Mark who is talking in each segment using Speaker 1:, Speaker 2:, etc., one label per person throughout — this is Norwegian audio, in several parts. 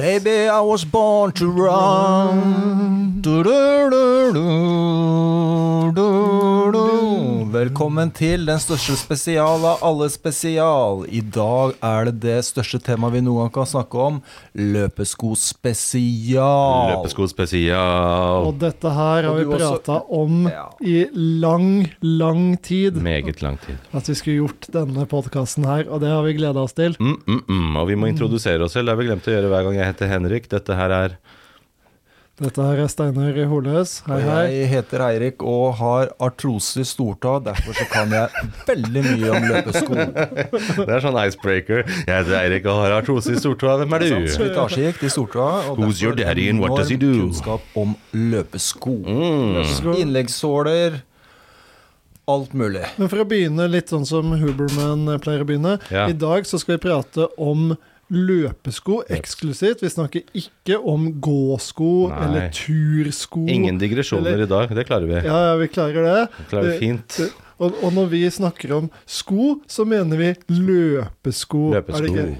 Speaker 1: Baby, I was born to run. Du-du-du-du, du-du. Velkommen til den største spesial av alle spesial. I dag er det det største temaet vi noen gang kan snakke om. Løpeskospesial.
Speaker 2: Løpesko spesial.
Speaker 3: Og dette her har
Speaker 1: Og
Speaker 3: vi
Speaker 1: du også-
Speaker 3: prata om
Speaker 1: Ja.
Speaker 3: i lang, lang tid.
Speaker 2: Meget lang tid.
Speaker 3: At vi skulle gjort denne podkasten her, og det har vi gleda oss til.
Speaker 2: Mm, mm, mm. Og vi må introdusere oss selv. Det har vi glemt å gjøre hver gang jeg heter Henrik. Dette her er
Speaker 3: Dette her er Steinar Holøs. Hei,
Speaker 1: Og
Speaker 3: hei.
Speaker 1: Jeg heter Eirik og har artrose i stortå, derfor så kan jeg veldig mye om løpesko.
Speaker 2: Det er sånn icebreaker. Jeg heter Eirik og har artrose i stortåa. Hvem er du?
Speaker 1: Slitasjegikt i stortåa. og
Speaker 2: Who's
Speaker 1: derfor
Speaker 2: your daddy and what does he do?
Speaker 1: enorm Kunnskap om løpesko.
Speaker 2: Mm.
Speaker 3: Løpesko.
Speaker 1: Innleggssåler. Alt mulig.
Speaker 3: Men for å begynne litt sånn som Huberman pleier å begynne.
Speaker 2: Ja.
Speaker 3: I dag så skal vi prate om løpesko eksklusivt. Vi snakker ikke om gåsko
Speaker 2: Nei.
Speaker 3: eller tursko.
Speaker 2: Ingen digresjoner i dag. Det klarer vi.
Speaker 3: Ja, ja, vi klarer det.
Speaker 2: Det klarer vi fint.
Speaker 3: Og, og når vi snakker om sko, så mener vi løpesko. Er det
Speaker 2: Løpesko.
Speaker 3: ikke-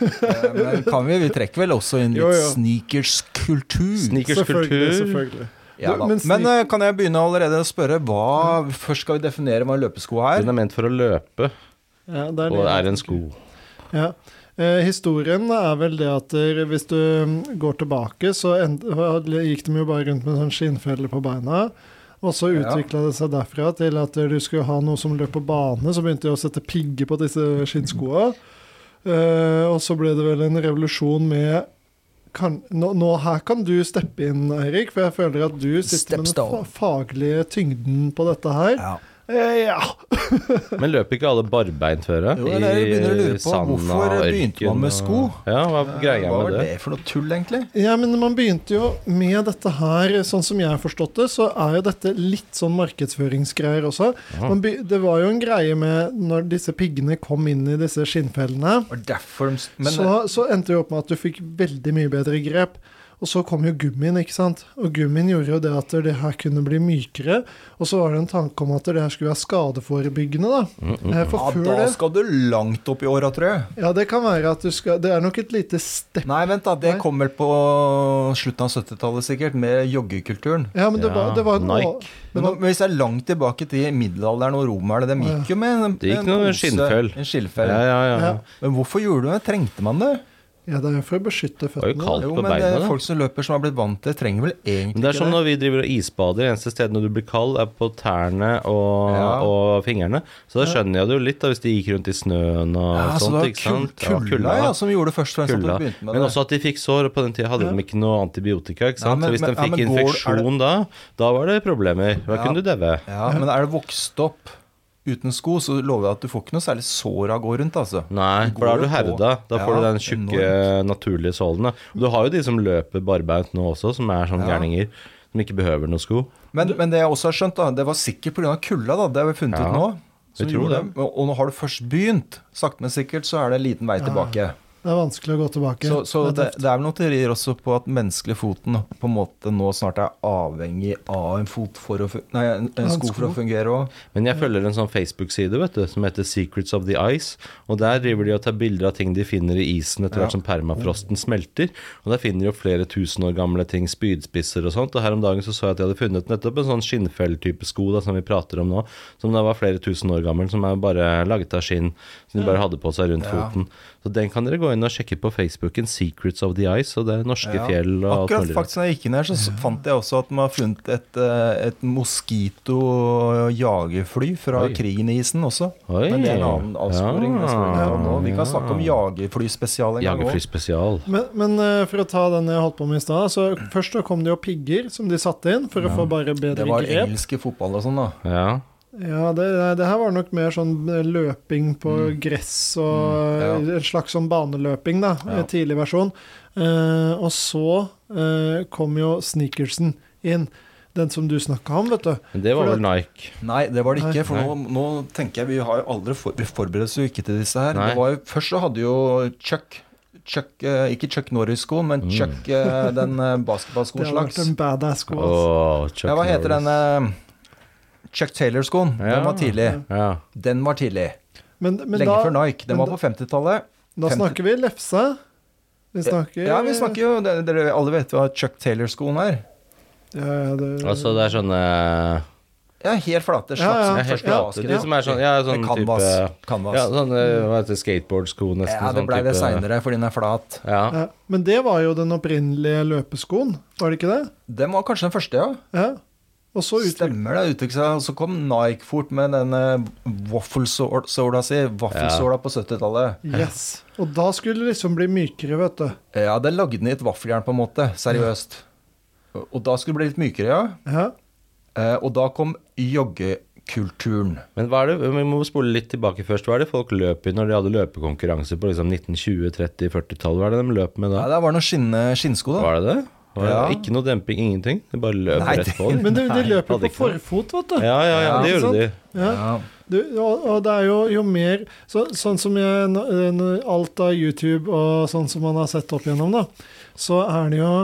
Speaker 1: Eh, Men kan vi, vi trekker vel også inn
Speaker 3: Jo,
Speaker 1: litt
Speaker 3: jo.
Speaker 1: sneakers-kultur.
Speaker 3: Selvfølgelig,
Speaker 2: Sneakerskultur.
Speaker 3: selvfølgelig.
Speaker 1: Ja, da.
Speaker 3: Men
Speaker 1: men
Speaker 3: sneak-
Speaker 1: eh, kan jeg begynne allerede å spørre hva Først skal vi definere hva en løpesko er.
Speaker 2: Den er ment for å løpe,
Speaker 3: Ja, det er
Speaker 2: og
Speaker 3: det.
Speaker 2: er en sko.
Speaker 3: Ja. Eh, historien er vel det at eh, hvis du mm, går tilbake, så end, gikk de jo bare rundt med sånn skinnfelle på beina. Og så
Speaker 1: Ja.
Speaker 3: utvikla det seg derfra til at eh, du skulle ha noe som løp på bane. Så begynte de å sette pigger på disse skinnskoa. Eh, og så ble det vel en revolusjon med kan, nå, nå Her kan du steppe inn, Eirik, for jeg føler at du sitter med den
Speaker 1: Stepstone.
Speaker 3: fa faglige tyngden på dette her.
Speaker 1: Ja.
Speaker 3: Eh, ja.
Speaker 2: Men løper ikke alle barbeint før? da?
Speaker 1: Jo, det er det jeg
Speaker 2: I
Speaker 1: begynner å lure på.
Speaker 2: sanda,
Speaker 1: Hvorfor begynte
Speaker 2: ørken
Speaker 1: man med
Speaker 2: og-
Speaker 1: sko?
Speaker 2: Ja, hva er greia
Speaker 1: Hva
Speaker 2: med
Speaker 1: var
Speaker 2: det?
Speaker 1: det for noe tull, egentlig?
Speaker 3: Ja, men man begynte jo med dette her, sånn som jeg har forstått det, så er jo dette litt sånn markedsføringsgreier også. Man be- det var jo en greie med når disse piggene kom inn i disse skinnfellene,
Speaker 1: Og derfor de, men,
Speaker 3: så, så endte det jo opp med at du fikk veldig mye bedre grep. Og så kom jo gummien, ikke sant. Og gummien gjorde jo det at det her kunne bli mykere. Og så var det en tanke om at det her skulle være skadeforebyggende, da. Eh,
Speaker 1: ja,
Speaker 3: For før
Speaker 1: da
Speaker 3: det
Speaker 1: skal du langt opp i åra, tror jeg.
Speaker 3: Ja, det kan være at du skal Det er nok et lite step
Speaker 1: Nei, vent da, det
Speaker 3: Nei.
Speaker 1: kom vel på slutten av 70-tallet sikkert, med joggekulturen.
Speaker 3: Ja, men det,
Speaker 2: Ja,
Speaker 3: var, det var en
Speaker 2: Nike.
Speaker 3: Det
Speaker 1: Men,
Speaker 3: var-
Speaker 1: nå- men hvis det er langt tilbake til middelalderen og romerne, de gikk jo med en,
Speaker 2: Det gikk noe skinnfell.
Speaker 1: En skinnfell.
Speaker 2: Ja, ja, ja.
Speaker 3: Ja.
Speaker 1: Men hvorfor gjorde du det? Trengte man det?
Speaker 3: Ja, det er jo for å beskytte
Speaker 2: var jo
Speaker 3: føttene.
Speaker 2: kaldt. Alt
Speaker 1: Jo,
Speaker 2: på
Speaker 1: men
Speaker 2: beina,
Speaker 1: det,
Speaker 2: da.
Speaker 1: folk som løper som har blitt vant til det, trenger vel egentlig
Speaker 2: Men det er som
Speaker 1: ikke det?
Speaker 2: når vi driver og isbader. Eneste stedet når du blir kald, er på tærne og,
Speaker 1: Ja.
Speaker 2: og fingrene. Så da skjønner jeg det jo litt, da, hvis de gikk rundt i snøen og
Speaker 1: Ja, så det
Speaker 2: sånt.
Speaker 1: var
Speaker 2: Sånn, ikke
Speaker 1: kul,
Speaker 2: sant?
Speaker 1: kulda ja, som gjorde det først og fremst at
Speaker 2: kulda.
Speaker 1: du begynte med
Speaker 2: Men
Speaker 1: det.
Speaker 2: også at de fikk sår. og På den tida hadde de ikke noe antibiotika. ikke
Speaker 1: Ja,
Speaker 2: sant?
Speaker 1: men-
Speaker 2: så hvis de
Speaker 1: men- ja,
Speaker 2: fikk
Speaker 1: men går- er det-
Speaker 2: infeksjon da, da var det problemer. Da
Speaker 1: Ja.
Speaker 2: kunne du daue.
Speaker 1: Ja, men er du vokst opp uten sko, så lover jeg at du får ikke noe særlig sår av å gå rundt, altså.
Speaker 2: Nei,
Speaker 1: Går
Speaker 2: for da er du
Speaker 1: jo på.
Speaker 2: herda. Da får
Speaker 1: Ja,
Speaker 2: du den tjukke, naturlige sålen. da. Og du har jo de som løper barbeint nå også, som er sånn
Speaker 1: Ja.
Speaker 2: gærninger. Som ikke behøver noen sko.
Speaker 1: Men, men det jeg også har skjønt, da, det var sikkert pga. kulda. da, Det har vi funnet
Speaker 2: Ja,
Speaker 1: ut nå.
Speaker 2: vi
Speaker 1: som
Speaker 2: tror
Speaker 1: gjorde
Speaker 2: det.
Speaker 1: det. Og når har du først begynt, sakte, men sikkert, så er det en liten vei tilbake.
Speaker 3: Det er vanskelig å gå tilbake.
Speaker 1: Så, så
Speaker 3: Det er
Speaker 1: det, det er vel noen teorier også på at menneskelig foten på en måte nå snart er avhengig av en fot for å fu- Nei, en, en
Speaker 3: en
Speaker 1: sko for å
Speaker 3: sko.
Speaker 1: fungere òg.
Speaker 2: Men jeg følger en sånn Facebook-side vet du, som heter Secrets of the Ice. Og der driver de og tar bilder av ting de finner i isen etter hvert som permafrosten smelter. Og der finner de jo flere tusen år gamle ting, spydspisser og sånt. Og her om dagen så så jeg at de hadde funnet nettopp en sånn skinnfelltype sko da, som vi prater om nå, som da var flere tusen år gammel, som er bare laget av skinn. Som de bare hadde på seg rundt foten. Så den kan dere gå inn og sjekke på Facebooken, Secrets of the Ice. Og det er norske fjell og alt
Speaker 1: Akkurat
Speaker 2: mulig. rart.
Speaker 1: faktisk når jeg gikk inn her, så s- fant jeg også at man har funnet et, eh, et moskito-jagerfly fra
Speaker 2: Oi.
Speaker 1: krigen i isen også.
Speaker 2: Oi.
Speaker 1: Men det er en annen avsporing. det skal vi ikke ta nå. Vi kan snakke om jagerflyspesial en gang
Speaker 2: Jagerfly
Speaker 1: òg.
Speaker 2: spesial.
Speaker 3: Men, men eh, for å ta den jeg holdt på med i stad, så først så kom det jo pigger som de satte inn for å få bare bedre
Speaker 1: Det var
Speaker 3: grep.
Speaker 1: engelske fotball og sånn, da.
Speaker 2: Ja.
Speaker 3: Ja, det, det her var nok mer sånn eh, løping på gress og
Speaker 1: Mm,
Speaker 3: eh, en slags sånn baneløping, da.
Speaker 1: Ja.
Speaker 3: en Tidlig versjon. Eh, og så eh, kom jo sneakersen inn. Den som du snakka om, vet du.
Speaker 2: Men det var
Speaker 3: For
Speaker 2: vel Nike.
Speaker 1: Nei, det var det ikke. For
Speaker 2: Nei.
Speaker 1: nå, nå tenker jeg Vi har jo aldri for, vi forbereder oss jo ikke til disse her.
Speaker 2: Nei.
Speaker 1: Det var jo, først så hadde jo Chuck Chuck, eh, ikke Chuck Norris-skoen, men
Speaker 2: Mm.
Speaker 1: Chuck, eh, den eh,
Speaker 3: Det har vært en
Speaker 1: basketballskoen slags.
Speaker 3: badass sko. ass.
Speaker 2: Åh, Chuck
Speaker 1: Ja, hva heter den
Speaker 2: Norris.
Speaker 1: eh, Chuck Taylor-skoen?
Speaker 2: Ja.
Speaker 1: Den var tidlig.
Speaker 2: Ja.
Speaker 1: Den var tidlig.
Speaker 3: Men, men
Speaker 1: Lenge
Speaker 3: da,
Speaker 1: før Nike. Den
Speaker 3: men
Speaker 1: var på 50-tallet.
Speaker 3: da
Speaker 1: 50
Speaker 3: snakker vi lefse. Vi snakker
Speaker 1: Ja, vi snakker jo det- Dere alle vet hva Chuck Taylor-skoen er.
Speaker 3: Ja, ja, det,
Speaker 2: Altså, det er sånne
Speaker 1: Ja, helt flate.
Speaker 3: Ja, ja.
Speaker 1: Slags
Speaker 2: ja, helt flate. De som er sånn, ja, sånn
Speaker 1: Canvas.
Speaker 2: type
Speaker 1: Canvas.
Speaker 2: Ja,
Speaker 1: Ja,
Speaker 2: sånne hva heter det, skateboardsko, nesten.
Speaker 1: det
Speaker 2: sånn
Speaker 1: blei det
Speaker 2: type-
Speaker 1: seinere fordi den er flat.
Speaker 2: Ja.
Speaker 3: ja. Men det var jo den opprinnelige løpeskoen, var det ikke det?
Speaker 1: Den var kanskje den første, ja.
Speaker 3: Ja. Og så utvik-
Speaker 1: Stemmer det. uttrykket seg. Og så kom Nike fort med den waffelsåla si. Vaffelsåla på 70-tallet.
Speaker 3: Yes. Og da skulle det liksom bli mykere, vet du.
Speaker 1: Ja, den lagde den i et vaffeljern, på en måte. Seriøst. Og og da skulle det bli litt mykere, ja.
Speaker 3: Ja.
Speaker 1: Eh, Og da kom joggekulturen.
Speaker 2: Men hva er det, vi må spole litt tilbake først. Hva er det folk løp i når de hadde løpekonkurranse på liksom 1920-, 30-, 40-tallet? Hva er det de løp med da?
Speaker 1: Ja, der var det noen skinne- skinnsko, da.
Speaker 2: Var det det? Var det
Speaker 1: Ja.
Speaker 2: Ikke noe demping, ingenting? De bare løp
Speaker 1: Nei,
Speaker 2: rett på den?
Speaker 3: Men de, de løper
Speaker 2: hadde
Speaker 3: jo på
Speaker 2: ikke noe.
Speaker 3: forfot, vet du.
Speaker 2: Ja, ja, ja, det
Speaker 1: Ja,
Speaker 2: gjorde
Speaker 3: sant?
Speaker 2: de.
Speaker 3: Ja.
Speaker 1: Ja.
Speaker 3: Du, og, og det er jo, jo mer så, Sånn som jeg, nå- eh, nå- alt av YouTube og sånn som man har sett opp igjennom, da, så er det jo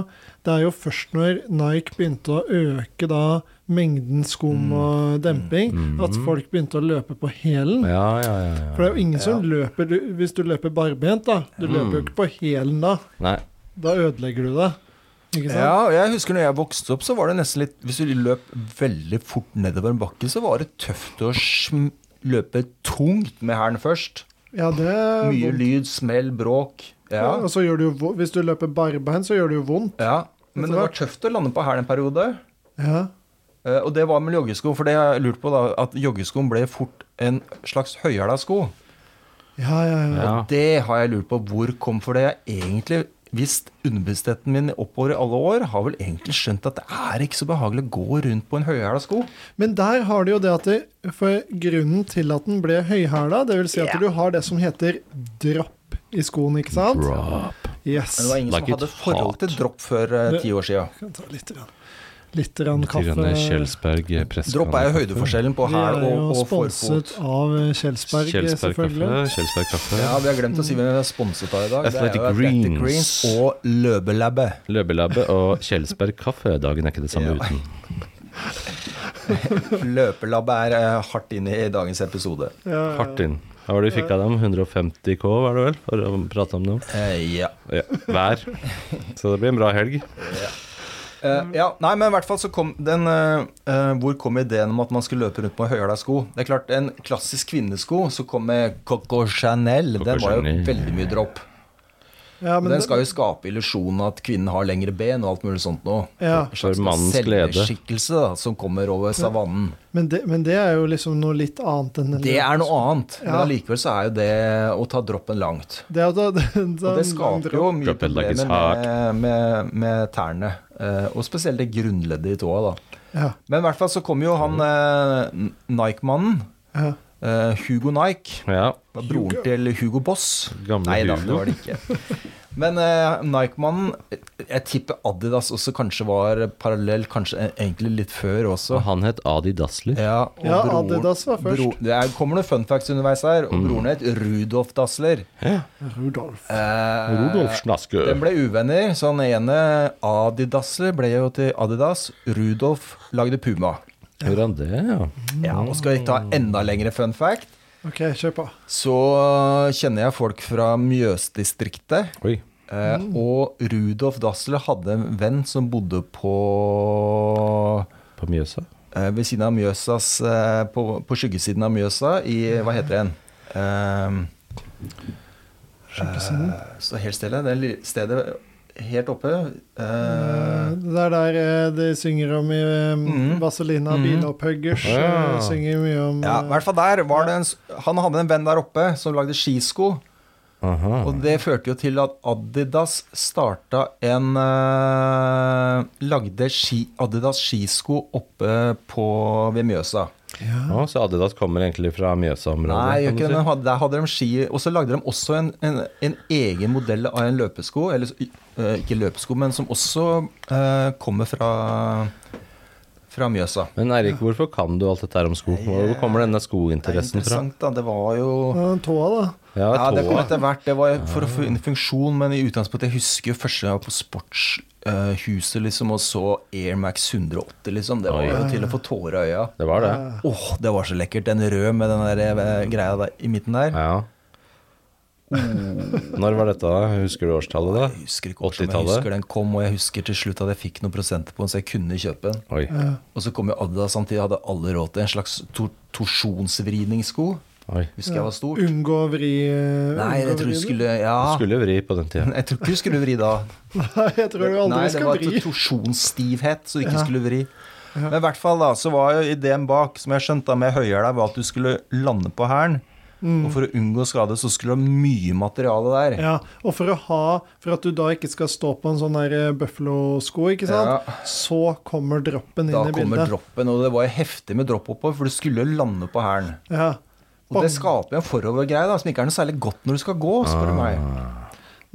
Speaker 3: Det er jo først når Nike begynte å øke da mengden
Speaker 2: Mm.
Speaker 3: skum og demping, at folk begynte å løpe på hælen.
Speaker 2: Ja, ja, ja,
Speaker 3: For det
Speaker 2: ja.
Speaker 3: er jo ingen som løper du- Hvis du løper barbent, da.
Speaker 1: Mm.
Speaker 3: Du løper jo ikke på hælen da.
Speaker 2: Nei.
Speaker 3: Da ødelegger du det. Ikke sant?
Speaker 1: Ja, og jeg husker når jeg vokste opp, så var det nesten litt Hvis du løp veldig fort nedover en bakke, så var det tøft å sm løpe tungt med hælen først.
Speaker 3: Ja, det er
Speaker 1: Mye
Speaker 3: vondt.
Speaker 1: lyd, smell, bråk.
Speaker 3: Ja,
Speaker 1: Ja.
Speaker 3: og så gjør det jo, vo- hvis du løper barbeint, så gjør det jo vondt.
Speaker 1: ja. Men det var tøft å lande på hælen en periode.
Speaker 3: Ja.
Speaker 1: Eh, Og det var med joggesko, for det jeg lurte på da, at joggeskoen ble fort en slags høyhæla sko.
Speaker 3: Ja, ja, ja.
Speaker 2: Ja.
Speaker 1: Det har jeg lurt på hvor kom for det. Jeg egentlig visst underbevisstheten min oppover i alle år har vel egentlig skjønt at det er ikke så behagelig å gå rundt på en høyhæla sko.
Speaker 3: Men der har du jo det at det, For grunnen til at den ble høyhæla, det vil si at du har det som heter dropp i skoen, ikke sant?
Speaker 2: Drop.
Speaker 3: Yes.
Speaker 1: Men det var ingen
Speaker 2: Like
Speaker 1: som hadde
Speaker 2: it
Speaker 1: forhold til
Speaker 2: hot.
Speaker 1: dropp før eh,
Speaker 3: Det-
Speaker 1: ti år siden.
Speaker 3: Kan ta litt, grann- litt grann kaffe.
Speaker 2: Kjelsberg eh,
Speaker 1: Dropp er jo høydeforskjellen på
Speaker 3: Vi
Speaker 1: hæl
Speaker 3: er
Speaker 1: og,
Speaker 3: jo
Speaker 1: og
Speaker 3: sponset
Speaker 1: forfot.
Speaker 3: av Kjelsberg,
Speaker 2: Kjelsberg kaffe.
Speaker 3: selvfølgelig.
Speaker 2: Kjelsberg kaffe.
Speaker 1: Ja, vi har glemt å si hvem vi er sponset av i dag.
Speaker 2: Athletic
Speaker 1: det er jo Athletic
Speaker 2: Greens.
Speaker 1: Greens og Løbelabbet.
Speaker 2: Løbelabbet og Kjelsberg kaffe. Dagen er ikke det samme
Speaker 1: Ja.
Speaker 2: uten.
Speaker 1: Løpelabbet er eh, hardt inne i dagens episode.
Speaker 3: Ja, ja.
Speaker 2: Hardt inn. Hva var det vi fikk av dem? 150 K, var det vel? For å prate om dem.
Speaker 1: Eh, ja.
Speaker 2: Ja. Hver. Så det blir en bra helg.
Speaker 1: Eh, ja, nei, men i hvert fall så kom den eh, eh, Hvor kom ideen om at man skulle løpe rundt med høyhæla sko? Det er klart, en klassisk kvinnesko så kom med Coco Chanel.
Speaker 2: Coco
Speaker 1: Den var jo
Speaker 2: Chanel.
Speaker 1: veldig mye dropp.
Speaker 3: Ja,
Speaker 1: Og
Speaker 3: men
Speaker 1: den
Speaker 3: det,
Speaker 1: skal jo skape illusjonen at kvinnen har lengre ben og alt mulig sånt noe.
Speaker 3: ja.
Speaker 2: For mannens glede.
Speaker 1: Selvskikkelse da, som kommer over savannen.
Speaker 3: Men, det, men det er jo liksom noe litt annet enn en
Speaker 1: Det er noe annet, men
Speaker 3: Ja.
Speaker 1: allikevel så er jo det å ta droppen langt.
Speaker 3: Det er jo da, det,
Speaker 1: Og det skaper jo mye
Speaker 2: Drop it like it's
Speaker 1: problemer med, med, med tærne, eh, og spesielt det grunnleddet i tåa, da.
Speaker 3: ja,
Speaker 1: Men i hvert fall så kom jo han eh, N- Nike-mannen,
Speaker 3: ja.
Speaker 1: eh, Hugo Nike.
Speaker 2: Ja.
Speaker 1: Det var broren til Hugo Boss.
Speaker 2: Gamle
Speaker 1: Nei da,
Speaker 2: Hugo.
Speaker 1: det var det ikke. Men eh, Nike-mannen Jeg tipper Adidas også kanskje var parallell, kanskje eh, egentlig litt før også.
Speaker 2: Og han het Adi Dassler.
Speaker 1: Ja, og
Speaker 3: ja,
Speaker 1: broren-
Speaker 3: Adidas var
Speaker 1: Bro,
Speaker 3: først.
Speaker 1: det er, kommer noen fun facts underveis her.
Speaker 2: Mm.
Speaker 1: Og broren het Rudolf Dassler.
Speaker 3: Rudolf.
Speaker 1: Eh,
Speaker 2: Rudolf Snaske.
Speaker 1: De ble uvenner, så han ene Adi Dassler ble jo til Adidas. Rudolf lagde Puma.
Speaker 2: Gjorde han det, ja?
Speaker 1: Ja, og skal jeg ta enda lengre fun fact,
Speaker 3: OK, kjør på.
Speaker 1: så kjenner jeg folk fra Mjøsdistriktet.
Speaker 2: Oi.
Speaker 1: Eh, Og Rudolf Dassler hadde en venn som bodde på
Speaker 2: På Mjøsa?
Speaker 1: eh, Ved siden av Mjøsas eh, På, på skyggesiden av Mjøsa i Hva heter den? Eh,
Speaker 3: Skjønnesiden.
Speaker 1: Så helt stille. Det lille stedet helt oppe eh,
Speaker 3: Det er der eh, de synger om i
Speaker 1: Mhm.
Speaker 3: eh, Vaselina
Speaker 1: Mhm.
Speaker 3: Bilhopphuggers.
Speaker 2: Ja.
Speaker 3: eh, Synger mye om
Speaker 1: Ja, i
Speaker 3: eh,
Speaker 1: hvert fall der var det en s- Han hadde en venn der oppe som lagde skisko.
Speaker 2: Aha.
Speaker 1: Og det førte jo til at Adidas starta en eh, Lagde ski, Adidas skisko oppe på ved Mjøsa.
Speaker 3: ja.
Speaker 2: Å, så Adidas kommer egentlig fra
Speaker 1: Nei,
Speaker 2: Mjøsa-området?
Speaker 1: gjør
Speaker 2: kan
Speaker 1: ikke
Speaker 2: du
Speaker 1: det.
Speaker 2: si?
Speaker 1: men Der hadde de ski Og så lagde de også en, en, en egen modell av en løpesko. Eller s- eh, ikke løpesko, men som også eh, kommer fra, fra Mjøsa.
Speaker 2: Men Eirik, hvorfor kan du alt dette her om sko? Hvor kommer denne
Speaker 1: Det er
Speaker 2: skointeressen fra?
Speaker 1: interessant, da. Det var jo
Speaker 3: Ja, den eh, Tåa, da.
Speaker 2: Ja,
Speaker 1: Ja, det kom
Speaker 2: tåa.
Speaker 1: etter hvert. Det var for å få inn funksjon, men i utgangspunktet Jeg husker jo første gang jeg var på sportshuset liksom, og så Air Max 180, liksom. Det var
Speaker 2: Oi.
Speaker 1: jo til å få tårer i øya.
Speaker 2: Det var det.
Speaker 1: Eh. Åh, det var så lekkert. Den røde med den der eh, greia der, i midten der.
Speaker 2: Ja.
Speaker 1: Mm.
Speaker 2: Når var dette, da? Husker du årstallet, da?
Speaker 1: Jeg husker ikke hvordan, men jeg
Speaker 2: 80-tallet.
Speaker 1: husker den kom, og jeg husker til slutt at jeg fikk noen prosenter på den, så jeg kunne kjøpe den.
Speaker 2: Oi.
Speaker 1: Og så kom jo Adidas samtidig, hadde alle råd til en slags tor torsjonsvridningssko.
Speaker 2: Oi.
Speaker 1: Husker jeg var stort.
Speaker 3: Unngå å vri eh,
Speaker 1: Nei, jeg tror du skulle Ja.
Speaker 2: Du skulle jo vri på den tida.
Speaker 1: Jeg tror ikke du skulle vri da.
Speaker 3: Nei, jeg tror du aldri
Speaker 1: Nei, det
Speaker 3: skal
Speaker 1: var
Speaker 3: vri.
Speaker 1: torsjonsstivhet, så du ikke
Speaker 3: Ja.
Speaker 1: skulle vri. Men i hvert fall da, så var jo ideen bak, som jeg skjønte da med høyhæla, var at du skulle lande på hælen. Og for å unngå skade, så skulle du ha mye materiale der.
Speaker 3: Mm. Ja, og for å ha For at du da ikke skal stå på en sånn der eh, Buffalo-sko, ikke sant,
Speaker 1: Ja.
Speaker 3: så kommer droppen inn
Speaker 1: Da
Speaker 3: i
Speaker 1: kommer
Speaker 3: bildet.
Speaker 1: droppen, og det var jo heftig med dropp oppover, for du skulle jo lande på hælen.
Speaker 3: Ja.
Speaker 1: Og det skaper jo en forovergreie, da, som ikke er noe særlig godt når du skal gå, spør
Speaker 2: Ah.
Speaker 1: du meg.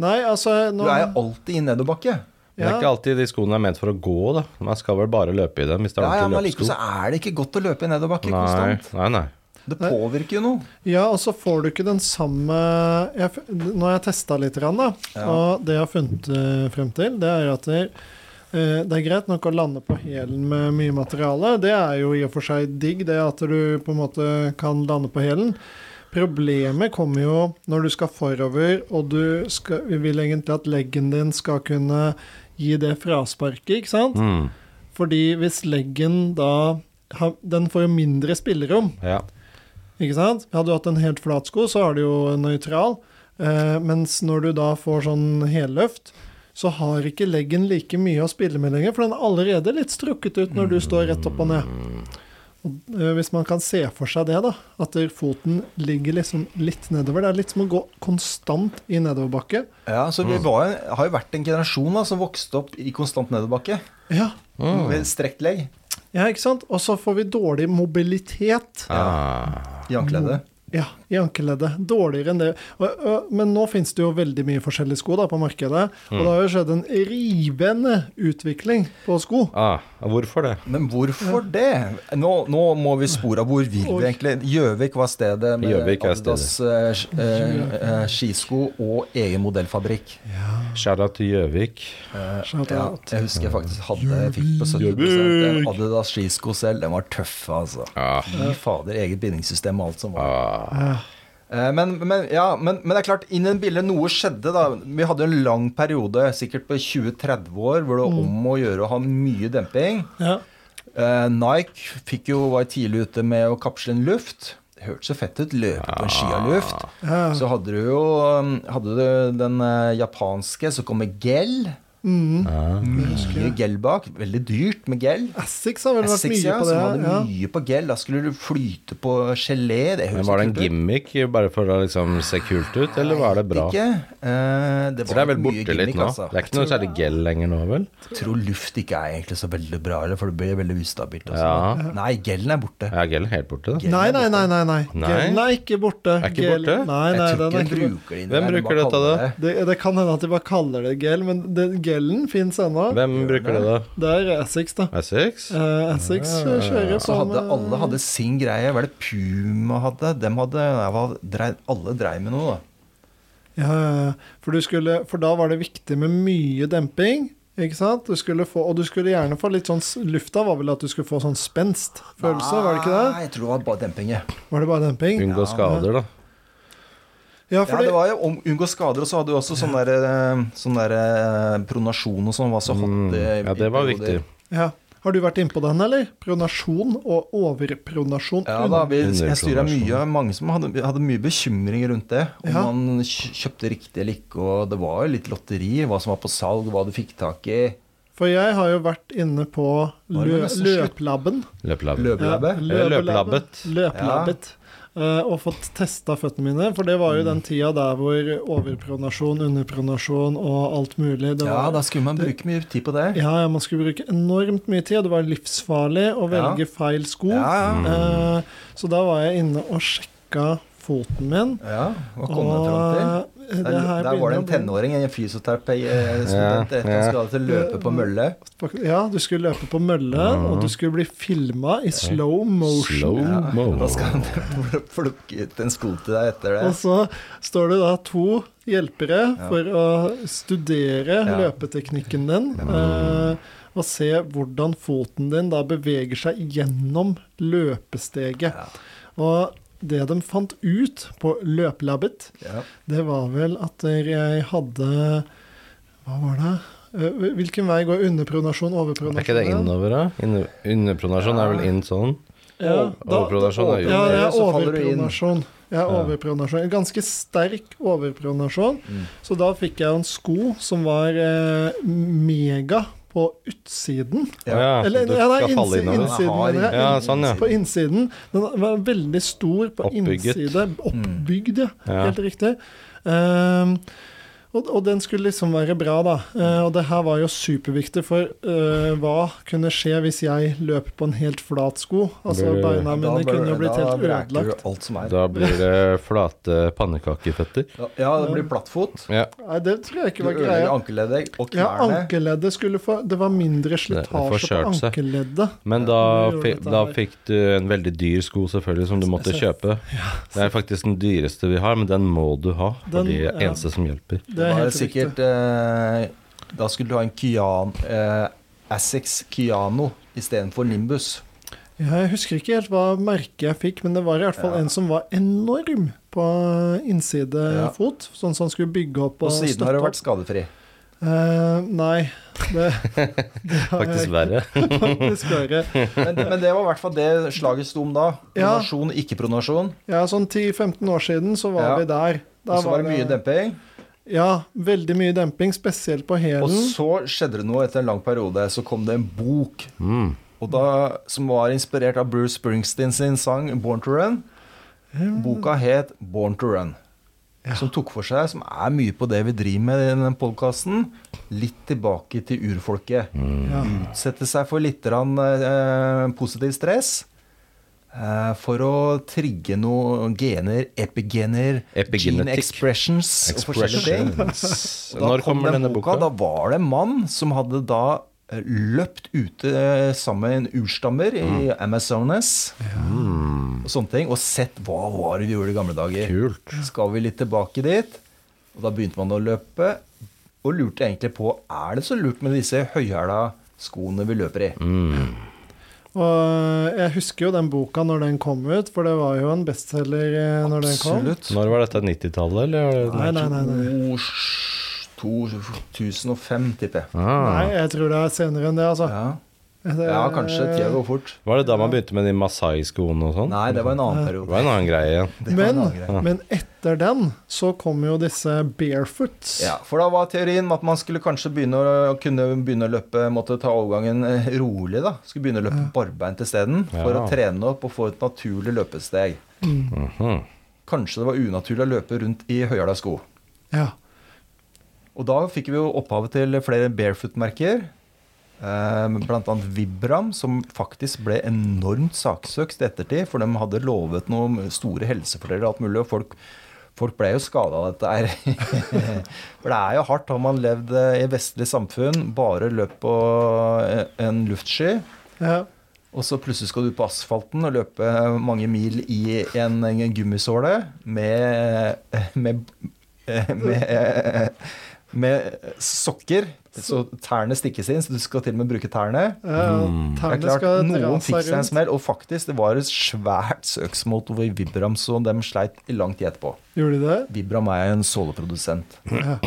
Speaker 3: Nei, altså
Speaker 1: Du
Speaker 3: nå,
Speaker 1: er jo alltid i nedoverbakke.
Speaker 2: Men det er ikke alltid de skoene er ment for å gå, da. Man skal vel bare løpe i dem hvis det er
Speaker 1: Ja, ja, men
Speaker 2: ordentlig
Speaker 1: likevel så
Speaker 2: løpesko.
Speaker 1: er det ikke godt å løpe i nedoverbakke
Speaker 2: Nei,
Speaker 1: konstant.
Speaker 2: nei, nei.
Speaker 1: Det påvirker jo noe.
Speaker 3: Ja, og så får du ikke den samme jeg, f- Nå har jeg testa litt, grann, da,
Speaker 1: Ja.
Speaker 3: og det jeg har funnet eh, frem til, det er at det, eh, det er greit nok å lande på hælen med mye materiale. Det er jo i og for seg digg, det at du på en måte kan lande på hælen. Problemet kommer jo når du skal forover, og du skal, vi vil egentlig at leggen din skal kunne gi det frasparket, ikke sant?
Speaker 2: Mm.
Speaker 3: Fordi hvis leggen da har- Den får jo mindre spillerom.
Speaker 2: Ja.
Speaker 3: Ikke sant? Hadde du hatt en helt flat sko, så har du jo en nøytral. Eh, mens når du da får sånn helløft, så har ikke leggen like mye å spille med lenger, for den er allerede litt strukket ut når du står rett opp og ned. Og, eh, hvis man kan se for seg det, da, at der foten ligger liksom litt nedover. Det er litt som å gå konstant i nedoverbakke.
Speaker 1: Ja, så vi var, jo- har jo vært en generasjon da, som vokste opp i konstant nedoverbakke.
Speaker 3: Ja,
Speaker 1: Med strekt legg
Speaker 3: ja, ikke sant? Og så får vi dårlig mobilitet.
Speaker 2: Ah.
Speaker 1: i ankledet.
Speaker 3: Ja, i ankeleddet. Dårligere enn det. Og, og, men nå finnes det jo veldig mye forskjellige sko da, på markedet,
Speaker 1: Mm.
Speaker 3: og det har jo skjedd en rivende utvikling på sko.
Speaker 2: Ah. Hvorfor det?
Speaker 1: Men hvorfor det? Nå, nå må vi spore av hvor vil vi
Speaker 3: Oi.
Speaker 1: egentlig Gjøvik var stedet med
Speaker 2: Gjøvik er
Speaker 1: Adidas eh, sk- eh, eh, skisko og egen modellfabrikk.
Speaker 2: Skjæra til Gjøvik.
Speaker 3: Shout
Speaker 1: Eh, Ja,
Speaker 3: out.
Speaker 1: jeg husker jeg faktisk hadde jeg fikk på 70 en Adidas skisko selv. Den var tøff, altså.
Speaker 2: Ah.
Speaker 1: Fy fader, eget bindingssystem og alt som var.
Speaker 2: Ah.
Speaker 1: Eh, Men, men, ja, men, men det er klart, innen bildet noe skjedde da. Vi hadde en lang periode, sikkert på 20-30 år, hvor det
Speaker 3: Mm.
Speaker 1: var om å gjøre å ha mye demping.
Speaker 3: Ja.
Speaker 1: Eh, Nike fikk jo, var tidlig ute med å kapsle inn luft. Det hørtes så fett ut. Løpe på en ski av luft.
Speaker 3: Ja.
Speaker 1: Så hadde du jo um, hadde du den eh, japanske, så kom med gel.
Speaker 3: Mm.
Speaker 1: Mye gel bak. Veldig dyrt med gel.
Speaker 3: Essex har vel vært
Speaker 1: Essex,
Speaker 3: mye
Speaker 1: ja,
Speaker 3: på
Speaker 1: som
Speaker 3: det.
Speaker 1: hadde
Speaker 3: Ja.
Speaker 1: mye på gel. Da skulle du flyte på gelé. Det
Speaker 2: Men
Speaker 1: høres
Speaker 2: Var det en
Speaker 1: kult ut.
Speaker 2: gimmick bare for å liksom se kult ut, eller var det bra?
Speaker 1: Ikke. Eh, det
Speaker 2: For
Speaker 1: var
Speaker 2: det er vel
Speaker 1: mye
Speaker 2: borte litt
Speaker 1: gimmick,
Speaker 2: nå.
Speaker 1: altså.
Speaker 2: Det er ikke noe særlig gel lenger nå, vel?
Speaker 1: Jeg tror luft ikke er egentlig så veldig bra, eller, for det blir veldig ustabilt. Også.
Speaker 2: Ja.
Speaker 1: Nei, gelen er borte.
Speaker 2: Ja, gel er helt borte, da.
Speaker 1: Gel
Speaker 3: Nei,
Speaker 1: er
Speaker 3: nei,
Speaker 1: borte.
Speaker 3: nei. nei, nei.
Speaker 2: Nei?
Speaker 3: Gelen er ikke borte.
Speaker 2: Er ikke
Speaker 3: Gel-
Speaker 2: borte?
Speaker 3: Nei, nei,
Speaker 1: Jeg tror
Speaker 3: den
Speaker 1: ikke
Speaker 3: er ikke
Speaker 1: de
Speaker 3: borte.
Speaker 1: bruker det
Speaker 2: Hvem
Speaker 1: der, de
Speaker 2: bruker
Speaker 1: bare
Speaker 2: dette
Speaker 1: kaller
Speaker 2: da?
Speaker 3: Det, det kan hende at de bare kaller det gel, men den, gelen fins ennå.
Speaker 2: Hvem bruker det, da?
Speaker 3: Det er Essex, da.
Speaker 2: Essex?
Speaker 3: Eh, Essex kjører
Speaker 1: Så
Speaker 3: på
Speaker 1: Altså, hadde
Speaker 3: med-
Speaker 1: alle hadde sin greie. Hva er det Puma hadde? Dem hadde nei, hva- drei, alle dreiv med noe, da.
Speaker 3: Ja, ja, ja. for, du skulle, for da var det viktig med mye demping. Ikke sant? Du skulle få, og du skulle gjerne få litt sånn s- Lufta var vel at du skulle få sånn spenstfølelse, var det ikke
Speaker 1: Nei, jeg tror det var bare dempinget.
Speaker 3: det? Var det bare demping?
Speaker 2: Unngå skader, da.
Speaker 3: Ja,
Speaker 1: Ja,
Speaker 3: fordi,
Speaker 1: det var jo om, unngå skader, og så hadde du også sånn der, eh, sånn der eh, pronasjon og sånn var så hot.
Speaker 2: Mm.
Speaker 1: eh, i
Speaker 2: Ja, det var
Speaker 1: perioder.
Speaker 2: viktig.
Speaker 3: ja. Har du vært innpå den, eller? Pronasjon og overpronasjon.
Speaker 1: Ja da, vi, jeg styra
Speaker 2: Underpronasjon.
Speaker 1: mye. Mange som hadde, hadde mye bekymringer rundt det. Om
Speaker 3: Ja.
Speaker 1: man kj- kjøpte riktig eller ikke. Og det var jo litt lotteri. Hva som var på salg, hva du fikk tak i.
Speaker 3: For jeg har jo vært inne på
Speaker 1: Var det
Speaker 3: lø,
Speaker 1: nesten slutt?
Speaker 3: løplabben.
Speaker 2: Løpelabbe.
Speaker 1: Løpelabbe.
Speaker 3: Ja,
Speaker 2: Løpelabbet.
Speaker 3: Løpelabbet. Eh, og fått testa føttene mine, for det var jo den tida der hvor overpronasjon, underpronasjon og alt mulig det
Speaker 1: Ja,
Speaker 3: var,
Speaker 1: da skulle man bruke mye tid på det.
Speaker 3: Ja, ja, man skulle bruke enormt mye tid, og det var livsfarlig å
Speaker 1: Ja.
Speaker 3: velge feil sko.
Speaker 1: Ja, ja.
Speaker 3: Eh, så da var jeg inne og sjekka foten min.
Speaker 1: ja hva kom den fram til?
Speaker 3: eh, det
Speaker 1: Der,
Speaker 3: her
Speaker 1: der var det en
Speaker 3: begynner å
Speaker 1: tenåring, en eh, fysioterapeutstudent,
Speaker 2: Ja,
Speaker 1: etter han
Speaker 2: ja.
Speaker 1: skulle ha det til å løpe på mølle.
Speaker 3: bli- Ja, du skulle løpe på mølle, og du skulle bli filma i slow motion.
Speaker 2: Slow Oh, mo.
Speaker 1: Da skal han plukke ut en sko til deg etter det.
Speaker 3: Og så står det da to hjelpere for å studere
Speaker 1: Ja.
Speaker 3: løpeteknikken din. eh, og se hvordan foten din da beveger seg gjennom løpesteget.
Speaker 1: Ja.
Speaker 3: Og det de fant ut på løplabbet,
Speaker 1: Ja.
Speaker 3: det var vel at jeg hadde Hva var det? Eh, Hvilken vei går underpronasjon, overpronasjon?
Speaker 2: Er ikke det innover, da? Inne, underpronasjon er vel inn sånn?
Speaker 3: Ja, da,
Speaker 2: Overpronasjon er jo
Speaker 3: ja, det er
Speaker 1: Så faller du inn.
Speaker 3: overpronasjon. Jeg er
Speaker 2: Ja.
Speaker 3: overpronasjon. En ganske sterk overpronasjon.
Speaker 1: Mm.
Speaker 3: Så da fikk jeg en sko som var eh, mega på utsiden.
Speaker 1: Ja.
Speaker 2: Ja, så
Speaker 3: Eller
Speaker 2: du
Speaker 3: ja, nei,
Speaker 2: skal falle
Speaker 3: innsi-
Speaker 2: innover.
Speaker 3: innsiden,
Speaker 1: har-
Speaker 3: mener jeg.
Speaker 2: Ja, sånn, ja.
Speaker 3: På innsiden. Den var veldig stor på
Speaker 2: Oppbygget. Mm.
Speaker 3: innside. Oppbygd, ja.
Speaker 2: Ja.
Speaker 3: Helt riktig. Ehm, og, og den skulle liksom være bra, da. Eh, og det her var jo superviktig, for eh, hva kunne skje hvis jeg løp på en helt flat sko? Altså
Speaker 2: Blir-
Speaker 3: beina
Speaker 1: Da bare-
Speaker 3: mine kunne jo blitt
Speaker 1: da
Speaker 3: helt
Speaker 1: vræker du
Speaker 3: ødelagt.
Speaker 1: alt som er.
Speaker 2: Da blir det flate pannekakeføtter.
Speaker 1: Ja, Ja, det blir plattfot.
Speaker 2: Ja.
Speaker 3: Nei, det tror jeg
Speaker 1: Du
Speaker 3: ikke var
Speaker 1: ødelegger
Speaker 3: greia.
Speaker 1: ankeleddet og
Speaker 3: Ja,
Speaker 1: knærne.
Speaker 3: ankeleddet skulle få Det var mindre
Speaker 2: det får
Speaker 3: slitasje på
Speaker 2: kjørt seg.
Speaker 3: ankeleddet.
Speaker 2: Men da,
Speaker 3: Ja, vi gjorde
Speaker 2: fi,
Speaker 3: dette
Speaker 2: da
Speaker 3: her.
Speaker 2: fikk du en veldig dyr sko selvfølgelig som du måtte kjøpe. Det er faktisk den dyreste vi har, men den må du ha. For
Speaker 3: Den-
Speaker 2: det er
Speaker 3: ja.
Speaker 2: eneste som hjelper.
Speaker 3: Det
Speaker 1: Det
Speaker 3: er
Speaker 1: var
Speaker 3: helt
Speaker 1: sikkert
Speaker 3: riktig.
Speaker 1: eh, Da skulle du ha en Kyan, eh, Assex Kyano istedenfor Nimbus.
Speaker 3: Jeg husker ikke helt hva merket jeg fikk, men det var i hvert fall
Speaker 1: Ja.
Speaker 3: en som var enorm på
Speaker 1: Ja.
Speaker 3: innsidefot. Sånn som han skulle bygge opp
Speaker 1: På
Speaker 3: og
Speaker 1: siden har
Speaker 3: støtte
Speaker 1: det
Speaker 3: opp.
Speaker 1: vært skadefri.
Speaker 3: Eh, nei, det, det har jeg
Speaker 2: Faktisk verre.
Speaker 3: ikke faktisk verre.
Speaker 1: Men, men det var i hvert fall det slaget sto om da.
Speaker 3: Ja.
Speaker 1: Pronasjon, ikke pronasjon.
Speaker 3: Ja, sånn 10-15 år siden så var
Speaker 1: Ja.
Speaker 3: vi der.
Speaker 1: Og så var det mye demping.
Speaker 3: Ja, veldig mye demping, spesielt på
Speaker 1: Og
Speaker 3: hælen.
Speaker 1: så skjedde det noe etter en lang periode. Så kom det en bok
Speaker 2: Mm.
Speaker 1: og da, som var inspirert av Bruce Springsteen sin sang 'Born to Run'. Boka het 'Born to Run'.
Speaker 3: Ja.
Speaker 1: Som tok for seg, som er mye på det vi driver med i denne podkasten, litt tilbake til urfolket.
Speaker 3: Ja.
Speaker 1: utsette seg for litt grann, eh, positiv stress eh, for å trigge noen gener, epigener,
Speaker 2: Epigenetikk.
Speaker 1: gene expressions og forskjellige ting.
Speaker 2: Expressions.
Speaker 1: Og da
Speaker 2: Når kommer denne boka?
Speaker 1: Da var det en mann som hadde da eh, løpt ute eh, sammen med en urstammer i
Speaker 3: Mm.
Speaker 1: Amazonas og sånne ting, og sett hva var det vi gjorde i gamle dager.
Speaker 2: Kult.
Speaker 1: Skal vi litt tilbake dit? Og da begynte man å løpe, og lurte egentlig på er det så lurt med disse høyhæla skoene vi løper i.
Speaker 3: Mm. Og eh, jeg husker jo den boka når den kom ut, for det var jo en bestselger eh, når den kom.
Speaker 1: Absolutt.
Speaker 2: Når var dette? 90-tallet, eller? var det-
Speaker 3: Nei, nei, nei. nei.
Speaker 1: To- sj- 2005, tipper jeg.
Speaker 3: Nei,
Speaker 2: Ah.
Speaker 3: jeg tror det er senere enn det, altså.
Speaker 1: Ja,
Speaker 3: Det-
Speaker 1: ja kanskje tida går fort.
Speaker 2: Var det da man begynte med de Masai-skoene og sånn?
Speaker 1: Nei, det var en annen
Speaker 2: Det
Speaker 1: periode.
Speaker 2: var en annen greie igjen.
Speaker 1: Det var en
Speaker 3: Men,
Speaker 1: annen greie.
Speaker 3: men etter den så kom jo disse barefoots.
Speaker 1: Ja, for da var teorien at man skulle kanskje begynne å, kunne begynne å løpe Måtte ta overgangen eh, rolig, da. Skulle begynne å løpe barbeint isteden. For
Speaker 2: Ja.
Speaker 1: å trene opp og få et naturlig løpesteg.
Speaker 3: Mm.
Speaker 2: Mhm.
Speaker 1: Kanskje det var unaturlig å løpe rundt i høyhæla sko.
Speaker 3: Ja.
Speaker 1: Og da fikk vi jo opphavet til flere barefoot-merker. eh, Blant annet Vibram, som faktisk ble enormt saksøkt i ettertid. For de hadde lovet noen store helsefordeler og alt mulig. Og folk, folk ble jo skada av dette her. for det er jo hardt. Har man levd eh, i vestlig samfunn, bare løpt på eh, en luftsky,
Speaker 3: ja.
Speaker 1: og så plutselig skal du ut på asfalten og løpe mange mil i en, en gummisåle med, med, med, med sokker. Så tærne stikkes inn, så du skal til og med bruke tærne.
Speaker 3: ja.
Speaker 1: Mm. Det er
Speaker 3: Tærne
Speaker 1: klart,
Speaker 3: skal dra
Speaker 1: Noen fikk
Speaker 3: seg
Speaker 1: seg en
Speaker 3: rundt.
Speaker 1: smell, og faktisk, det var et svært søksmål over Vibram, så de sleit i lang tid etterpå.
Speaker 3: Gjorde de det?
Speaker 1: Vibram er en såleprodusent.
Speaker 3: Ja.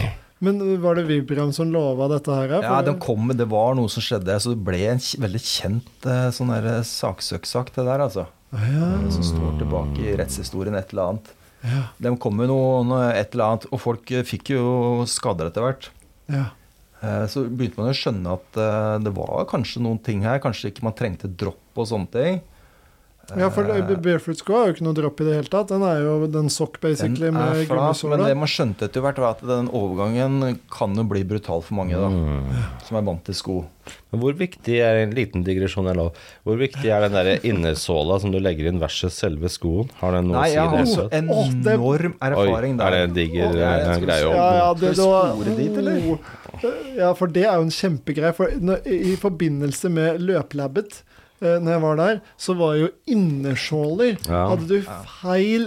Speaker 3: Men var det Vibram som lova dette her?
Speaker 1: Ja,
Speaker 3: For-
Speaker 1: de kom, med- Det var noe som skjedde, så det ble en kj- veldig kjent eh, sånn der, eh, saksøkssak, det der, altså.
Speaker 3: ja.
Speaker 1: Det som står tilbake i rettshistorien, et eller annet.
Speaker 3: Ja.
Speaker 1: De kom med noe, noe et eller annet, og folk eh, fikk jo skader etter hvert.
Speaker 3: ja.
Speaker 1: Eh, Så begynte man å skjønne at eh, det var kanskje noen ting her. Kanskje ikke man trengte dropp og sånne ting.
Speaker 3: Ja, for
Speaker 1: Eh.
Speaker 3: det- Barefoot Squaw er jo ikke noe dropp i det hele tatt. Den er jo den sokk,
Speaker 1: Den
Speaker 3: basically,
Speaker 1: er
Speaker 3: med
Speaker 1: flat, men det
Speaker 3: gummisåle.
Speaker 1: man skjønte etter hvert, var at den overgangen kan jo bli brutal for mange, da.
Speaker 2: Mm.
Speaker 1: Som er vant til sko.
Speaker 2: Men hvor viktig er en liten digresjon er lov? Hvor viktig er den der innersåla som du legger inn versus selve skoen? Har den noe
Speaker 1: Nei, jeg
Speaker 2: å
Speaker 1: har
Speaker 2: si?
Speaker 1: så
Speaker 2: det?
Speaker 3: Åh, det-
Speaker 1: enorm
Speaker 2: Oi,
Speaker 1: erfaring
Speaker 2: er det
Speaker 1: der.
Speaker 2: en diger
Speaker 1: Åh, jeg- jeg
Speaker 2: eh,
Speaker 1: skulle
Speaker 2: greie å
Speaker 3: Ja, ja, det,
Speaker 1: Skal vi
Speaker 3: det var-
Speaker 1: spore dit, eller?
Speaker 3: Oh. Ja, for det er jo en kjempegreie. For når, i forbindelse med løplabbet, eh, når jeg var der, så var jo innersåler
Speaker 2: Ja.
Speaker 3: Hadde du feil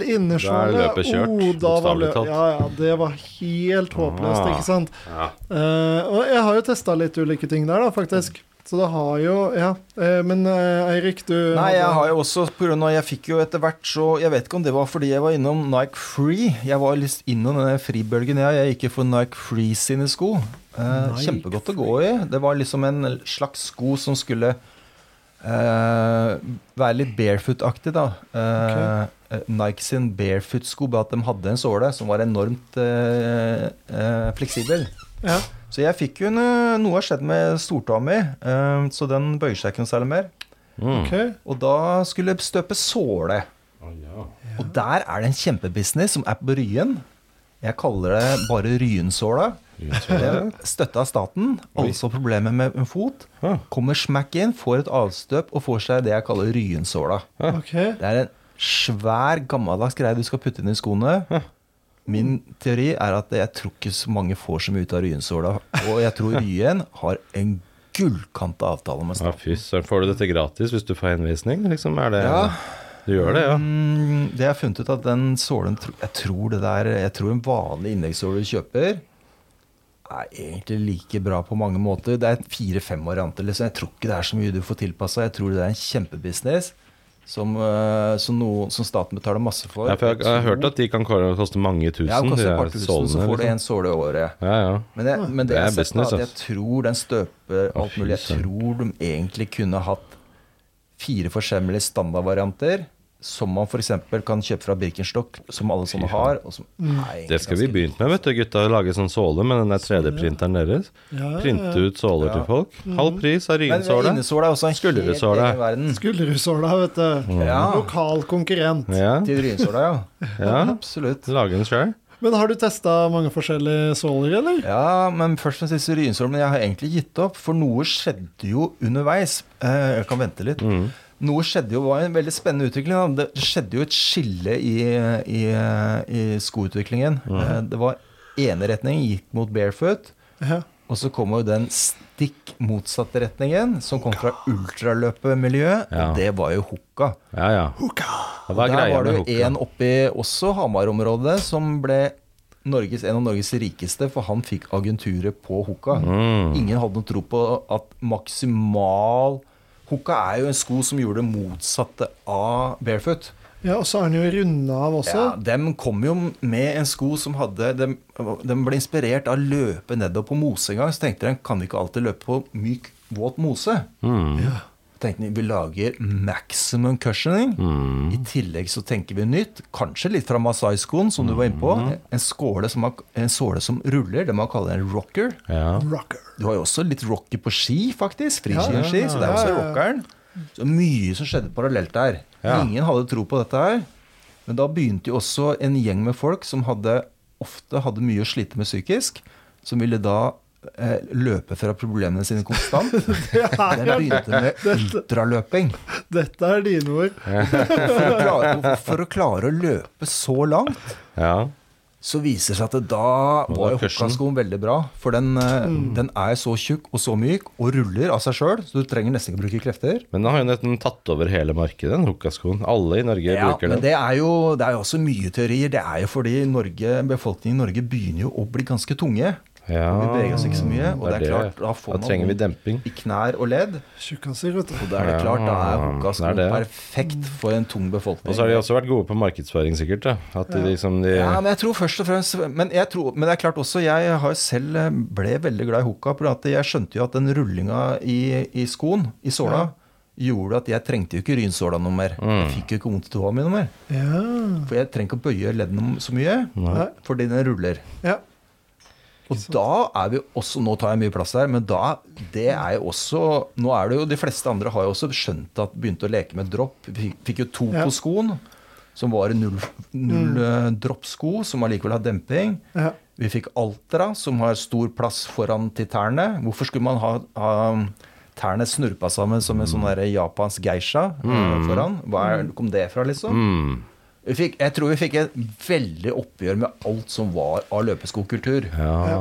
Speaker 2: Da
Speaker 3: innersåle,
Speaker 2: er løpet kjørt,
Speaker 3: oh, da var
Speaker 2: bokstavelig
Speaker 3: lø-
Speaker 2: talt.
Speaker 3: Ja, ja, det var helt håpløst,
Speaker 2: Ah.
Speaker 3: ikke sant?
Speaker 2: Ja.
Speaker 3: Eh, og jeg har jo testa litt ulike ting der, da, faktisk. Så det har jo Ja. Eh, Men eh, Eirik, du
Speaker 1: Nei, jeg har jo også på grunn av, Jeg fikk jo etter hvert så Jeg vet ikke om det var fordi jeg var innom Nike Free. Jeg var litt innom denne fribølgen, jeg. Jeg gikk jo for Nike Free sine sko. Eh,
Speaker 3: Nike
Speaker 1: kjempegodt å gå i. Det var liksom en slags sko som skulle eh, være litt barefoot-aktig, da. Eh, eh, Nike sin barefoot-sko, bare at de hadde en såle som var enormt eh, eh, fleksibel.
Speaker 3: ja.
Speaker 1: Så jeg fikk jo en, eh, Noe har skjedd med stortåa mi, eh, så den bøyer seg ikke noe særlig mer.
Speaker 2: Mm.
Speaker 3: Ok.
Speaker 1: Og da skulle jeg støpe såle. Og der er det en kjempebusiness som er på Ryen. Jeg kaller det bare Ryensåla. Den er Støtta av staten. Alle som har problemer med en fot,
Speaker 2: Ah.
Speaker 1: kommer smack inn, får et avstøp og får seg det jeg kaller Ryensåla.
Speaker 3: ok.
Speaker 1: Det er en svær, gammeldags greie du skal putte inn i skoene. Min teori er at jeg tror ikke så mange får så mye ut av Ryensåla. Og jeg tror Ryen har en gullkanta avtale med
Speaker 2: Ja,
Speaker 1: staten.
Speaker 2: fy søren. Får du dette gratis hvis du får henvisning? Liksom, er det,
Speaker 1: Ja.
Speaker 2: Du gjør det, ja?
Speaker 1: Mm, det jeg har funnet ut at den sålen tro- Jeg tror det der Jeg tror en vanlig innleggssåle du kjøper er egentlig like bra på mange måter. Det er fire-fem varianter. Liksom. Jeg tror ikke det er så mye du får tilpassa. Jeg tror det er en kjempebusiness som, eh, som, noe, som staten betaler masse for.
Speaker 2: ja for jeg, jeg har hørt at de kan ko- koste mange tusen.
Speaker 1: ja, det koster
Speaker 2: de
Speaker 1: et
Speaker 2: der
Speaker 1: par tusen, så
Speaker 2: sålene,
Speaker 1: får du
Speaker 2: liksom.
Speaker 1: en såle i året.
Speaker 2: Ja, ja.
Speaker 1: Men, jeg, men det,
Speaker 2: Det
Speaker 1: jeg,
Speaker 2: er
Speaker 1: har sett, da,
Speaker 2: business,
Speaker 1: at jeg tror den støper
Speaker 2: Å,
Speaker 1: alt
Speaker 2: fy
Speaker 1: mulig. Jeg
Speaker 2: søren.
Speaker 1: tror de egentlig kunne hatt fire forskjellige standardvarianter. Som man f.eks. kan kjøpe fra Birkenstock, som alle sånne har. Og som er
Speaker 2: Det skal vi begynne med, vet du, gutta. Lage sånn såle med den der 3D-printeren deres.
Speaker 3: Ja, ja,
Speaker 2: Printe
Speaker 3: ja.
Speaker 2: ut såler til folk. Halv pris av
Speaker 1: Mhm. Men
Speaker 2: ryensåle.
Speaker 1: innesåla er også en helt
Speaker 2: Skuldersåle.
Speaker 1: egen verden.
Speaker 3: Skulderudsåla, vet du.
Speaker 1: Ja.
Speaker 3: Lokal konkurrent.
Speaker 2: Ja,
Speaker 1: Til rynsåla, ja.
Speaker 2: ja.
Speaker 1: Absolutt.
Speaker 2: Lage den sjøl.
Speaker 3: Men har du testa mange forskjellige såler, eller?
Speaker 1: Ja, men først og sist rynsåla. Men jeg har egentlig gitt opp, for noe skjedde jo underveis. Eh, Jeg kan vente litt. Noe skjedde jo, var en veldig spennende utvikling. Da. Det skjedde jo et skille i, i, i skoutviklingen. Eh, Det var ene retning gikk mot barefoot,
Speaker 3: Ja.
Speaker 1: og så kom jo den stikk motsatte retningen, som kom fra ultraløpemiljøet,
Speaker 2: Ja.
Speaker 1: og det var jo hooka.
Speaker 2: Ja, ja. Ja, Hva
Speaker 1: Og
Speaker 2: er
Speaker 1: der
Speaker 2: greia
Speaker 1: var det
Speaker 2: med
Speaker 1: jo
Speaker 2: hooka?
Speaker 1: en oppi også Hamar-området som ble Norges, en av Norges rikeste, for han fikk agenturet på hooka.
Speaker 2: Mm.
Speaker 1: Ingen hadde noe tro på at maksimal Hooka er jo en sko som gjorde det motsatte av barefoot.
Speaker 3: ja, og så er den jo runda av også.
Speaker 1: Ja, dem kom jo med en sko som hadde dem, dem ble inspirert av å løpe nedover på mose en gang. Så tenkte de kan vi ikke alltid løpe på myk, våt mose? Tenkte de, Vi lager maximum cushioning. I tillegg så tenker vi nytt. Kanskje litt fra Masai-skoen, som du var inne på. En, skåle som har, en såle som ruller. Det man kaller en rocker.
Speaker 2: Ja.
Speaker 3: Rocker.
Speaker 1: Du har jo også litt rocker på ski, faktisk. Friskirenski. Så det er
Speaker 3: Ja,
Speaker 1: også
Speaker 3: ja, ja.
Speaker 1: rockeren. Så mye som skjedde parallelt der.
Speaker 2: Ja.
Speaker 1: Ingen hadde tro på dette her. Men da begynte jo også en gjeng med folk som hadde, ofte hadde mye å slite med psykisk, som ville da eh, løpe fra problemene sine konstant. Den begynte med ultraløping.
Speaker 3: Dette er dine ord.
Speaker 1: For å, klare, for å klare å løpe så langt
Speaker 2: ja.
Speaker 1: så viser det seg at det da var jo
Speaker 2: cushion.
Speaker 1: hokkaskoen veldig bra. For den, eh, den er så tjukk og så myk og ruller av seg sjøl, så du trenger nesten ikke bruke krefter.
Speaker 2: Men den har jo nesten tatt over hele markedet, den hookaskoen. Alle i Norge
Speaker 1: Ja,
Speaker 2: bruker
Speaker 1: men
Speaker 2: den.
Speaker 1: det er, jo, det er jo også mye teorier. Det er jo fordi Norge, befolkningen i Norge begynner jo å bli ganske tunge.
Speaker 2: Ja,
Speaker 1: Vi beveger oss ikke så mye, og det er klart, da får man
Speaker 2: trenger vi
Speaker 1: vondt
Speaker 2: demping.
Speaker 1: i knær og ledd.
Speaker 3: Tjukkaser, vet du.
Speaker 1: Og da er det klart, da er
Speaker 2: Ja,
Speaker 1: hokkasko
Speaker 2: det er det.
Speaker 1: perfekt for en tung befolkning.
Speaker 2: Og så har de også vært gode på markedsføring, sikkert. Da. At de liksom de
Speaker 3: Eh.
Speaker 1: Ja, men jeg tror først og fremst Men, jeg tror, men det er klart også, jeg har selv eh, ble veldig glad i hooka. For at jeg skjønte jo at den rullinga i, i skoen, i såla, gjorde at jeg trengte jo ikke rynsåla noe mer.
Speaker 3: Mm.
Speaker 1: Jeg fikk jo ikke vondt i tåa mi noe mer.
Speaker 3: Ja.
Speaker 1: For jeg trenger ikke å bøye leddene så mye, eh,
Speaker 3: Nei.
Speaker 1: fordi den ruller.
Speaker 3: ja.
Speaker 1: Og da er vi også Nå tar jeg mye plass her, men da Det er jo også Nå er det jo De fleste andre har jo også skjønt at begynte å leke med dropp. Fikk, fikk jo to
Speaker 3: Ja. Mm.
Speaker 1: på skoen, som var null, null eh, droppsko, som allikevel har demping.
Speaker 3: Ja.
Speaker 1: Vi fikk Altra, som har stor plass foran til tærne. Hvorfor skulle man ha, ha tærne snurpa sammen som en sånn
Speaker 2: Mm.
Speaker 1: der japansk geisha eh, foran? Hva er, kom det fra, liksom?
Speaker 2: Mm.
Speaker 1: Vi fikk, jeg tror vi fikk et veldig oppgjør med alt som var av løpeskokultur.
Speaker 2: ja.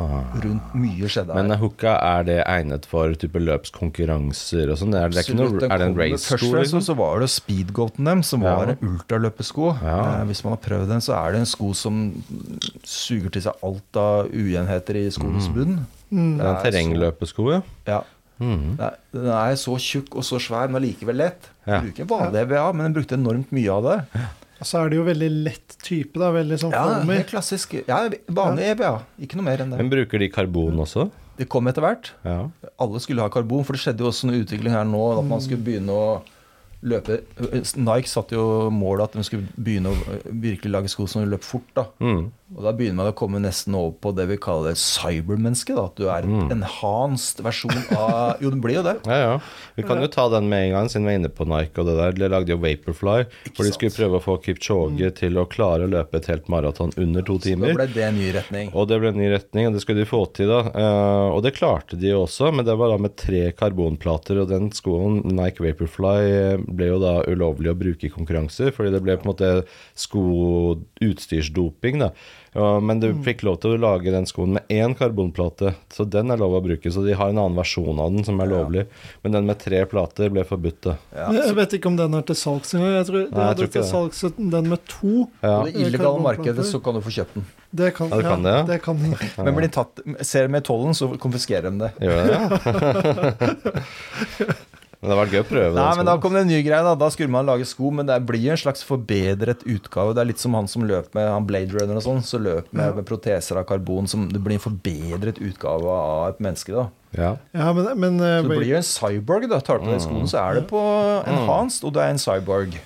Speaker 1: Rundt mye skjedde her.
Speaker 2: Men hooka, er det egnet for type løpskonkurranser og sånn? Er, det er, ikke
Speaker 1: Absolutt,
Speaker 2: noe,
Speaker 1: den
Speaker 2: er det en
Speaker 1: kommer- Først
Speaker 2: race-sko?
Speaker 1: og fremst
Speaker 2: Liksom?
Speaker 1: så var det speedgoaten dem, som
Speaker 2: Ja.
Speaker 1: var en ultraløpesko.
Speaker 2: Ja.
Speaker 1: Eh, hvis man har prøvd den, så er det en sko som
Speaker 2: Mm.
Speaker 1: suger til seg alt av ujevnheter i skoens bunn. Eh,
Speaker 2: Er det en terrengløpesko, ja?
Speaker 1: Ja.
Speaker 2: Mhm.
Speaker 1: Nei, Den er så tjukk og så svær, men likevel lett.
Speaker 2: Ja.
Speaker 1: Den bruker vanlig EBA, men den brukte enormt mye av det.
Speaker 3: Og så er det jo veldig lett type, da. Veldig sånn
Speaker 1: Ja,
Speaker 3: former.
Speaker 1: helt klassisk. Ja, vanlig EBA. Ikke noe mer enn det.
Speaker 2: Men bruker de karbon også?
Speaker 1: Det kom etter hvert.
Speaker 2: Ja.
Speaker 1: Alle skulle ha karbon, for det skjedde jo også en utvikling her nå. At man skulle begynne å løpe Nike satte jo målet at de skulle begynne å virkelig lage sko som løp fort. da.
Speaker 2: Mm.
Speaker 1: Og da begynner man å komme nesten over på det vi kaller cybermenneske. da, At du er
Speaker 2: Mm.
Speaker 1: en enhanced versjon av Jo, det blir jo det.
Speaker 2: Ja, ja. Vi kan jo ta den med en gang, siden vi er inne på Nike og det der. De lagde jo Vaporfly, hvor de
Speaker 1: sant. Mm.
Speaker 2: skulle prøve å få Kipchoge til å klare å løpe et helt maraton under to
Speaker 1: Så da
Speaker 2: timer.
Speaker 1: ble det en ny retning.
Speaker 2: Og det ble en ny retning, og det skulle de få til da. Eh, og det klarte de jo også, men det var da med tre karbonplater, og den skoen, Nike Vaporfly, eh, ble jo da ulovlig å bruke i konkurranser, fordi det ble på en måte skoutstyrsdoping da. Ja, men du fikk lov til å lage den skoen med én karbonplate, så den er lov å bruke, så de har en annen versjon av den som er lovlig. Men den med tre plater ble forbudt da.
Speaker 1: Ja.
Speaker 3: Jeg vet ikke om den er til salgs engang. Jeg tror,
Speaker 2: Nei, jeg
Speaker 3: det
Speaker 2: tror
Speaker 3: er til salgs den med to.
Speaker 2: Ja.
Speaker 1: På det illegale markedet så kan du få kjøpt den.
Speaker 3: Det kan,
Speaker 2: Ja, det kan det, ja.
Speaker 3: det kan den.
Speaker 1: Men blir den tatt, ser de med tollen, så konfiskerer de det.
Speaker 2: Gjør det? men det har vært gøy å prøve
Speaker 1: Nei,
Speaker 2: den
Speaker 1: men da
Speaker 2: skoen.
Speaker 1: kom det en ny greie. Da Da skulle man lage sko, men det blir jo en slags forbedret utgave. Det er litt som han som løp med han Blade Runner og sånn, så løp med, med proteser av karbon. Som, det blir en forbedret utgave av et menneske, da.
Speaker 2: Ja.
Speaker 3: Ja, men, men eh,
Speaker 1: Så det blir jo en cyborg, da. Tar du på
Speaker 2: Mm.
Speaker 1: den skoen, så er det på enhanced, og du er en cyborg.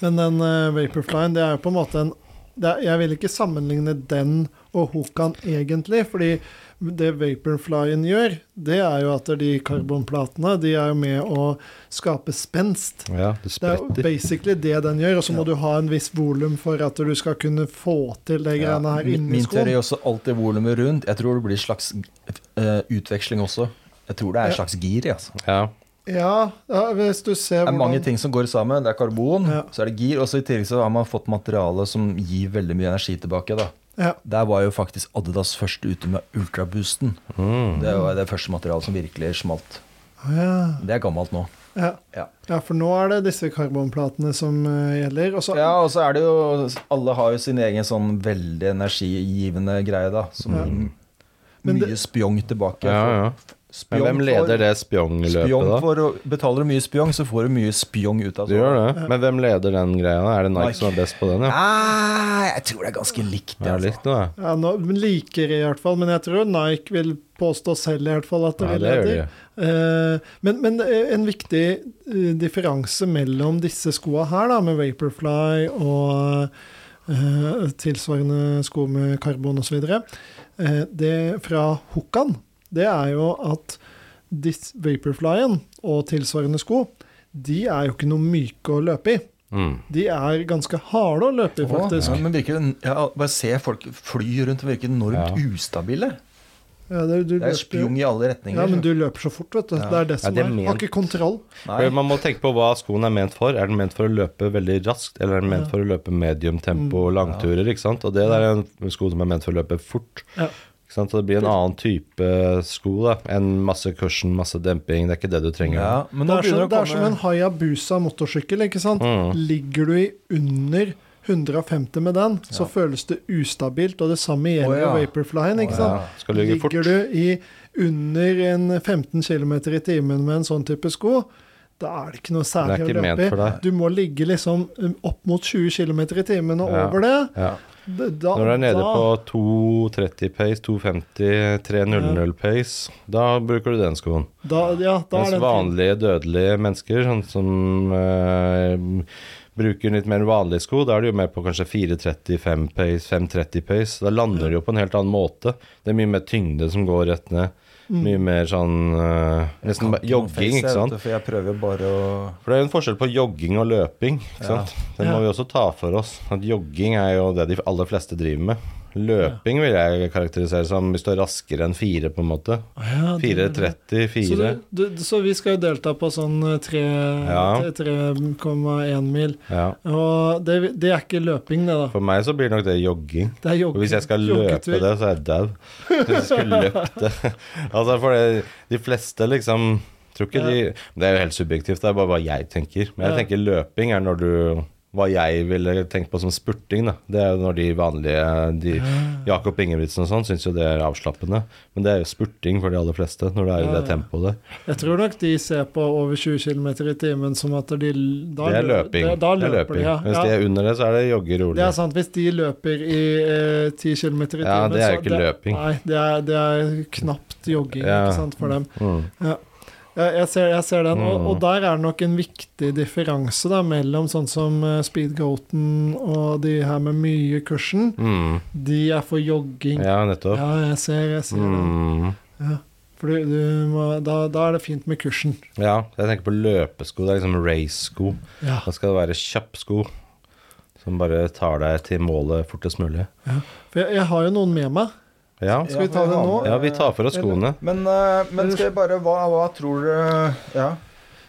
Speaker 3: Men den eh, Vaporflyen, det er jo på en måte en det er, Jeg vil ikke sammenligne den og Hokan egentlig, fordi det Vaporflyen gjør, det er jo at de karbonplatene de er jo med å skape spenst.
Speaker 2: ja, du
Speaker 3: Det er jo
Speaker 2: spretter.
Speaker 3: basically det den gjør, og så må du ha en viss volum for at du skal kunne få til de
Speaker 1: Ja,
Speaker 3: greiene her
Speaker 1: min
Speaker 3: inni
Speaker 1: min teori
Speaker 3: skoen.
Speaker 1: er også alt det volumet rundt. Jeg tror det blir en slags eh, utveksling også. Jeg tror det er en
Speaker 3: Ja.
Speaker 1: slags gir. i, Altså.
Speaker 2: Ja.
Speaker 3: Ja, ja, hvis du ser
Speaker 1: Det er mange
Speaker 3: hvordan-
Speaker 1: ting som går sammen. Det er karbon,
Speaker 3: Ja.
Speaker 1: så er det gir, og så i tillegg så har man fått materiale som gir veldig mye energi tilbake. da.
Speaker 3: Ja,
Speaker 1: Der var jo faktisk Adidas først ute med ultraboosten.
Speaker 2: Mm.
Speaker 1: Det var det første materialet som virkelig smalt.
Speaker 3: ja,
Speaker 1: Det er gammelt nå.
Speaker 3: ja.
Speaker 1: Ja.
Speaker 3: ja, for nå er det disse karbonplatene som eh, gjelder. Og så
Speaker 1: ja, og så er det jo Alle har jo sin egen sånn veldig energigivende greie, da. Som
Speaker 3: Ja. Men det-
Speaker 1: mye spjong tilbake.
Speaker 2: Ja, ja. Men
Speaker 1: Spjong
Speaker 2: hvem leder det
Speaker 1: Spjong
Speaker 2: spjongløpet, da?
Speaker 1: for, å- Betaler du mye spjong, så får du mye spjong ut av sånn.
Speaker 2: Du gjør det. Men hvem leder den greia? da? Er det Nike som er best på den?
Speaker 1: Nei,
Speaker 2: Ja,
Speaker 1: Ah, jeg tror det er ganske likt.
Speaker 2: ja
Speaker 1: altså.
Speaker 2: litt nå, ja.
Speaker 3: Ja, nå, men liker i hvert fall, men jeg tror Nike vil påstå selv i hvert fall at det
Speaker 2: Ja,
Speaker 3: vil
Speaker 2: det gjør de.
Speaker 3: etter. Eh, men, men eh, en viktig eh, differanse mellom disse skoa her, da, med Vaporfly og eh, tilsvarende sko med karbon osv., uh, det fra Hokan, det er jo at dis- Vaporflyen og tilsvarende sko, de er jo ikke noe myke å løpe i.
Speaker 2: Mm.
Speaker 3: De er ganske harde å løpe
Speaker 1: Å,
Speaker 3: i, faktisk.
Speaker 1: ja, men virker, ja, bare se folk fly rundt og virker enormt ustabile.
Speaker 3: Ja, det, du
Speaker 1: Det er
Speaker 3: løper jo-
Speaker 1: spjong i alle retninger.
Speaker 3: Ja, men du løper så fort, vet du. Det er det som
Speaker 2: det er
Speaker 3: er.
Speaker 2: ment.
Speaker 3: Har ikke kontroll.
Speaker 1: Nei.
Speaker 2: For Man må tenke på hva skoen er ment for. Er den ment for å løpe veldig raskt, eller er den ment for å løpe medium tempo
Speaker 1: Mm.
Speaker 2: og langturer? ikke sant? Og det der er en sko som er ment for å løpe fort.
Speaker 3: Ja.
Speaker 2: Ikke sant? Så det blir en annen type sko da, enn masse cushion, masse demping. Det er ikke det du trenger.
Speaker 1: Ja, men
Speaker 3: Det
Speaker 1: nå
Speaker 3: er, som,
Speaker 1: begynner det å
Speaker 3: det er som
Speaker 1: komme
Speaker 3: en Hayabusa motorsykkel, ikke sant.
Speaker 2: Mm.
Speaker 3: Ligger du i under 150 med den, så føles det ustabilt. Og det samme
Speaker 1: Å,
Speaker 3: gjelder
Speaker 1: ja.
Speaker 3: Vaporflyen, ikke
Speaker 2: Ja,
Speaker 3: sant.
Speaker 2: Skal ligge fort.
Speaker 3: Ligger du i under en 15 km i timen med en sånn type sko, da er det ikke noe
Speaker 2: Det er
Speaker 3: særlig
Speaker 2: ikke
Speaker 3: å
Speaker 2: ment for
Speaker 3: løpe i.
Speaker 2: deg.
Speaker 3: Du må ligge liksom um, opp mot 20 km i timen og
Speaker 2: Ja.
Speaker 3: over det.
Speaker 2: Ja.
Speaker 3: D- Da,
Speaker 2: Når du er nede
Speaker 3: da-
Speaker 2: på 2.30 pace, 2.50, 3.00 pace, da bruker du den skoen.
Speaker 3: da, ja, da er
Speaker 2: Mens
Speaker 3: den fin.
Speaker 2: vanlige dødelige mennesker, sånn som eh, bruker litt mer vanlige sko, da er de jo mer på kanskje 4.35 pace, 5.30 pace. Da lander de jo på en helt annen måte. Det er mye mer tyngde som går rett ned.
Speaker 3: Mm.
Speaker 2: Mye mer sånn eh, Nesten bare jogging, ikke sant.
Speaker 1: For jeg prøver bare å
Speaker 2: For det er jo en forskjell på jogging og løping. ikke sant? Det må
Speaker 3: Ja.
Speaker 2: vi også ta for oss. At jogging er jo det de aller fleste driver med. Løping vil jeg karakterisere som hvis du er raskere enn fire, på en måte.
Speaker 3: Ja, det-
Speaker 2: 4.30,
Speaker 3: Så,
Speaker 2: 4.
Speaker 3: du, du, så vi skal jo delta på sånn eh, tre-
Speaker 2: Ja.
Speaker 3: tre- 3,1 mil.
Speaker 2: Ja.
Speaker 3: Og det, det er ikke løping, det, da.
Speaker 2: For meg så blir nok det jogging.
Speaker 3: Det er
Speaker 2: Og
Speaker 3: jogging.
Speaker 2: hvis jeg skal løpe
Speaker 3: joggetur.
Speaker 2: det, så er jeg dau. Hvis jeg skulle løpt det Altså, for det, de fleste liksom Tror ikke de Det er jo helt subjektivt, det er bare hva jeg tenker. Men jeg
Speaker 3: Ja.
Speaker 2: tenker løping er når du hva jeg ville tenkt på som spurting. Da. Det er jo når de vanlige de, Jakob Ingebrigtsen og sånn syns jo det er avslappende. Men det er jo spurting for de aller fleste når det er i det
Speaker 3: Ja, ja.
Speaker 2: tempoet der.
Speaker 3: Jeg tror nok de ser på over 20 km i timen som at de da,
Speaker 2: Det er
Speaker 3: lø-
Speaker 2: løping.
Speaker 3: Da, da
Speaker 2: det er
Speaker 3: løper
Speaker 2: løping.
Speaker 3: de, ja.
Speaker 2: Hvis de
Speaker 3: ja.
Speaker 2: er under det, så er det jogge rolig.
Speaker 3: Det er sant. Hvis de løper i eh, 10 km i timen
Speaker 2: Ja, det er jo
Speaker 3: så
Speaker 2: ikke løping.
Speaker 3: Nei, det er, det er knapt jogging
Speaker 2: Ja.
Speaker 3: ikke sant, for dem.
Speaker 2: Mm.
Speaker 3: Jeg, jeg, ser, jeg ser den, og,
Speaker 2: Mm.
Speaker 3: og der er det nok en viktig differanse da, mellom sånn som eh, Speedgoaten og de her med mye kursen.
Speaker 2: Mm.
Speaker 3: De er for jogging. Ja,
Speaker 2: Ja, nettopp.
Speaker 3: jeg ser, jeg ser
Speaker 2: Mm.
Speaker 3: den. Ja. For du, du må, da, da er det fint med kursen.
Speaker 2: Ja, jeg tenker på løpesko. Det er liksom race-sko.
Speaker 3: Ja.
Speaker 2: Da skal det være kjapp sko som bare tar deg til målet fortest mulig.
Speaker 3: For jeg, jeg har jo noen med meg.
Speaker 2: Ja,
Speaker 3: Skal vi ta det nå?
Speaker 2: ja vi tar for oss skoene.
Speaker 1: Men, eh, men skal jeg bare Hva, hva tror du Ja.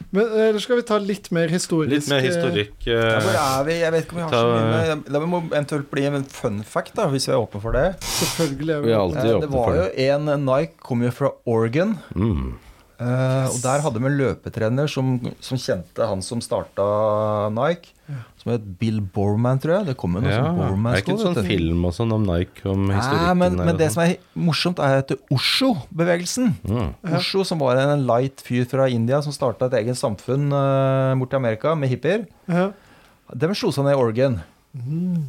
Speaker 3: Men, eller skal vi ta litt mer historisk?
Speaker 2: Litt mer historikk.
Speaker 1: Ja, Hvor
Speaker 2: eh,
Speaker 1: er vi? Jeg vet ikke om vi har
Speaker 2: ta-
Speaker 1: så mye men Det må eventuelt bli en fun fact, da, hvis vi er åpne for det.
Speaker 3: eh, Selvfølgelig. er
Speaker 2: Vi er
Speaker 1: Eh,
Speaker 2: alltid
Speaker 1: Det
Speaker 2: åpne
Speaker 1: var
Speaker 2: for
Speaker 1: jo
Speaker 2: det.
Speaker 1: en Nike kom jo fra Oregon.
Speaker 2: Mm.
Speaker 1: eh, Og der hadde vi en løpetrener som, som kjente han som starta Nike. Som het Bill Borman, tror jeg. Det kom jo noe
Speaker 2: Ja,
Speaker 1: sånn
Speaker 2: er det ikke
Speaker 1: Borman-sko.
Speaker 2: en sånn
Speaker 1: vet du.
Speaker 2: film og sånn om Nike, om
Speaker 1: Nei,
Speaker 2: historikken
Speaker 1: men,
Speaker 2: der
Speaker 1: men
Speaker 2: og
Speaker 1: det som
Speaker 2: sånn?
Speaker 1: er morsomt, er at Osho-bevegelsen
Speaker 2: Mm.
Speaker 1: Osho, som var en light fyr fra India som starta et eget samfunn uh, borti Amerika med hippier,
Speaker 3: Ja.
Speaker 1: de slo seg ned i Oregon.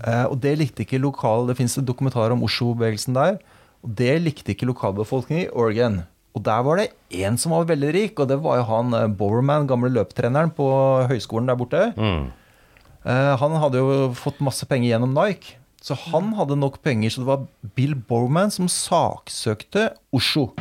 Speaker 1: Eh, og det likte ikke lokal Det fins en dokumentar om Osho-bevegelsen der. Og det likte ikke lokalbefolkningen i Oregon. Og der var det én som var veldig rik, og det var jo han eh, Bowerman, gamle løpetreneren på høyskolen der borte.
Speaker 2: Mm.
Speaker 1: Eh, han hadde jo fått masse penger gjennom Nike. Så han hadde nok penger, så det var Bill Borman som saksøkte Osho.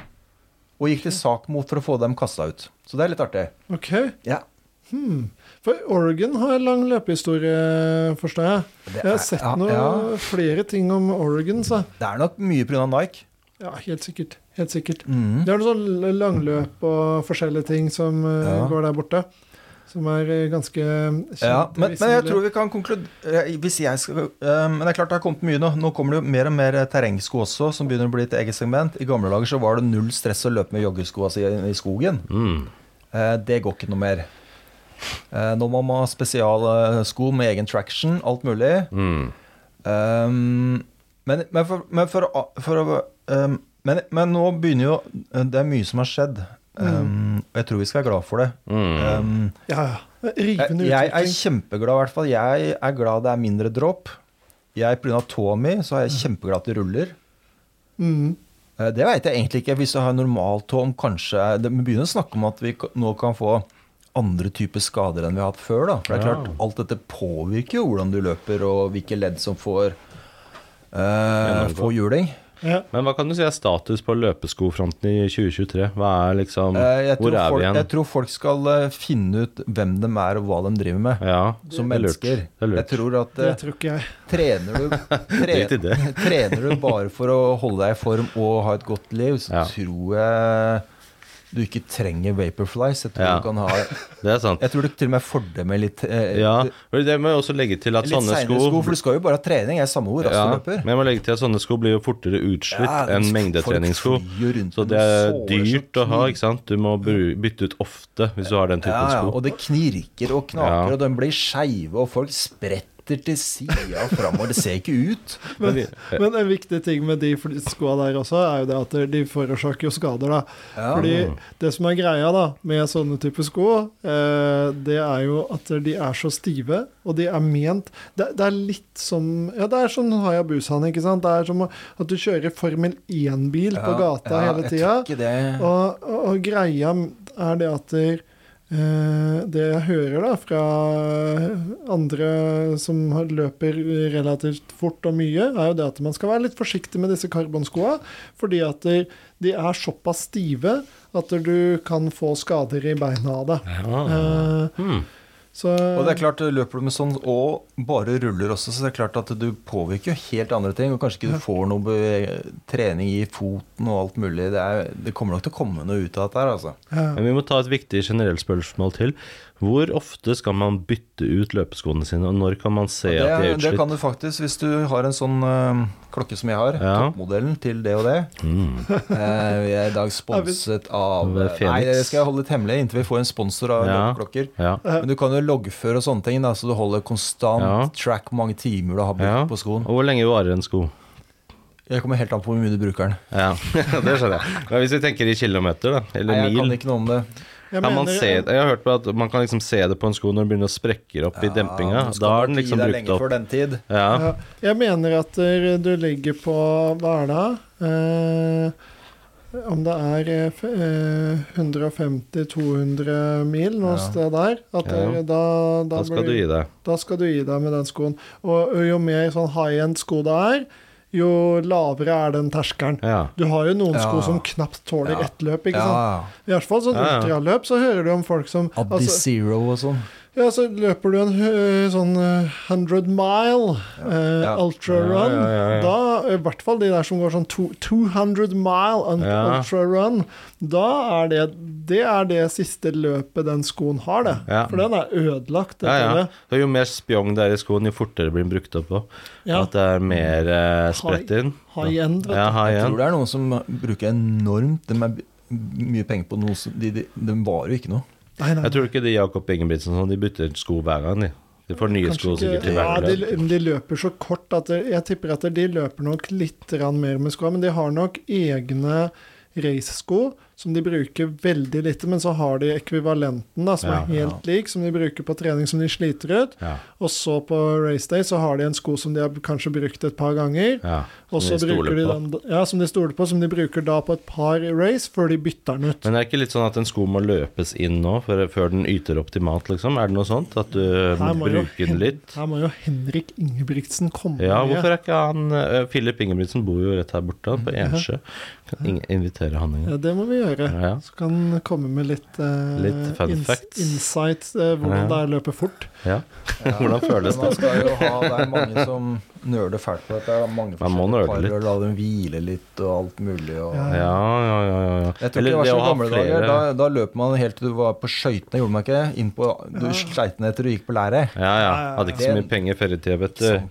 Speaker 1: Og gikk til sak mot for å få dem kasta ut. Så det er litt artig.
Speaker 3: Ok.
Speaker 1: Ja.
Speaker 3: Hmm. For Oregon har en lang løpehistorie, forstår jeg.
Speaker 1: Det,
Speaker 3: Jeg
Speaker 1: er,
Speaker 3: har sett
Speaker 1: ja,
Speaker 3: noe,
Speaker 1: ja.
Speaker 3: flere ting om Oregon, så
Speaker 1: det er nok mye pga. Nike.
Speaker 3: ja, helt sikkert. Helt sikkert.
Speaker 1: Mm.
Speaker 3: Det er noe sånn langløp og forskjellige ting som eh,
Speaker 1: Ja.
Speaker 3: går der borte. Som er eh, ganske kjent.
Speaker 1: Ja, men, men jeg tror
Speaker 3: vi
Speaker 1: vi kan konkludere eh, Hvis jeg skal eh, Men det er klart det har kommet mye nå. Nå kommer det jo mer og mer eh, terrengsko også, som begynner å bli et eget segment. I gamle dager så var det null stress å løpe med joggesko altså, i, i skogen.
Speaker 2: Mm.
Speaker 1: Eh, Det går ikke noe mer. Eh, Nå må man ha spesialsko med egen traction, alt mulig.
Speaker 2: Mm.
Speaker 1: Um, men, men, for, men for å- for å um, men, men nå begynner jo eh, Det er mye som har skjedd. Um, og jeg tror vi skal være glad for det.
Speaker 2: Mm.
Speaker 1: Um,
Speaker 3: Ja, ja.
Speaker 1: jeg,
Speaker 3: Rivende
Speaker 1: Eh, jeg er
Speaker 3: utvikling.
Speaker 1: kjempeglad, i hvert fall. Jeg er glad det er mindre dråp. Jeg, Pga. tåa mi så er jeg kjempeglad at det ruller.
Speaker 3: Mm.
Speaker 1: Eh, Det veit jeg egentlig ikke. Hvis du har normaltå om kanskje det- Vi begynner å snakke om at vi k- nå kan få andre typer skader enn vi har hatt før. Da. For det er
Speaker 2: Ja.
Speaker 1: klart, alt dette påvirker jo hvordan du løper, og hvilke ledd som får, eh,
Speaker 2: Gjennomgå.
Speaker 1: får juling.
Speaker 3: Ja.
Speaker 2: Men hva kan du si er status på løpeskofronten i 2023? Hva er liksom
Speaker 1: Eh, jeg,
Speaker 2: Hvor
Speaker 1: tror
Speaker 2: er
Speaker 1: folk,
Speaker 2: vi igjen?
Speaker 1: jeg tror folk skal eh, finne ut hvem de er, og hva de driver med.
Speaker 2: Ja,
Speaker 1: Som
Speaker 2: det er lurt.
Speaker 1: mennesker.
Speaker 2: Det er
Speaker 1: Jeg
Speaker 2: lurt.
Speaker 1: tror at
Speaker 3: Det
Speaker 1: eh,
Speaker 3: tror ikke jeg.
Speaker 1: trener du
Speaker 2: Drit i det.
Speaker 1: tre- Trener du bare for å holde deg i form og ha et godt liv, så
Speaker 2: Ja.
Speaker 1: tror jeg du ikke trenger Vaporflies. Jeg tror
Speaker 2: Ja.
Speaker 1: du kan ha
Speaker 2: Det er sant.
Speaker 1: Jeg tror det til og med er fordel med litt, eh,
Speaker 2: Ja, men det må jeg også legge til at
Speaker 1: litt
Speaker 2: sånne
Speaker 1: seinere
Speaker 2: sko,
Speaker 1: sko, For du skal jo bare ha trening. Jeg er samme hvor raskt
Speaker 2: ja,
Speaker 1: du løper.
Speaker 2: Men jeg må legge til at sånne sko blir jo fortere utslitt
Speaker 1: liksom,
Speaker 2: enn mengdetreningssko. Så det er dyrt å ha, ikke sant? Du må bru- bytte ut ofte hvis du har den
Speaker 1: Ja, ja,
Speaker 2: typen sko.
Speaker 1: og det knirker og knaker,
Speaker 2: Ja.
Speaker 1: og de blir skeive, og folk spretter til sida og framover. Det ser ikke ut.
Speaker 2: Men,
Speaker 3: Men en viktig ting med de fly- skoa der også, er jo det at de forårsaker jo skader, da.
Speaker 1: Ja.
Speaker 3: Fordi det som er greia da, med sånne typer sko, eh, det er jo at de er så stive, og de er ment Det, det er litt som Ja, det er sånn Hayabusaen, ikke sant. Det er som å- at du kjører Formel 1-bil på gata
Speaker 1: ja,
Speaker 3: hele
Speaker 1: Jeg tror
Speaker 3: tida.
Speaker 1: ikke det
Speaker 3: Og, og, og greia er det at der, eh, det jeg hører da fra andre som har- løper relativt fort og mye, er jo det at man skal være litt forsiktig med disse karbonskoa, fordi at der, de er såpass stive at du kan få skader i beina av det.
Speaker 2: ja.
Speaker 3: Eh,
Speaker 2: Hmm.
Speaker 3: så
Speaker 1: Og det er klart, løper du med sånn og bare ruller også, så det er klart at du påvirker jo helt andre ting. Og kanskje ikke du får noe beve- trening i foten og alt mulig. Det, er, det kommer nok til å komme noe ut av dette her, altså.
Speaker 3: ja.
Speaker 2: Men vi må ta et viktig generelt spørsmål til. Hvor ofte skal man bytte bytte ut løpeskoene sine? Og når kan man se
Speaker 1: Ja,
Speaker 2: at de
Speaker 1: det,
Speaker 2: er
Speaker 1: det
Speaker 2: utslitt?
Speaker 1: kan du faktisk hvis du har en sånn eh, klokke som jeg har.
Speaker 2: Ja.
Speaker 1: Toppmodellen til det og det.
Speaker 2: Mm.
Speaker 1: Eh, vi er i dag sponset av
Speaker 2: Ved Felix.
Speaker 1: Nei, det skal jeg holde litt hemmelig inntil vi får en sponsor av
Speaker 2: Ja.
Speaker 1: klokker.
Speaker 2: Ja.
Speaker 1: Men du kan jo loggføre og sånne ting, da, så du holder konstant
Speaker 2: Ja.
Speaker 1: track hvor mange timer du har brukt
Speaker 2: Ja.
Speaker 1: på skoen.
Speaker 2: Og hvor lenge varer en sko?
Speaker 1: Jeg kommer helt an på hvor mye du bruker den.
Speaker 2: Ja, det skjønner jeg. Men hvis vi tenker i kilometer, da,
Speaker 1: Nei,
Speaker 2: eller
Speaker 1: jeg kan
Speaker 2: mil
Speaker 1: ikke noe om det.
Speaker 3: Jeg
Speaker 2: kan man
Speaker 3: mener-
Speaker 2: se, jeg har hørt på at man kan liksom se det på en sko når den begynner å sprekke opp i
Speaker 1: Ja,
Speaker 2: dempinga.
Speaker 1: du skal
Speaker 2: Da
Speaker 1: nok
Speaker 2: er den liksom
Speaker 1: gi deg
Speaker 2: brukt
Speaker 1: lenge
Speaker 2: opp.
Speaker 1: Før den tid.
Speaker 2: Ja.
Speaker 3: Ja. Jeg mener at eh, du ligger på Hva er det? Eh, om det er eh, f- eh, 150-200 mil noe
Speaker 1: Ja.
Speaker 3: sted der, at
Speaker 2: Ja.
Speaker 3: det- da, da,
Speaker 2: Da skal
Speaker 3: blir-
Speaker 2: du gi deg.
Speaker 3: da skal du gi deg med den skoen. Og og jo mer sånn high-end sko det er, jo lavere er den terskelen.
Speaker 2: Ja.
Speaker 3: Du har jo noen sko
Speaker 1: Ja.
Speaker 3: som knapt tåler
Speaker 1: Ja.
Speaker 3: ett løp, ikke
Speaker 1: Ja.
Speaker 3: sant. I hvert fall sånn
Speaker 2: Ja, ja.
Speaker 3: ultraløp, så hører du om folk som
Speaker 1: Abdi
Speaker 3: altså,
Speaker 1: Zero og sånn.
Speaker 3: ja, så løper du en hø- sånn eh, 100 mile eh,
Speaker 1: Ja.
Speaker 3: ultra
Speaker 2: Ja,
Speaker 3: run.
Speaker 2: ja, ja, ja.
Speaker 3: Da, i hvert fall de der som går sånn to, 200 mile un
Speaker 2: Ja.
Speaker 3: ultra run, da er det, det er det siste løpet den skoen har, det.
Speaker 2: Ja.
Speaker 3: For den er ødelagt.
Speaker 2: Ja, ja.
Speaker 3: etter
Speaker 2: Så jo mer spjong det er i skoen, jo fortere blir den brukt opp på.
Speaker 3: det. Ja.
Speaker 2: At det er mer eh, spredt inn.
Speaker 3: High end, vet du.
Speaker 2: Ah, Ja, ha
Speaker 1: Jeg
Speaker 2: igjen.
Speaker 1: tror det er noen som bruker enormt De er b- mye penger på noe som De, de, de varer jo ikke noe.
Speaker 3: Nei, nei.
Speaker 2: Jeg tror ikke de Jakob Ingebrigtsen og sånn, de bytter sko hver gang, de. De får nye
Speaker 3: Kanskje
Speaker 2: sko sikkert
Speaker 3: ikke,
Speaker 2: til
Speaker 3: ja,
Speaker 2: hver
Speaker 3: de,
Speaker 2: gang.
Speaker 3: de løper så kort at det- jeg tipper at de løper nok litt grann mer med skoa, men de har nok egne racesko som de bruker veldig lite, men så har de ekvivalenten da, som
Speaker 2: Ja,
Speaker 3: er helt lik, som de bruker på trening som de sliter ut,
Speaker 2: Ja,
Speaker 3: og så på raceday så har de en sko som de har kanskje brukt et par ganger,
Speaker 2: ja.
Speaker 3: og
Speaker 2: Som
Speaker 3: så
Speaker 2: de
Speaker 3: bruker de
Speaker 2: stoler
Speaker 3: den, ja, som de stoler på, som de bruker da på et par race før de bytter den ut.
Speaker 2: Men det er ikke litt sånn at en sko må løpes inn nå for, før den yter optimalt, liksom? Er det noe sånt? At du må
Speaker 3: må jo
Speaker 2: bruke den litt?
Speaker 3: Her må jo Henrik Ingebrigtsen komme
Speaker 2: Ja,
Speaker 3: med.
Speaker 2: hvorfor er ikke han eh, Philip Ingebrigtsen bor jo rett her borte, på Ensjø. Kan ing- invitere han inn.
Speaker 3: Ja, det må vi gjøre.
Speaker 2: Ja, ja.
Speaker 3: Så kan han komme med litt, eh,
Speaker 2: Litt fun
Speaker 3: ins-
Speaker 2: facts.
Speaker 3: insight eh, hvordan
Speaker 2: Ja.
Speaker 3: det er å løpe fort.
Speaker 2: Ja. Hvordan føles det?
Speaker 1: Man skal jo ha, det er mange som nøler fælt på dette. Det er mange
Speaker 2: Man må
Speaker 1: forskjellige
Speaker 2: nøle
Speaker 1: parer,
Speaker 2: litt.
Speaker 1: og La dem hvile litt og alt mulig. Og...
Speaker 3: Ja.
Speaker 2: Ja, ja, ja. ja, ja.
Speaker 1: Jeg tror ikke det var
Speaker 2: det
Speaker 1: så
Speaker 2: å ha
Speaker 1: gamle
Speaker 2: flere-
Speaker 1: dager. Da, da løp man helt til du var på skøytene, gjorde man ikke? Inn på, du sleit ned til du gikk på læret.
Speaker 2: Ja, ja.
Speaker 3: ja, ja.
Speaker 2: Hadde ikke så mye
Speaker 1: Det- Sånn.
Speaker 2: penger før i tida, vet du.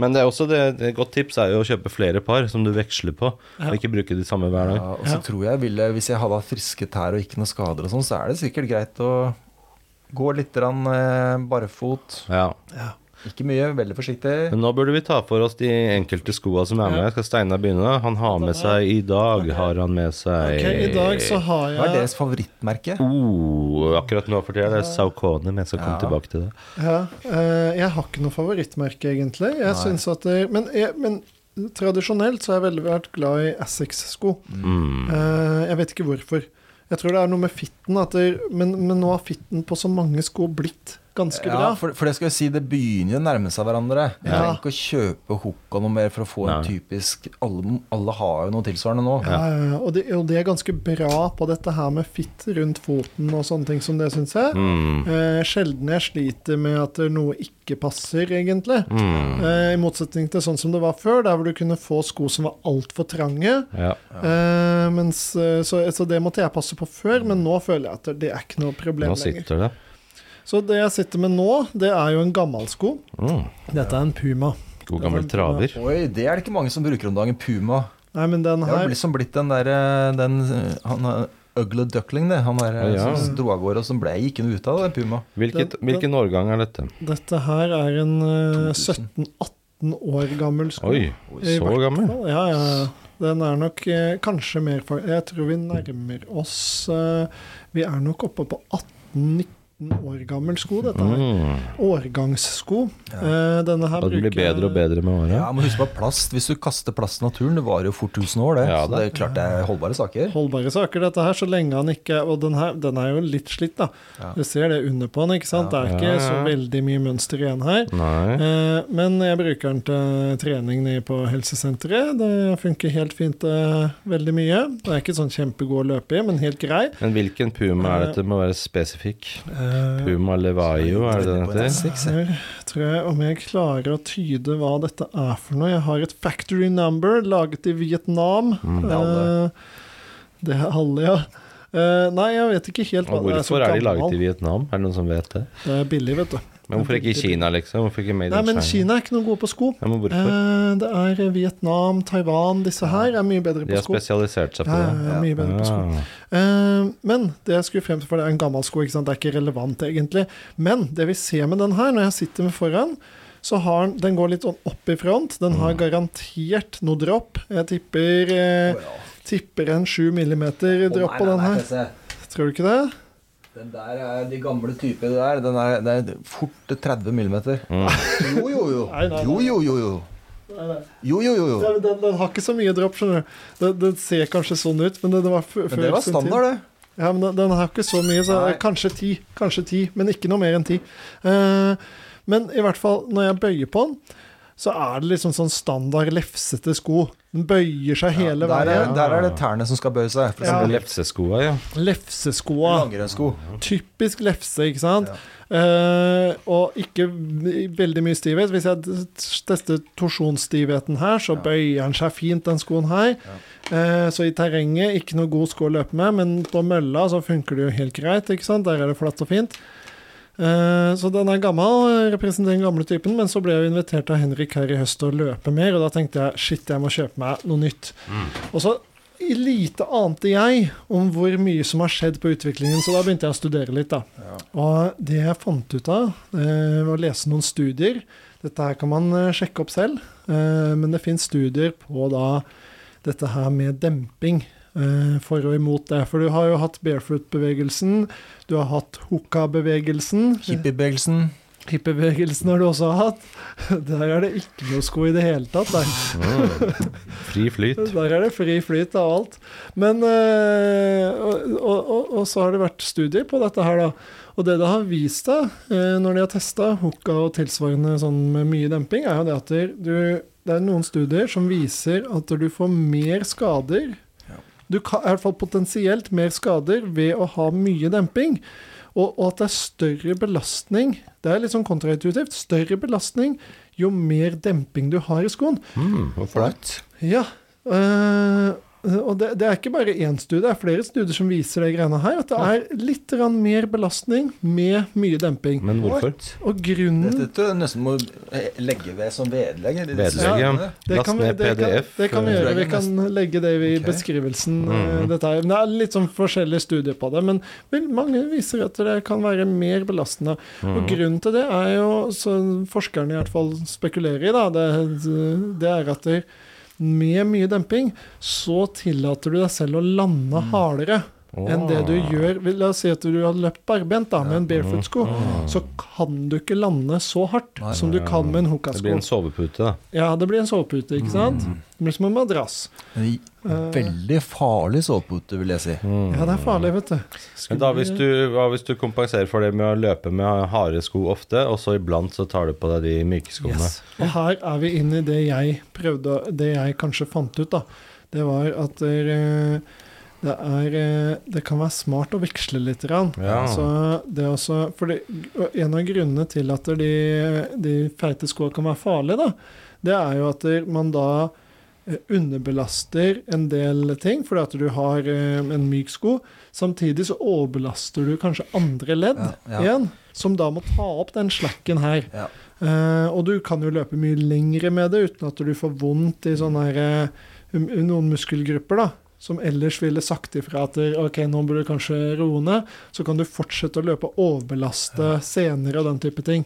Speaker 2: Men det er også det, det et godt tips er jo å kjøpe flere par som du veksler på,
Speaker 3: Ja.
Speaker 2: og ikke bruke de samme hver dag.
Speaker 1: Ja, og så
Speaker 3: Ja.
Speaker 1: tror jeg ville, hvis jeg hadde hatt friske tær og ikke noen skader og sånn, så er det sikkert greit å gå litt grann, eh, barfot.
Speaker 2: Ja.
Speaker 1: Ikke mye, veldig forsiktig.
Speaker 2: Men nå burde vi ta for oss de enkelte skoa som er med. Skal Steinar begynne? da? Han har med seg I dag har han med seg
Speaker 3: Ok, I dag så har
Speaker 1: Hva er
Speaker 3: jeg
Speaker 1: deres favorittmerke?
Speaker 2: oh, Akkurat nå for tida er det Saucone, men jeg skal
Speaker 1: Ja.
Speaker 2: komme tilbake til det.
Speaker 3: ja, eh, Jeg har ikke noe favorittmerke, egentlig. Jeg synes at det, men, jeg, men tradisjonelt så har jeg veldig vært glad i Assix-sko.
Speaker 2: Mm.
Speaker 3: Eh, jeg vet ikke hvorfor. Jeg tror det er noe med fitten, at det, men, men nå har fitten på så mange sko blitt ganske bra.
Speaker 1: Ja, for, for det skal jeg si, det begynner jo å nærme seg hverandre. Du
Speaker 3: Ja.
Speaker 1: trenger ikke å kjøpe Hoka noe mer for å få en
Speaker 2: Nei.
Speaker 1: typisk alle, alle har jo noe tilsvarende nå.
Speaker 3: Ja, ja, ja. Og, det, og det er ganske bra på dette her med fitt rundt foten og sånne ting som det, syns jeg.
Speaker 2: Mm.
Speaker 3: Eh, sjelden jeg sliter med at noe ikke passer, egentlig.
Speaker 2: Mm.
Speaker 3: Eh, I motsetning til sånn som det var før, der hvor du kunne få sko som var altfor trange.
Speaker 2: Ja.
Speaker 3: Eh, mens, eh, så, så det måtte jeg passe på før, men nå føler jeg at det er ikke noe problem
Speaker 2: Nå
Speaker 3: lenger.
Speaker 2: sitter det.
Speaker 3: Så det jeg sitter med nå, det er jo en gammel sko.
Speaker 2: Mm.
Speaker 3: Dette er en Puma.
Speaker 2: God gammel traver.
Speaker 1: Oi, det er det ikke mange som bruker om dagen. Puma.
Speaker 3: Nei, men den
Speaker 1: Det har
Speaker 3: her
Speaker 1: liksom blitt den der eh, den, eh, Han er Ugly Duckling, det. Han der eh,
Speaker 2: Ja.
Speaker 1: som dro av gårde, og som ble ikke noe ut av det, Puma.
Speaker 2: Hvilket, hvilken årgang er dette?
Speaker 3: Dette her er en eh,
Speaker 1: 2000.
Speaker 3: 17-18 år gammel sko.
Speaker 2: Oi,
Speaker 3: I
Speaker 2: så
Speaker 3: hvert
Speaker 2: gammel?
Speaker 3: fall, Ja, ja. ja. Den er nok eh, kanskje mer fa- Jeg tror vi nærmer oss eh, Vi er nok oppe på 18-19 år gammel sko, dette her.
Speaker 2: Mm.
Speaker 3: Årgangssko. Eh, denne her
Speaker 2: Og det blir bedre og bedre med
Speaker 1: Ja,
Speaker 2: åra.
Speaker 1: men husk på at plast. Hvis du kaster plast i naturen, det varer jo fort 1000 år, det.
Speaker 2: Ja,
Speaker 1: så det er klart det er holdbare saker.
Speaker 3: Holdbare saker, dette her, så lenge han ikke Og den her, den er jo litt slitt, da.
Speaker 1: Ja.
Speaker 3: Du ser det under på den, ikke sant? Det er
Speaker 2: Ja,
Speaker 3: ikke så
Speaker 2: ja.
Speaker 3: veldig mye mønster igjen her.
Speaker 2: Nei.
Speaker 3: Eh, Men jeg bruker den til trening nede på helsesenteret. Det funker helt fint, eh, veldig mye. Det er ikke sånn kjempegod å løpe i, men helt grei.
Speaker 2: Men hvilken puma er dette? Det Må være spesifikk.
Speaker 3: Eh,
Speaker 2: Puma levaio, er det den heter?
Speaker 1: Six,
Speaker 3: Her tror jeg om jeg klarer å tyde hva dette er for noe. Jeg har et factory number laget i Vietnam.
Speaker 2: Mm.
Speaker 1: Det er alle.
Speaker 3: Eh, Det er alle, ja. Eh, nei, jeg vet ikke helt hva
Speaker 2: Og
Speaker 3: det er som
Speaker 2: hvorfor er de laget i
Speaker 3: gammel.
Speaker 2: Vietnam? Er det noen som vet det?
Speaker 3: Det er billig, vet du.
Speaker 2: Men hvorfor ikke i Kina, liksom? Hvorfor ikke Made
Speaker 3: Nei,
Speaker 2: in
Speaker 3: men
Speaker 2: China?
Speaker 3: Kina er ikke noe gode på sko.
Speaker 2: Ja, men hvorfor?
Speaker 3: Eh, det er Vietnam, Taiwan, disse her er mye
Speaker 2: De
Speaker 3: bedre på
Speaker 2: har
Speaker 3: sko.
Speaker 2: spesialisert seg på
Speaker 3: Ja, ja,
Speaker 2: det.
Speaker 3: ja, mye bedre på sko.
Speaker 2: Ah.
Speaker 3: Eh, men det jeg skulle frem til, for det er en gammel sko, ikke sant? det er ikke relevant egentlig. Men det vi ser med den her, når jeg sitter med foran, så har den, den går litt sånn opp i front. Den har garantert noe dropp. Jeg tipper, eh, tipper en 7 millimeter dropp på den her. Tror du ikke det?
Speaker 1: Den der er de gamle typer der. Den er, det er fort 30 millimeter.
Speaker 2: Mm.
Speaker 1: Jo, jo, jo.
Speaker 3: Nei, nei, nei.
Speaker 1: Jo, jo, jo, jo. Jo, jo, jo, jo.
Speaker 3: Den, den, den har ikke så mye dropp, skjønner du. Den, den ser kanskje sånn ut, men det, det var før
Speaker 1: Men det var
Speaker 3: sin tid.
Speaker 1: standard, det.
Speaker 3: Ja, men den, den har ikke så mye, så
Speaker 1: Nei.
Speaker 3: kanskje ti. Kanskje ti, men ikke noe mer enn ti. Eh, men i hvert fall, når jeg bøyer på den, så er det liksom sånn standard lefsete sko. Den bøyer seg hele
Speaker 1: Der er,
Speaker 3: veien.
Speaker 1: der er det tærne som skal bøye seg. For
Speaker 3: Ja.
Speaker 2: Ja.
Speaker 1: eksempel
Speaker 2: Lefseskoa, ja.
Speaker 3: Lefseskoa.
Speaker 1: langrennssko.
Speaker 3: Typisk lefse, ikke sant? Eh, og ikke v- veldig mye stivhet. Hvis jeg d- tester torsjonsstivheten her, så bøyer den seg fint, den skoen her. Eh, så i terrenget, ikke noe god sko å løpe med, men på mølla så funker det jo helt greit, ikke sant? Der er det flatt og fint. Eh, så den er gammel, representerer den gamle typen, men så ble jeg jo invitert av Henrik her i høst til å løpe mer, og da tenkte jeg shit, jeg må kjøpe meg noe nytt. Og så i lite ante jeg om hvor mye som har skjedd på utviklingen, så da begynte jeg å studere litt. da. Og det jeg fant ut av eh, ved å lese noen studier Dette her kan man eh, sjekke opp selv, eh, men det fins studier på da dette her med demping. eh, For og imot det. For du har jo hatt barefoot-bevegelsen, du har hatt hooka-bevegelsen.
Speaker 1: Hippiebevegelsen.
Speaker 3: Hippiebevegelsen har du også hatt. Der er det ikke noe sko i det hele tatt. Der.
Speaker 2: Mm. Fri flyt.
Speaker 3: Der er det fri flyt av alt. Men eh, og, og, og, og så har det vært studier på dette her, da. Og det det har vist seg eh, når de har testa hooka og tilsvarende sånn med mye demping, er jo det at du, det er noen studier som viser at du får mer skader Du kan i hvert fall potensielt mer skader ved å ha mye demping. Og, og at det er større belastning Det er litt sånn kontraintuitivt. Større belastning jo mer demping du har i skoen.
Speaker 2: Mm, hvorfor det?
Speaker 3: Ja. øh, og det, det er ikke bare én studie, det er flere studier som viser det greiene her. At det er litt grann mer belastning med mye demping.
Speaker 2: Men hvorfor?
Speaker 1: What?
Speaker 3: Og grunnen
Speaker 1: Dette tror jeg nesten må eh, legge ved som vedlegg. eller disse
Speaker 2: Vedlegg, ja.
Speaker 1: sakene.
Speaker 3: det
Speaker 2: Last
Speaker 3: kan, vi,
Speaker 2: ned
Speaker 3: det, kan,
Speaker 2: PDF.
Speaker 3: det kan vi gjøre. Vi kan legge det i
Speaker 1: Ok.
Speaker 3: beskrivelsen.
Speaker 2: Mhm.
Speaker 3: øh, Dette er, men det er litt sånn forskjellige studier på det, men vel, mange viser at det kan være mer belastende.
Speaker 2: Mhm.
Speaker 3: Og grunnen til det er jo, som forskerne i hvert fall spekulerer i, da, det, det er at det, med mye demping, så tillater du deg selv å lande
Speaker 2: Mhm.
Speaker 3: hardere enn det du gjør Vel, La oss si at du har løpt barbent da, med en barefoot-sko,
Speaker 2: Mhm.
Speaker 3: så kan du ikke lande så hardt
Speaker 1: Nei,
Speaker 3: som du kan med
Speaker 2: Det blir
Speaker 3: en hooka-sko.
Speaker 2: en sovepute, da.
Speaker 3: Ja, det blir en sovepute, ikke sant? Det blir som en madrass.
Speaker 1: En Veldig farlig sovepute, vil jeg si.
Speaker 3: Ja, det er farlig, vet du.
Speaker 2: Men da,
Speaker 3: Mm.
Speaker 2: hvis du, hva hvis du kompenserer for det med å løpe med harde sko ofte, og så iblant så tar du på deg de myke skoene?
Speaker 3: Yes. Og her er vi inne i det jeg prøvde, å- det jeg kanskje fant ut, da. Det var at det, det er eh, Det kan være smart å veksle litt. Grann.
Speaker 2: Ja.
Speaker 3: Så det er også, for det, og en av grunnene til at de, de feite skoa kan være farlige, da, det er jo at man da eh, underbelaster en del ting, fordi at du har eh, en myk sko. Samtidig så overbelaster du kanskje andre ledd
Speaker 1: Ja, ja.
Speaker 3: igjen, som da må ta opp den slacken her.
Speaker 1: Ja.
Speaker 3: Eh, og du kan jo løpe mye lengre med det uten at du får vondt i sånne her, eh, um- noen muskelgrupper, da. Som ellers ville sagt ifra at ok, nå burde du kanskje roe ned. Så kan du fortsette å løpe og overbelaste senere og den type ting.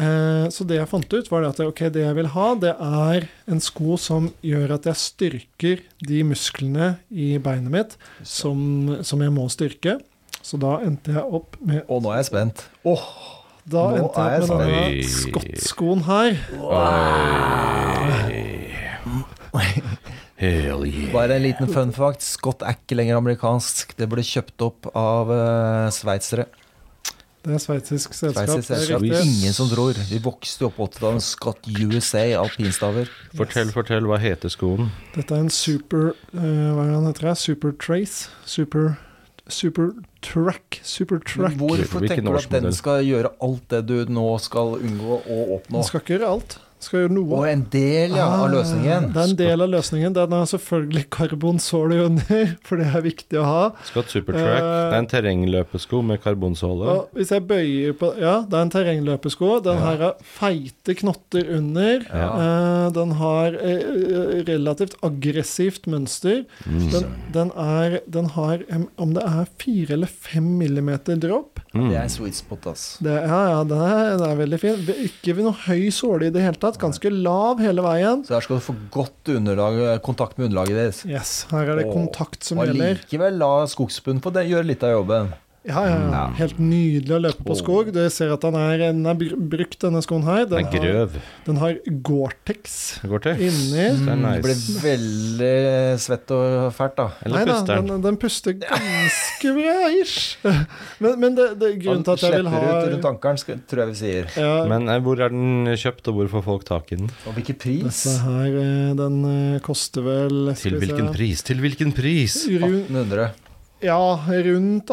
Speaker 3: Eh, Så det jeg fant ut, var det at ok, det jeg vil ha, det er en sko som gjør at jeg styrker de musklene i beinet mitt som, som jeg må styrke. Så da endte jeg opp med
Speaker 1: Og nå er jeg spent.
Speaker 3: Da
Speaker 1: Nå
Speaker 3: endte
Speaker 1: er
Speaker 3: jeg opp med
Speaker 2: jeg
Speaker 3: denne
Speaker 2: spent.
Speaker 3: skottskoen her.
Speaker 2: Hell yeah.
Speaker 1: Bare en liten fun fact. Scott er ikke lenger amerikansk. Det ble kjøpt opp av uh, sveitsere.
Speaker 3: Det er sveitsisk selskap.
Speaker 1: Sveitsisk
Speaker 3: det er
Speaker 1: selskap.
Speaker 3: riktig.
Speaker 1: Ingen som tror. Vi vokste jo opp på 80-tallet med Scott USA, alpinstaver.
Speaker 2: Fortell, fortell, hva heter skoen?
Speaker 3: Dette er en super eh, Hva er det han heter? her? Super Trace? Super Super Track? Super Track.
Speaker 1: Hvorfor
Speaker 2: Hvilken
Speaker 1: tenker du at
Speaker 2: årsmodell?
Speaker 1: den skal gjøre alt det du nå skal unngå å oppnå?
Speaker 3: Den skal ikke gjøre alt. Skal gjøre noe.
Speaker 1: Og en del ja, av løsningen.
Speaker 3: Ah, Det er en del av løsningen. Den er selvfølgelig karbonsåle under, for det er viktig å ha.
Speaker 2: Skal et supertrack.
Speaker 3: Eh,
Speaker 2: det er en terrengløpesko med karbonsåle.
Speaker 3: Og hvis jeg bøyer på Ja, det er en terrengløpesko. Den
Speaker 1: Ja.
Speaker 3: her har feite knotter under. Eh, den har eh, relativt aggressivt mønster.
Speaker 2: Mm.
Speaker 3: Den, den, er, den har em, om det er fire eller fem millimeter dropp.
Speaker 2: Mm.
Speaker 1: Det er en sweet spot, ass.
Speaker 3: Det, ja, ja, den er, den er veldig fin. Ikke noe høy såle i det hele tatt. Ganske lav hele veien.
Speaker 1: Så her skal du få godt underlag, eh, kontakt med underlaget deres.
Speaker 3: Yes, her er det
Speaker 1: Åh,
Speaker 3: kontakt som
Speaker 1: Og
Speaker 3: gjelder.
Speaker 1: likevel la skogsbunnen få det- gjøre litt av jobben.
Speaker 3: Ja, ja, ja.
Speaker 1: Ja.
Speaker 3: Helt nydelig å løpe på skog. Du ser at den er, den er br- brukt, denne skoen her.
Speaker 2: Den
Speaker 3: Den
Speaker 2: er
Speaker 3: har,
Speaker 2: grøv.
Speaker 3: den har Gore-Tex.
Speaker 2: Det går til.
Speaker 3: Inni
Speaker 2: Det er
Speaker 1: Mm, Det blir
Speaker 2: nice.
Speaker 1: veldig svett og fælt, da.
Speaker 2: Eller
Speaker 3: da,
Speaker 2: puster den.
Speaker 3: den, den puster ganske bra, ish. Men, men det, det,
Speaker 1: Han
Speaker 3: grunnen til at jeg
Speaker 1: slipper
Speaker 3: vil ha
Speaker 1: ut rundt ankelen, skal- tror jeg vi sier.
Speaker 3: ja,
Speaker 2: Men eh, hvor er den kjøpt, og hvor får folk tak i den?
Speaker 1: Og hvilken
Speaker 3: Dette
Speaker 1: pris?
Speaker 3: her, eh, den eh, koster vel skal
Speaker 2: Til
Speaker 3: vi se.
Speaker 2: hvilken pris? Til hvilken pris?
Speaker 3: Ru-
Speaker 1: 1800.
Speaker 3: Ja, rundt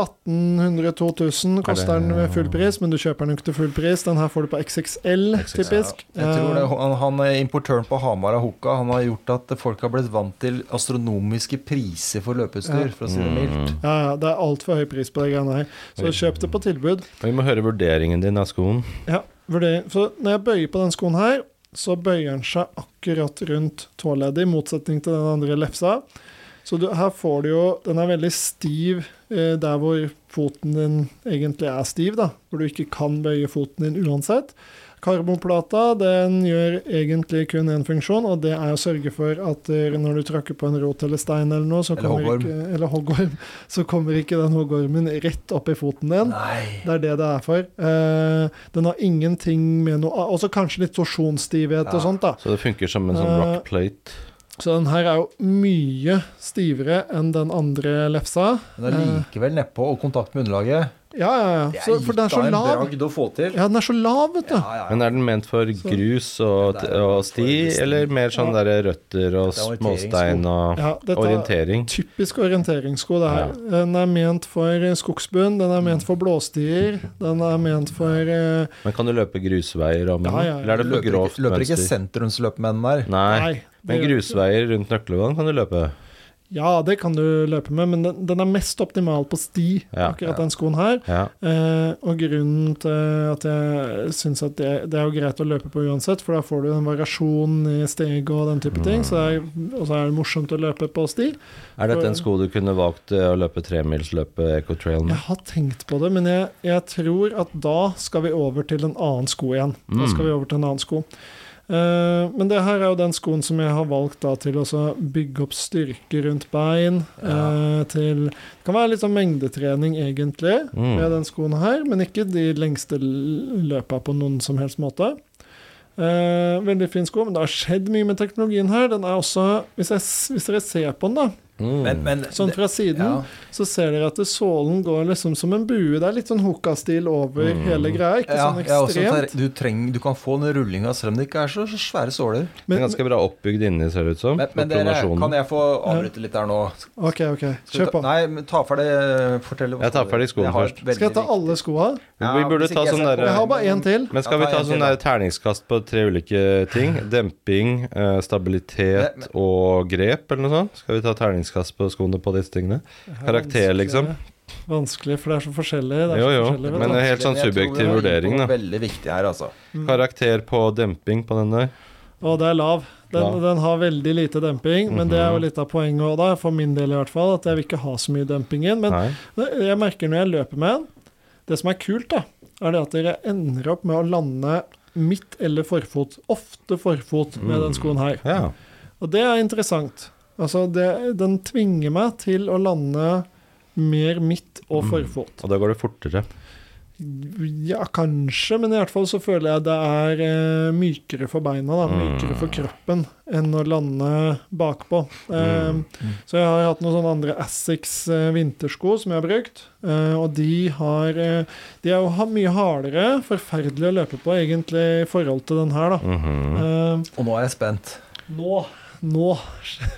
Speaker 3: 1800-2000 koster
Speaker 2: Er det-
Speaker 3: den ved full pris, men du kjøper den jo ikke til full pris. Den her får du på XXL,
Speaker 2: XXL,
Speaker 3: typisk. Eh,
Speaker 1: Jeg tror det, han, han er Importøren på Hamar av Hoka Han har gjort at folk har blitt vant til astronomiske priser for løpeutstyr,
Speaker 3: Ja.
Speaker 1: for å si det mildt.
Speaker 2: Mm.
Speaker 3: Ja, ja, det er altfor høy pris på de greiene her, så
Speaker 2: Oi.
Speaker 3: kjøp det på tilbud.
Speaker 2: Vi må høre vurderingen din av skoen.
Speaker 3: Ja, vurdering. For når jeg bøyer på den skoen her, så bøyer den seg akkurat rundt tåleddet, i motsetning til den andre lefsa. Så du, her får du jo Den er veldig stiv eh, der hvor foten din egentlig er stiv, da. Hvor du ikke kan bøye foten din uansett. Karbonplata den gjør egentlig kun én funksjon, og det er å sørge for at eh, når du tråkker på en rot eller stein eller noe, så
Speaker 1: Eller
Speaker 3: kommer,
Speaker 1: hoggorm.
Speaker 3: ikke, eller hoggorm, så kommer ikke den hoggormen rett opp i foten din.
Speaker 1: Nei.
Speaker 3: Det er det det er for. Eh, den har ingenting med noe Og så kanskje litt torsjonsstivhet og
Speaker 1: Ja.
Speaker 3: sånt, da.
Speaker 2: Så det funker som en sånn
Speaker 3: Eh,
Speaker 2: rock plate.
Speaker 3: Så den her er jo mye stivere enn den andre lefsa.
Speaker 1: Men det er likevel nedpå og kontakt med underlaget.
Speaker 3: Ja, ja,
Speaker 1: Det
Speaker 3: ja.
Speaker 1: er
Speaker 3: Så, for
Speaker 1: litt
Speaker 3: den er
Speaker 1: av
Speaker 3: så
Speaker 1: en
Speaker 3: lav.
Speaker 1: bragd å få til.
Speaker 3: Ja, den er så lav, vet du.
Speaker 1: Ja, ja,
Speaker 2: Men er den ment for
Speaker 3: Så-
Speaker 2: grus og,
Speaker 1: Det er
Speaker 2: og
Speaker 1: for
Speaker 2: sti,
Speaker 1: resten.
Speaker 2: eller mer sånn
Speaker 3: Ja.
Speaker 2: der røtter og
Speaker 1: Dette er orienteringssko.
Speaker 2: småstein og
Speaker 3: Ja, dette er
Speaker 2: orientering?
Speaker 3: typisk orienteringssko, det her. Den er ment for eh, skogsbunn, den er ment for blåstier, den er ment for eh,
Speaker 2: Men kan du løpe grusveier om
Speaker 3: Ja, ja, ja.
Speaker 2: Eller er det for
Speaker 1: løper,
Speaker 2: grovt
Speaker 1: ikke, løper ikke
Speaker 2: mønster? Mm.
Speaker 1: sentrumsløpmenn der.
Speaker 2: Nei.
Speaker 3: Nei.
Speaker 2: Men
Speaker 3: det-
Speaker 2: grusveier rundt Nøklevann kan du løpe.
Speaker 3: Ja, det kan du løpe med, men den, den er mest optimal på sti,
Speaker 2: Ja,
Speaker 3: akkurat den skoen her.
Speaker 2: Ja.
Speaker 3: Eh, og grunnen til at jeg syns at det, det er jo greit å løpe på uansett, for da får du en variasjon i steg og den type ting, så er, og så er det morsomt å løpe på sti.
Speaker 2: Er dette en sko du kunne valgt eh, å løpe tremilsløpet Ecotrail med?
Speaker 3: Jeg har tenkt på det, men jeg, jeg tror at da skal vi over til en annen sko igjen. Da
Speaker 2: Mm.
Speaker 3: skal vi over til en annen sko. Eh, men det her er jo den skoen som jeg har valgt da til å så bygge opp styrke rundt bein. eh, til Det kan være litt sånn mengdetrening, egentlig,
Speaker 2: Mm.
Speaker 3: med den skoen her, men ikke de lengste l- løpa på noen som helst måte. Eh, veldig fin sko, men det har skjedd mye med teknologien her. Den er også, hvis, jeg, s- hvis dere ser på den, da,
Speaker 2: Mm.
Speaker 1: Men, men
Speaker 3: sånn fra siden,
Speaker 1: ja.
Speaker 3: så ser dere at det- sålen går liksom som en bue. Det er litt sånn hookah-stil over
Speaker 2: Mm.
Speaker 3: hele greia. Ikke
Speaker 1: Ja,
Speaker 3: sånn
Speaker 1: jeg er også
Speaker 3: ekstremt.
Speaker 1: ter- du, treng, du kan få den rullinga selv om det ikke er så, så svære såler.
Speaker 2: Det
Speaker 3: Men,
Speaker 2: er ganske bra oppbygd inni, ser det ut som.
Speaker 1: Men, men
Speaker 2: for
Speaker 1: dere,
Speaker 2: pronasjonen.
Speaker 1: kan jeg få avbryte litt der nå?
Speaker 3: OK, ok.
Speaker 1: Skal du
Speaker 3: Kjør
Speaker 1: ta-
Speaker 3: på.
Speaker 1: Nei, men ta ferdig Fortell. hva
Speaker 2: Jeg tar
Speaker 1: du-
Speaker 2: ferdig skoen
Speaker 1: Jeg har
Speaker 2: først.
Speaker 1: veldig
Speaker 3: Skal jeg ta alle skoa?
Speaker 1: Ja,
Speaker 2: Vi burde
Speaker 1: hvis
Speaker 2: ta
Speaker 1: ikke jeg
Speaker 2: sånn
Speaker 1: skal
Speaker 2: derre
Speaker 3: Jeg har bare én til.
Speaker 2: Men skal
Speaker 1: Ja,
Speaker 2: vi
Speaker 1: ta
Speaker 2: ta
Speaker 1: en
Speaker 2: sånn
Speaker 1: til, da.
Speaker 2: der terningskast på tre ulike ting? Demping, eh, stabilitet
Speaker 1: Men-
Speaker 2: og grep, eller noe sånt? Skal vi ta terningskast på skoene på disse tingene? Karakter, liksom.
Speaker 3: Vanskelig, for det er så forskjellig. Det er
Speaker 2: Jo,
Speaker 3: så
Speaker 2: jo,
Speaker 3: forskjellig
Speaker 2: men
Speaker 3: vet du. Mm.
Speaker 2: det er helt sånn
Speaker 1: Jeg tror vi
Speaker 2: subjektiv
Speaker 1: er
Speaker 2: vurdering,
Speaker 1: inne på
Speaker 2: da.
Speaker 1: noe Veldig viktig her, altså.
Speaker 2: Karakter på demping på den der.
Speaker 3: Og det er lav. Den,
Speaker 2: Lav. Mhm.
Speaker 3: den har veldig lite demping, men det er jo litt av poenget også da, for min del i hvert fall, at jeg vil ikke ha så mye demping inn. Men
Speaker 2: Nei.
Speaker 3: jeg merker når jeg løper med den Det som er kult, da, er det at dere ender opp med å lande midt eller forfot. Ofte forfot med den skoen her.
Speaker 2: Mm. Ja.
Speaker 3: Og det er interessant. Altså, det, den tvinger meg til å lande mer midt
Speaker 2: Mm.
Speaker 3: og forfot.
Speaker 2: Og da går det fortere.
Speaker 3: Ja, kanskje, men i hvert fall så føler jeg det er eh, mykere for beina, da,
Speaker 1: Mm.
Speaker 3: mykere for kroppen, enn å lande bakpå.
Speaker 1: Mm.
Speaker 3: Eh, Så jeg har hatt noen sånne andre Assix eh, vintersko som jeg har brukt, eh, og de har eh, De er jo ha- mye hardere, forferdelig å løpe på, egentlig, i forhold til den her, da.
Speaker 1: Mm.
Speaker 2: Mhm.
Speaker 3: Eh,
Speaker 1: Og nå er jeg spent.
Speaker 3: nå Nå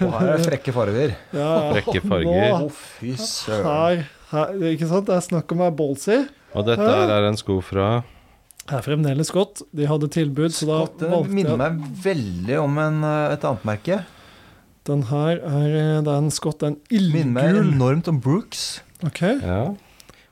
Speaker 1: Og her er det frekke farger.
Speaker 3: ja, ja.
Speaker 2: Frekke farger.
Speaker 3: Ah.
Speaker 1: Å, fy søren.
Speaker 3: Her, her, ikke sant? Det er snakk om å være ballsy.
Speaker 2: Og dette her er en sko fra
Speaker 3: er fremdeles godt. De hadde tilbud, så da
Speaker 1: Godt, Det
Speaker 3: valgte
Speaker 1: minner
Speaker 3: jeg
Speaker 1: eh, meg veldig om en, eh, et annet merke.
Speaker 3: Den her er eh, Det er en Scott, det er en
Speaker 1: Minner meg
Speaker 3: ildgul.
Speaker 1: enormt om Brooks.
Speaker 3: Ok,
Speaker 2: Ja.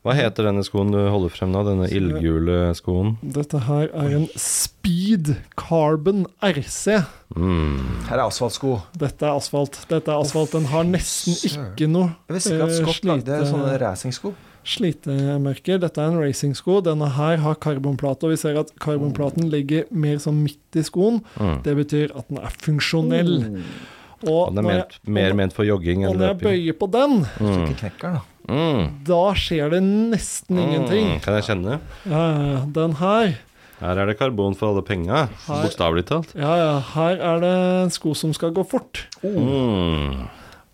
Speaker 2: Hva heter denne skoen du holder frem nå? Denne ildgule skoen?
Speaker 3: Dette her er en Speed Carbon RC.
Speaker 2: Mm.
Speaker 1: Her er asfaltsko.
Speaker 3: Dette er asfalt. Dette er asfalt. Den har nesten
Speaker 1: Søren.
Speaker 3: ikke noe
Speaker 1: Jeg visste ikke at
Speaker 3: Eh,
Speaker 1: Scott lagde
Speaker 3: slite-
Speaker 1: sånne racingsko.
Speaker 3: slitemerker. Dette er en racingsko. Denne her har karbonplate, og vi ser at
Speaker 1: Mm.
Speaker 3: karbonplaten ligger mer sånn midt i skoen.
Speaker 2: Mm.
Speaker 3: Det betyr at den er funksjonell.
Speaker 1: Mm.
Speaker 3: Og
Speaker 2: Den er
Speaker 3: når jeg,
Speaker 2: ment, mer ment for jogging
Speaker 3: og
Speaker 2: enn
Speaker 3: når jeg
Speaker 2: løping.
Speaker 3: bøyer på den,
Speaker 1: Så
Speaker 2: Mm.
Speaker 1: ikke knekker den, da.
Speaker 2: Mm.
Speaker 3: da skjer det nesten ingenting.
Speaker 2: Mm. Kan jeg kjenne?
Speaker 3: Ja, ja, den her
Speaker 2: Her er det karbon for alle penga,
Speaker 3: Her-
Speaker 2: bokstavelig talt.
Speaker 3: Ja, ja, her er det en sko som skal gå fort.
Speaker 1: Oh.
Speaker 2: Mm.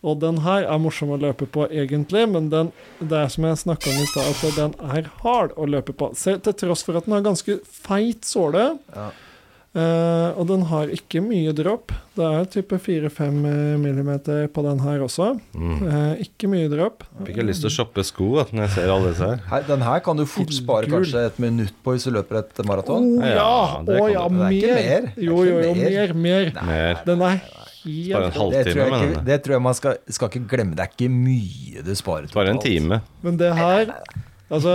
Speaker 3: Og den her er morsom å løpe på, egentlig, men den, det er som jeg snakka om i stad, at den er hard å løpe på. Se, til tross for at den har ganske feit såle,
Speaker 1: Ja.
Speaker 3: eh, og den har ikke mye dropp. Det er type 4-5 millimeter på den her også.
Speaker 2: Mm.
Speaker 3: Eh, ikke mye dropp.
Speaker 2: Fikk jeg lyst til å shoppe sko da, når jeg ser alle disse her.
Speaker 1: Her, den her kan du fort spare
Speaker 3: Gull.
Speaker 1: kanskje et minutt på hvis du løper et maraton.
Speaker 3: Å ja!
Speaker 2: Ja, det
Speaker 3: Å
Speaker 2: kan
Speaker 3: ja,
Speaker 2: du.
Speaker 1: Sånn. Det er ikke mer. Det er
Speaker 3: mer! Jo,
Speaker 1: ikke
Speaker 3: jo, jo,
Speaker 1: mer.
Speaker 3: mer, mer.
Speaker 2: Mer.
Speaker 3: Den er
Speaker 2: Bare
Speaker 1: Det
Speaker 2: en
Speaker 3: helt
Speaker 1: tror
Speaker 2: halvtime,
Speaker 1: jeg
Speaker 2: mener
Speaker 1: ikke,
Speaker 2: jeg.
Speaker 1: det tror jeg man skal, skal ikke glemme. Det er ikke mye du sparer totalt.
Speaker 2: Bare en time.
Speaker 3: Men det her Altså,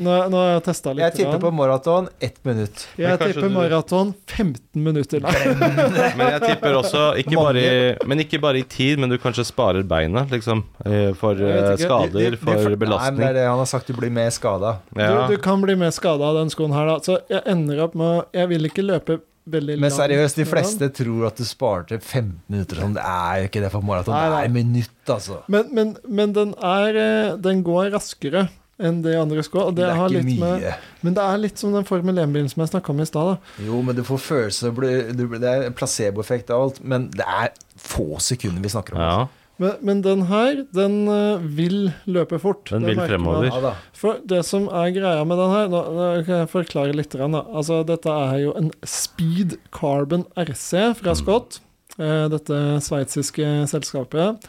Speaker 3: nå, nå har jeg testa litt.
Speaker 1: Jeg tipper
Speaker 3: grann.
Speaker 1: på maraton ett minutt.
Speaker 2: Men
Speaker 3: Jeg
Speaker 2: kanskje
Speaker 3: tipper
Speaker 2: du-
Speaker 3: maraton 15 minutter. Nei.
Speaker 2: Men jeg tipper også ikke bare, i, men ikke bare i tid, men du kanskje sparer beina, liksom. eh, For eh,
Speaker 3: Jeg vet ikke.
Speaker 2: skader, for
Speaker 1: Nei, men det
Speaker 2: belastning.
Speaker 1: er det han har sagt, du blir mer skada.
Speaker 2: Ja.
Speaker 3: Du, du kan bli mer skada av den skoen her, da. Så jeg ender opp med å- Jeg vil ikke løpe veldig langt.
Speaker 1: Men seriøst, de
Speaker 3: med den.
Speaker 1: fleste tror at du sparer til 15 minutter. Sånn. Det er jo ikke det for maraton.
Speaker 3: Nei,
Speaker 1: Det
Speaker 3: nei.
Speaker 1: er minutt, altså.
Speaker 3: Men, men, men den er eh, Den går raskere enn de andre skoene. Og det,
Speaker 1: Det er
Speaker 3: har
Speaker 1: ikke
Speaker 3: litt med
Speaker 1: mye.
Speaker 3: Men det er litt som den Formel 1-bilen som jeg snakka om i stad. da.
Speaker 1: Jo, men du får følelse du blir- du blir- Det er en placeboeffekt av alt. Men det er få sekunder vi snakker om.
Speaker 2: Ja.
Speaker 1: altså.
Speaker 3: Men, men den her, den eh, vil løpe fort.
Speaker 2: Den vil
Speaker 3: Det merker man.
Speaker 2: fremover.
Speaker 1: Ja, da.
Speaker 3: For det som er greia med den her Nå, nå kan jeg forklare litt. grann, Da. Altså, dette er jo en Speed Carbon RC
Speaker 1: Mm.
Speaker 3: fra Scott. eh, Dette sveitsiske selskapet.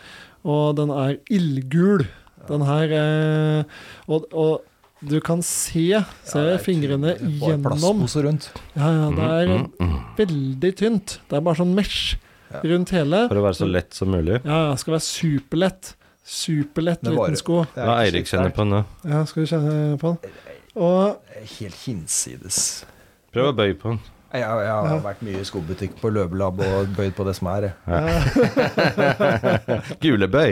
Speaker 3: Og den er ildgul. Den her eh, og, og du kan se, se
Speaker 1: Ja, det er
Speaker 3: fingrene
Speaker 1: tydelig. Bare
Speaker 3: gjennom.
Speaker 1: Plastpose rundt.
Speaker 3: Ja, ja, det er
Speaker 2: Mm, mm, mm.
Speaker 3: veldig tynt. Det er bare sånn mesh
Speaker 1: Mm-hmm. Ja.
Speaker 3: rundt hele.
Speaker 2: For å være så lett som mulig.
Speaker 3: Ja, ja, skal være superlett. Superlett
Speaker 1: Det varer.
Speaker 3: liten sko.
Speaker 1: Det er
Speaker 2: Hva
Speaker 1: ikke
Speaker 2: Eirik
Speaker 1: så
Speaker 2: kjenner
Speaker 1: sterkt.
Speaker 2: på nå?
Speaker 3: Ja, skal vi kjenne på den. Og
Speaker 1: Helt hinsides.
Speaker 2: Prøv å bøye på den.
Speaker 1: Jeg, jeg, jeg har
Speaker 3: Ja.
Speaker 1: vært mye i skobutikk på Løvelab og bøyd på det som er. jeg.
Speaker 2: Gulebøy!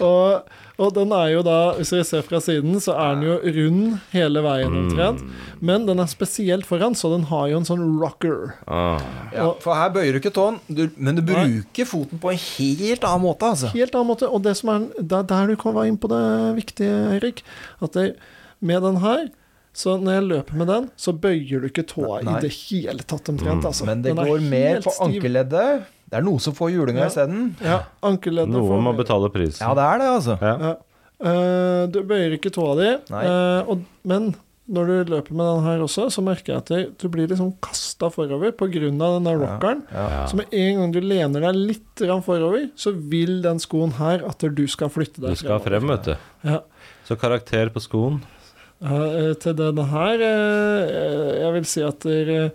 Speaker 3: Og, og den er jo da, hvis vi ser fra siden, så er den jo rund hele
Speaker 2: Mm.
Speaker 3: veien omtrent. Men den er spesielt foran, så den har jo en sånn rocker.
Speaker 2: Ah.
Speaker 1: Ja, for her bøyer du ikke tåen, du, men du
Speaker 3: Nei.
Speaker 1: bruker foten på en helt annen måte. altså.
Speaker 3: Helt annen måte. Og det som er det er der du kan være inn på det viktige, Eirik, at det, med den her så når jeg løper med den, så bøyer du ikke tåa i
Speaker 1: Nei.
Speaker 3: det hele tatt
Speaker 2: Mm.
Speaker 3: omtrent. Altså.
Speaker 1: Men det
Speaker 3: Den er
Speaker 1: går mer
Speaker 3: helt
Speaker 1: på
Speaker 3: stiv.
Speaker 1: ankeleddet. Det er noe som får julinga
Speaker 3: Ja.
Speaker 1: isteden.
Speaker 3: Ja, ankeleddet.
Speaker 2: Noe
Speaker 3: får-
Speaker 2: må betale prisen.
Speaker 1: Ja, det er det, altså.
Speaker 2: Ja.
Speaker 3: Ja. Eh, du bøyer ikke tåa di,
Speaker 1: Nei.
Speaker 3: eh, og, men når du løper med den her også, så merker jeg at det- du blir liksom kasta forover pga. den der rockeren.
Speaker 1: Ja.
Speaker 3: Så med en gang du lener deg litt grann forover, så vil den skoen her at du skal flytte
Speaker 2: Du
Speaker 3: deg
Speaker 2: skal frem, vet du.
Speaker 3: Ja.
Speaker 2: Så karakter på skoen.
Speaker 3: Eh, til denne her eh, Jeg vil si at der, eh,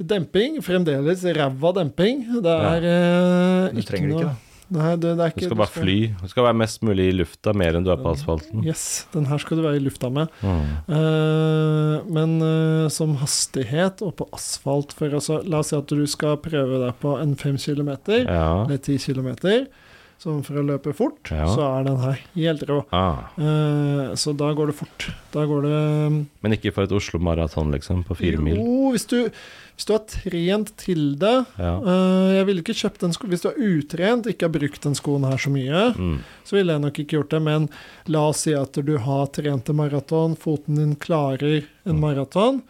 Speaker 3: Demping, fremdeles ræva demping. Det er eh,
Speaker 1: Du trenger det ikke,
Speaker 3: noe-
Speaker 1: da.
Speaker 3: Nei, det, det er
Speaker 2: Du
Speaker 3: ikke
Speaker 2: skal bare fly. Du skal være mest mulig i lufta, mer enn du er på asfalten.
Speaker 3: Yes, den her skal du være i lufta med.
Speaker 2: Mm.
Speaker 3: Eh, men eh, som hastighet og på asfalt for altså, La oss si at du skal prøve deg på en 5 km
Speaker 2: Ja.
Speaker 3: eller 10 km. Som for å løpe fort,
Speaker 2: Ja.
Speaker 3: så er den her helt rå.
Speaker 2: Ah.
Speaker 3: Eh, så da går det fort. Da går det mm,
Speaker 2: Men ikke for et Oslo-maraton, liksom, på fire mil.
Speaker 3: Jo, hvis du, hvis du har trent til det
Speaker 2: Ja.
Speaker 3: eh, Jeg ville ikke kjøpt den skoen Hvis du er utrent, ikke har brukt den skoen her så mye,
Speaker 2: Mm.
Speaker 3: så ville jeg nok ikke gjort det. Men la oss si at du har trent til maraton, foten din klarer
Speaker 2: Mm.
Speaker 3: en maraton.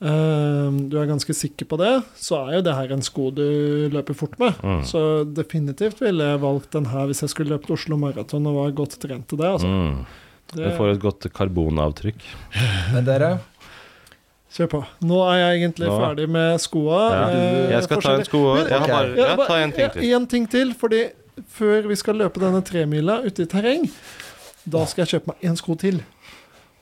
Speaker 3: ehm, du er ganske sikker på det, så er jo det her en sko du løper fort med.
Speaker 2: Mm.
Speaker 3: Så definitivt ville jeg valgt den her hvis jeg skulle løpt Oslo Maraton og var godt trent til det. Altså.
Speaker 2: Mm. Du
Speaker 3: det
Speaker 2: får et godt karbonavtrykk.
Speaker 1: Men dere,
Speaker 3: Kjør på. Nå er jeg egentlig
Speaker 2: Nå.
Speaker 3: ferdig med skoa.
Speaker 2: Ja.
Speaker 3: eh,
Speaker 2: Jeg skal ta en
Speaker 3: forskjellig-
Speaker 2: sko òg. Jeg har
Speaker 1: Ok.
Speaker 2: bare
Speaker 3: Ja,
Speaker 2: ja,
Speaker 3: bare-
Speaker 2: ta en ting til.
Speaker 3: ja, en ting til, fordi før vi skal løpe denne tremila ute i terreng, da skal jeg kjøpe meg en sko til.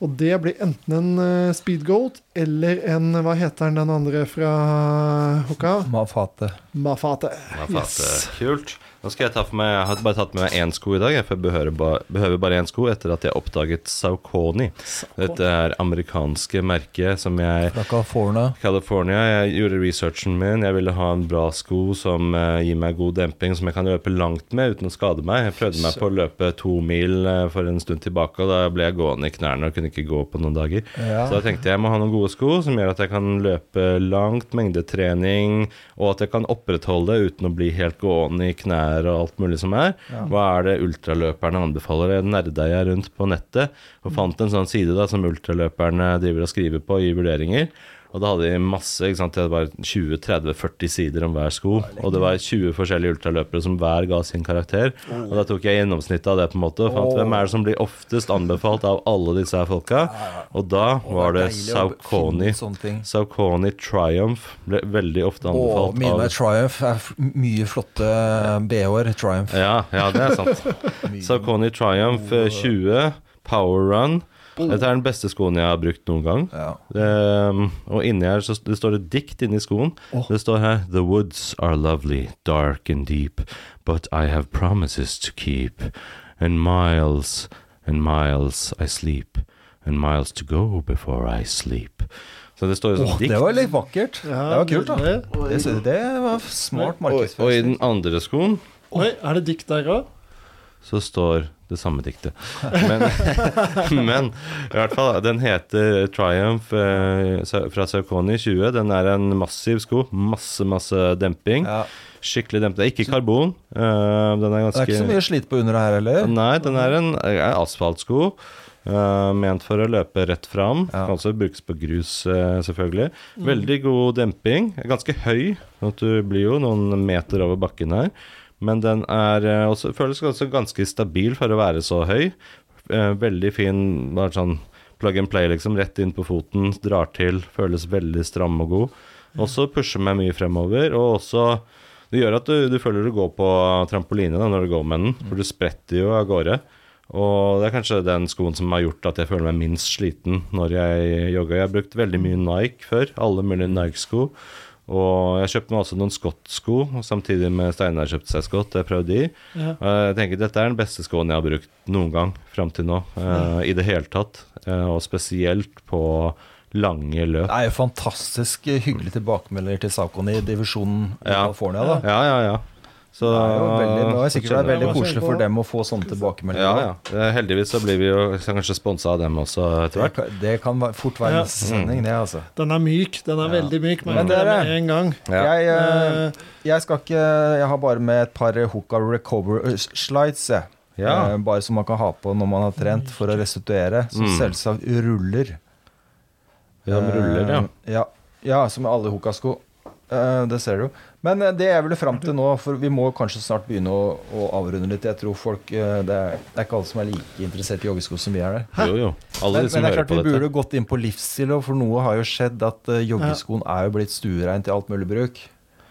Speaker 3: Og det blir enten en eh, speedgoat eller en Hva heter den, den andre fra Hoka?
Speaker 1: Mafate.
Speaker 3: Mafate.
Speaker 2: Ja, faen,
Speaker 3: Yes.
Speaker 2: det er Kult. Nå skal jeg ta for meg Jeg har bare tatt med meg én sko i dag, jeg, for jeg behøver, ba, behøver bare én sko etter at jeg oppdaget Saucony. Dette er amerikanske merket som jeg
Speaker 1: Fra California.
Speaker 2: California. Jeg gjorde researchen min. Jeg ville ha en bra sko som eh, gir meg god demping, som jeg kan løpe langt med uten å skade meg. Jeg prøvde meg på å løpe to mil eh, for en stund tilbake, og da ble jeg gående i knærne og kunne ikke gå på noen dager. Så da tenkte jeg jeg må ha noen gode sko som gjør at jeg kan løpe langt, mengdetrening, og at jeg kan opprettholde det uten å bli helt gående i knær og alt mulig som er. Hva er det ultraløperne anbefaler? Jeg nerda jeg rundt på nettet og fant en sånn side da, som ultraløperne driver og skriver på i vurderinger. Og da hadde de masse, ikke sant? det var 20-30-40 sider om hver sko. Og det var 20 forskjellige ultraløpere som hver ga sin karakter. Og da tok jeg gjennomsnittet av det, på en måte, og fant hvem er det som blir oftest anbefalt av alle disse her folka. Og da var det Saucony.
Speaker 1: Sånne ting.
Speaker 2: Saucony Triumph ble veldig ofte
Speaker 1: Og
Speaker 2: anbefalt
Speaker 1: mine
Speaker 2: av
Speaker 1: Triumph er f- mye flotte BH-er. Triumph.
Speaker 2: ja, ja, det er sant. Saucony Triumph eh, 20, Power Run. Dette er den beste skoen jeg har brukt noen gang.
Speaker 1: Ja.
Speaker 2: Ehm, og inni her så det står et dikt inni skoen. Det står her The woods are lovely, dark and deep, but I have promises to keep. And miles and miles I sleep, and miles to go before I sleep. Så det står jo sånn dikt.
Speaker 1: Det var litt vakkert.
Speaker 3: Ja,
Speaker 1: det var kult, da.
Speaker 3: det-
Speaker 1: Det, sy- det var smart
Speaker 2: Og i
Speaker 1: markedsføring.
Speaker 2: den andre skoen
Speaker 3: Oi, er det dikt der òg?
Speaker 2: så står det samme diktet. Men, men i hvert fall, den heter Triumph eh, sa- fra Saucony 20. Den er en massiv sko. Masse, masse demping.
Speaker 1: Ja.
Speaker 2: Skikkelig demping. Det er ikke karbon. eh, den er
Speaker 1: Det er ikke så
Speaker 2: ganske
Speaker 1: mye slit på under her heller.
Speaker 2: Nei, den er en er asfaltsko. eh, ment for å løpe rett fram.
Speaker 1: Ja.
Speaker 2: Kan også brukes på grus, eh, selvfølgelig. Veldig god demping. Er Ganske høy. sånn at Du blir jo noen meter over bakken her. Men den er eh, også, føles også ganske stabil for å være så høy. Eh, veldig fin bare sånn plug and play, liksom. Rett inn på foten, drar til. Føles veldig stram og god. Også pusher meg mye fremover. Og også det gjør at du, du føler du går på trampoline da, når du går med den, for du spretter jo av gårde. Og det er kanskje den skoen som har gjort at jeg føler meg minst sliten når jeg jogger. Jeg har brukt veldig mye Nike før, alle mulige Nike-sko. Og jeg kjøpte meg også noen Scott-sko, og samtidig med Steinar kjøpte seg Scott. Jeg prøvde de.
Speaker 3: Ja.
Speaker 2: Og Jeg tenker dette er den beste skoen jeg har brukt noen gang fram til nå. eh, I det hele tatt. Eh, og spesielt på lange løp.
Speaker 1: Det er jo fantastisk hyggelige tilbakemeldinger til Saucony i divisjonen i
Speaker 2: Ja.
Speaker 1: California. da.
Speaker 2: Ja, ja, ja. Så,
Speaker 1: Det er jo veldig, det er
Speaker 2: så
Speaker 1: sikkert det er
Speaker 2: kjenner jeg
Speaker 1: veldig
Speaker 2: meg-
Speaker 1: koselig for dem å få sånne tilbakemeldinger.
Speaker 2: Ja, ja. Eh, Heldigvis så blir vi jo kanskje sponsa av dem også etter
Speaker 1: Det
Speaker 2: hvert.
Speaker 1: kan- Det kan være- fort være
Speaker 3: Ja.
Speaker 1: neste sending, det, altså.
Speaker 3: Den er myk. Den er
Speaker 1: Ja.
Speaker 3: veldig myk.
Speaker 1: Men
Speaker 3: Men det
Speaker 1: dere-
Speaker 3: med en gang.
Speaker 2: Ja.
Speaker 1: Jeg, eh,
Speaker 3: Eh,
Speaker 1: jeg skal ikke Jeg har bare med et par Hoka Recover eh, slides, jeg.
Speaker 2: Ja.
Speaker 1: Eh, Bare som man kan ha på når man har trent, for å restituere. Som
Speaker 2: Mm.
Speaker 1: selvsagt ruller.
Speaker 2: Ja, de ruller, ja.
Speaker 1: Eh, ja. Ja, som alle Hoka-sko. Eh, Det ser du jo. Men eh, det jeg ville fram til nå, for vi må kanskje snart begynne å, å avrunde litt. Jeg tror folk eh, det er, det er ikke alle som er like interessert i joggesko som vi er der.
Speaker 2: Jo, jo. Alle
Speaker 1: Men,
Speaker 2: de som
Speaker 1: men det er klart
Speaker 2: hører
Speaker 1: vi
Speaker 2: på dette.
Speaker 1: burde gått inn på livsstil, og for noe har jo skjedd at eh, joggeskoen er jo blitt stuerein til alt mulig bruk.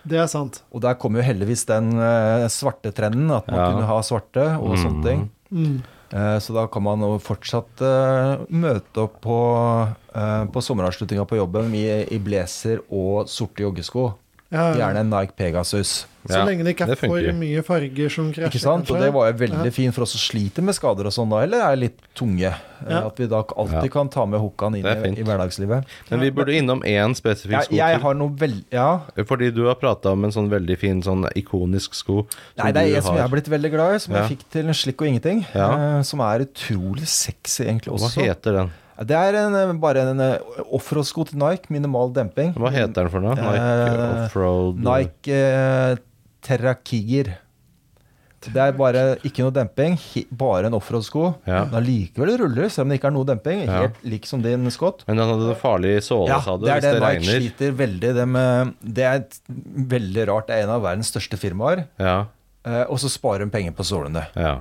Speaker 3: det er sant.
Speaker 1: Og der kom jo heldigvis den eh, svarte trenden, at man
Speaker 2: Ja.
Speaker 1: kunne ha svarte og sånne ting.
Speaker 3: Mm.
Speaker 1: Eh, så da kan man jo fortsatt eh, møte opp på, uh, på sommeravslutninga på jobben i, i blazer og sorte joggesko.
Speaker 3: Ja, ja.
Speaker 1: Gjerne en Nike Pegasus.
Speaker 3: Så
Speaker 2: Ja,
Speaker 3: lenge det ikke er
Speaker 2: det funker.
Speaker 3: for mye farger som krasjer.
Speaker 1: Ikke sant? Og
Speaker 3: kanskje.
Speaker 1: det var jo veldig
Speaker 3: Ja.
Speaker 1: fint for oss som sliter med skader og sånn da, eller er litt tunge. Eh,
Speaker 3: Ja.
Speaker 1: At vi da alltid
Speaker 2: Ja.
Speaker 1: kan ta med hookaen inn
Speaker 2: Det er
Speaker 1: i,
Speaker 2: fint.
Speaker 1: i hverdagslivet.
Speaker 2: Men vi burde innom én spesifikk
Speaker 1: Jeg,
Speaker 2: sko
Speaker 1: jeg
Speaker 2: til.
Speaker 1: har noe vel... Ja.
Speaker 2: Fordi du har prata om en sånn veldig fin, sånn ikonisk sko. som
Speaker 1: Nei, det
Speaker 2: du
Speaker 1: er en som jeg har blitt veldig glad i, som
Speaker 2: Ja.
Speaker 1: jeg fikk til en slikk og ingenting.
Speaker 2: Ja.
Speaker 1: eh, Som er utrolig sexy, egentlig
Speaker 2: Hva
Speaker 1: også.
Speaker 2: heter den?
Speaker 1: Det er en, eh, bare en eh, offroad-sko til Nike, minimal demping.
Speaker 2: Hva heter den for noe? Nike
Speaker 1: Eh,
Speaker 2: Offroad
Speaker 1: Nike eh, Terra Kiger. Det er bare ikke noe demping, he, bare en offroad-sko.
Speaker 2: Ja.
Speaker 1: Men allikevel ruller, selv om det ikke er noe demping.
Speaker 2: Ja.
Speaker 1: Helt lik som din, Scott.
Speaker 2: Men den hadde en farlig såle,
Speaker 1: Ja,
Speaker 2: sa du,
Speaker 1: det er
Speaker 2: hvis det,
Speaker 1: det Nike
Speaker 2: regner.
Speaker 1: sliter veldig det med. Det er et veldig rart. Det er en av verdens største firmaer.
Speaker 2: Ja,
Speaker 1: eh, Og så sparer de penger på sålene.
Speaker 2: ja.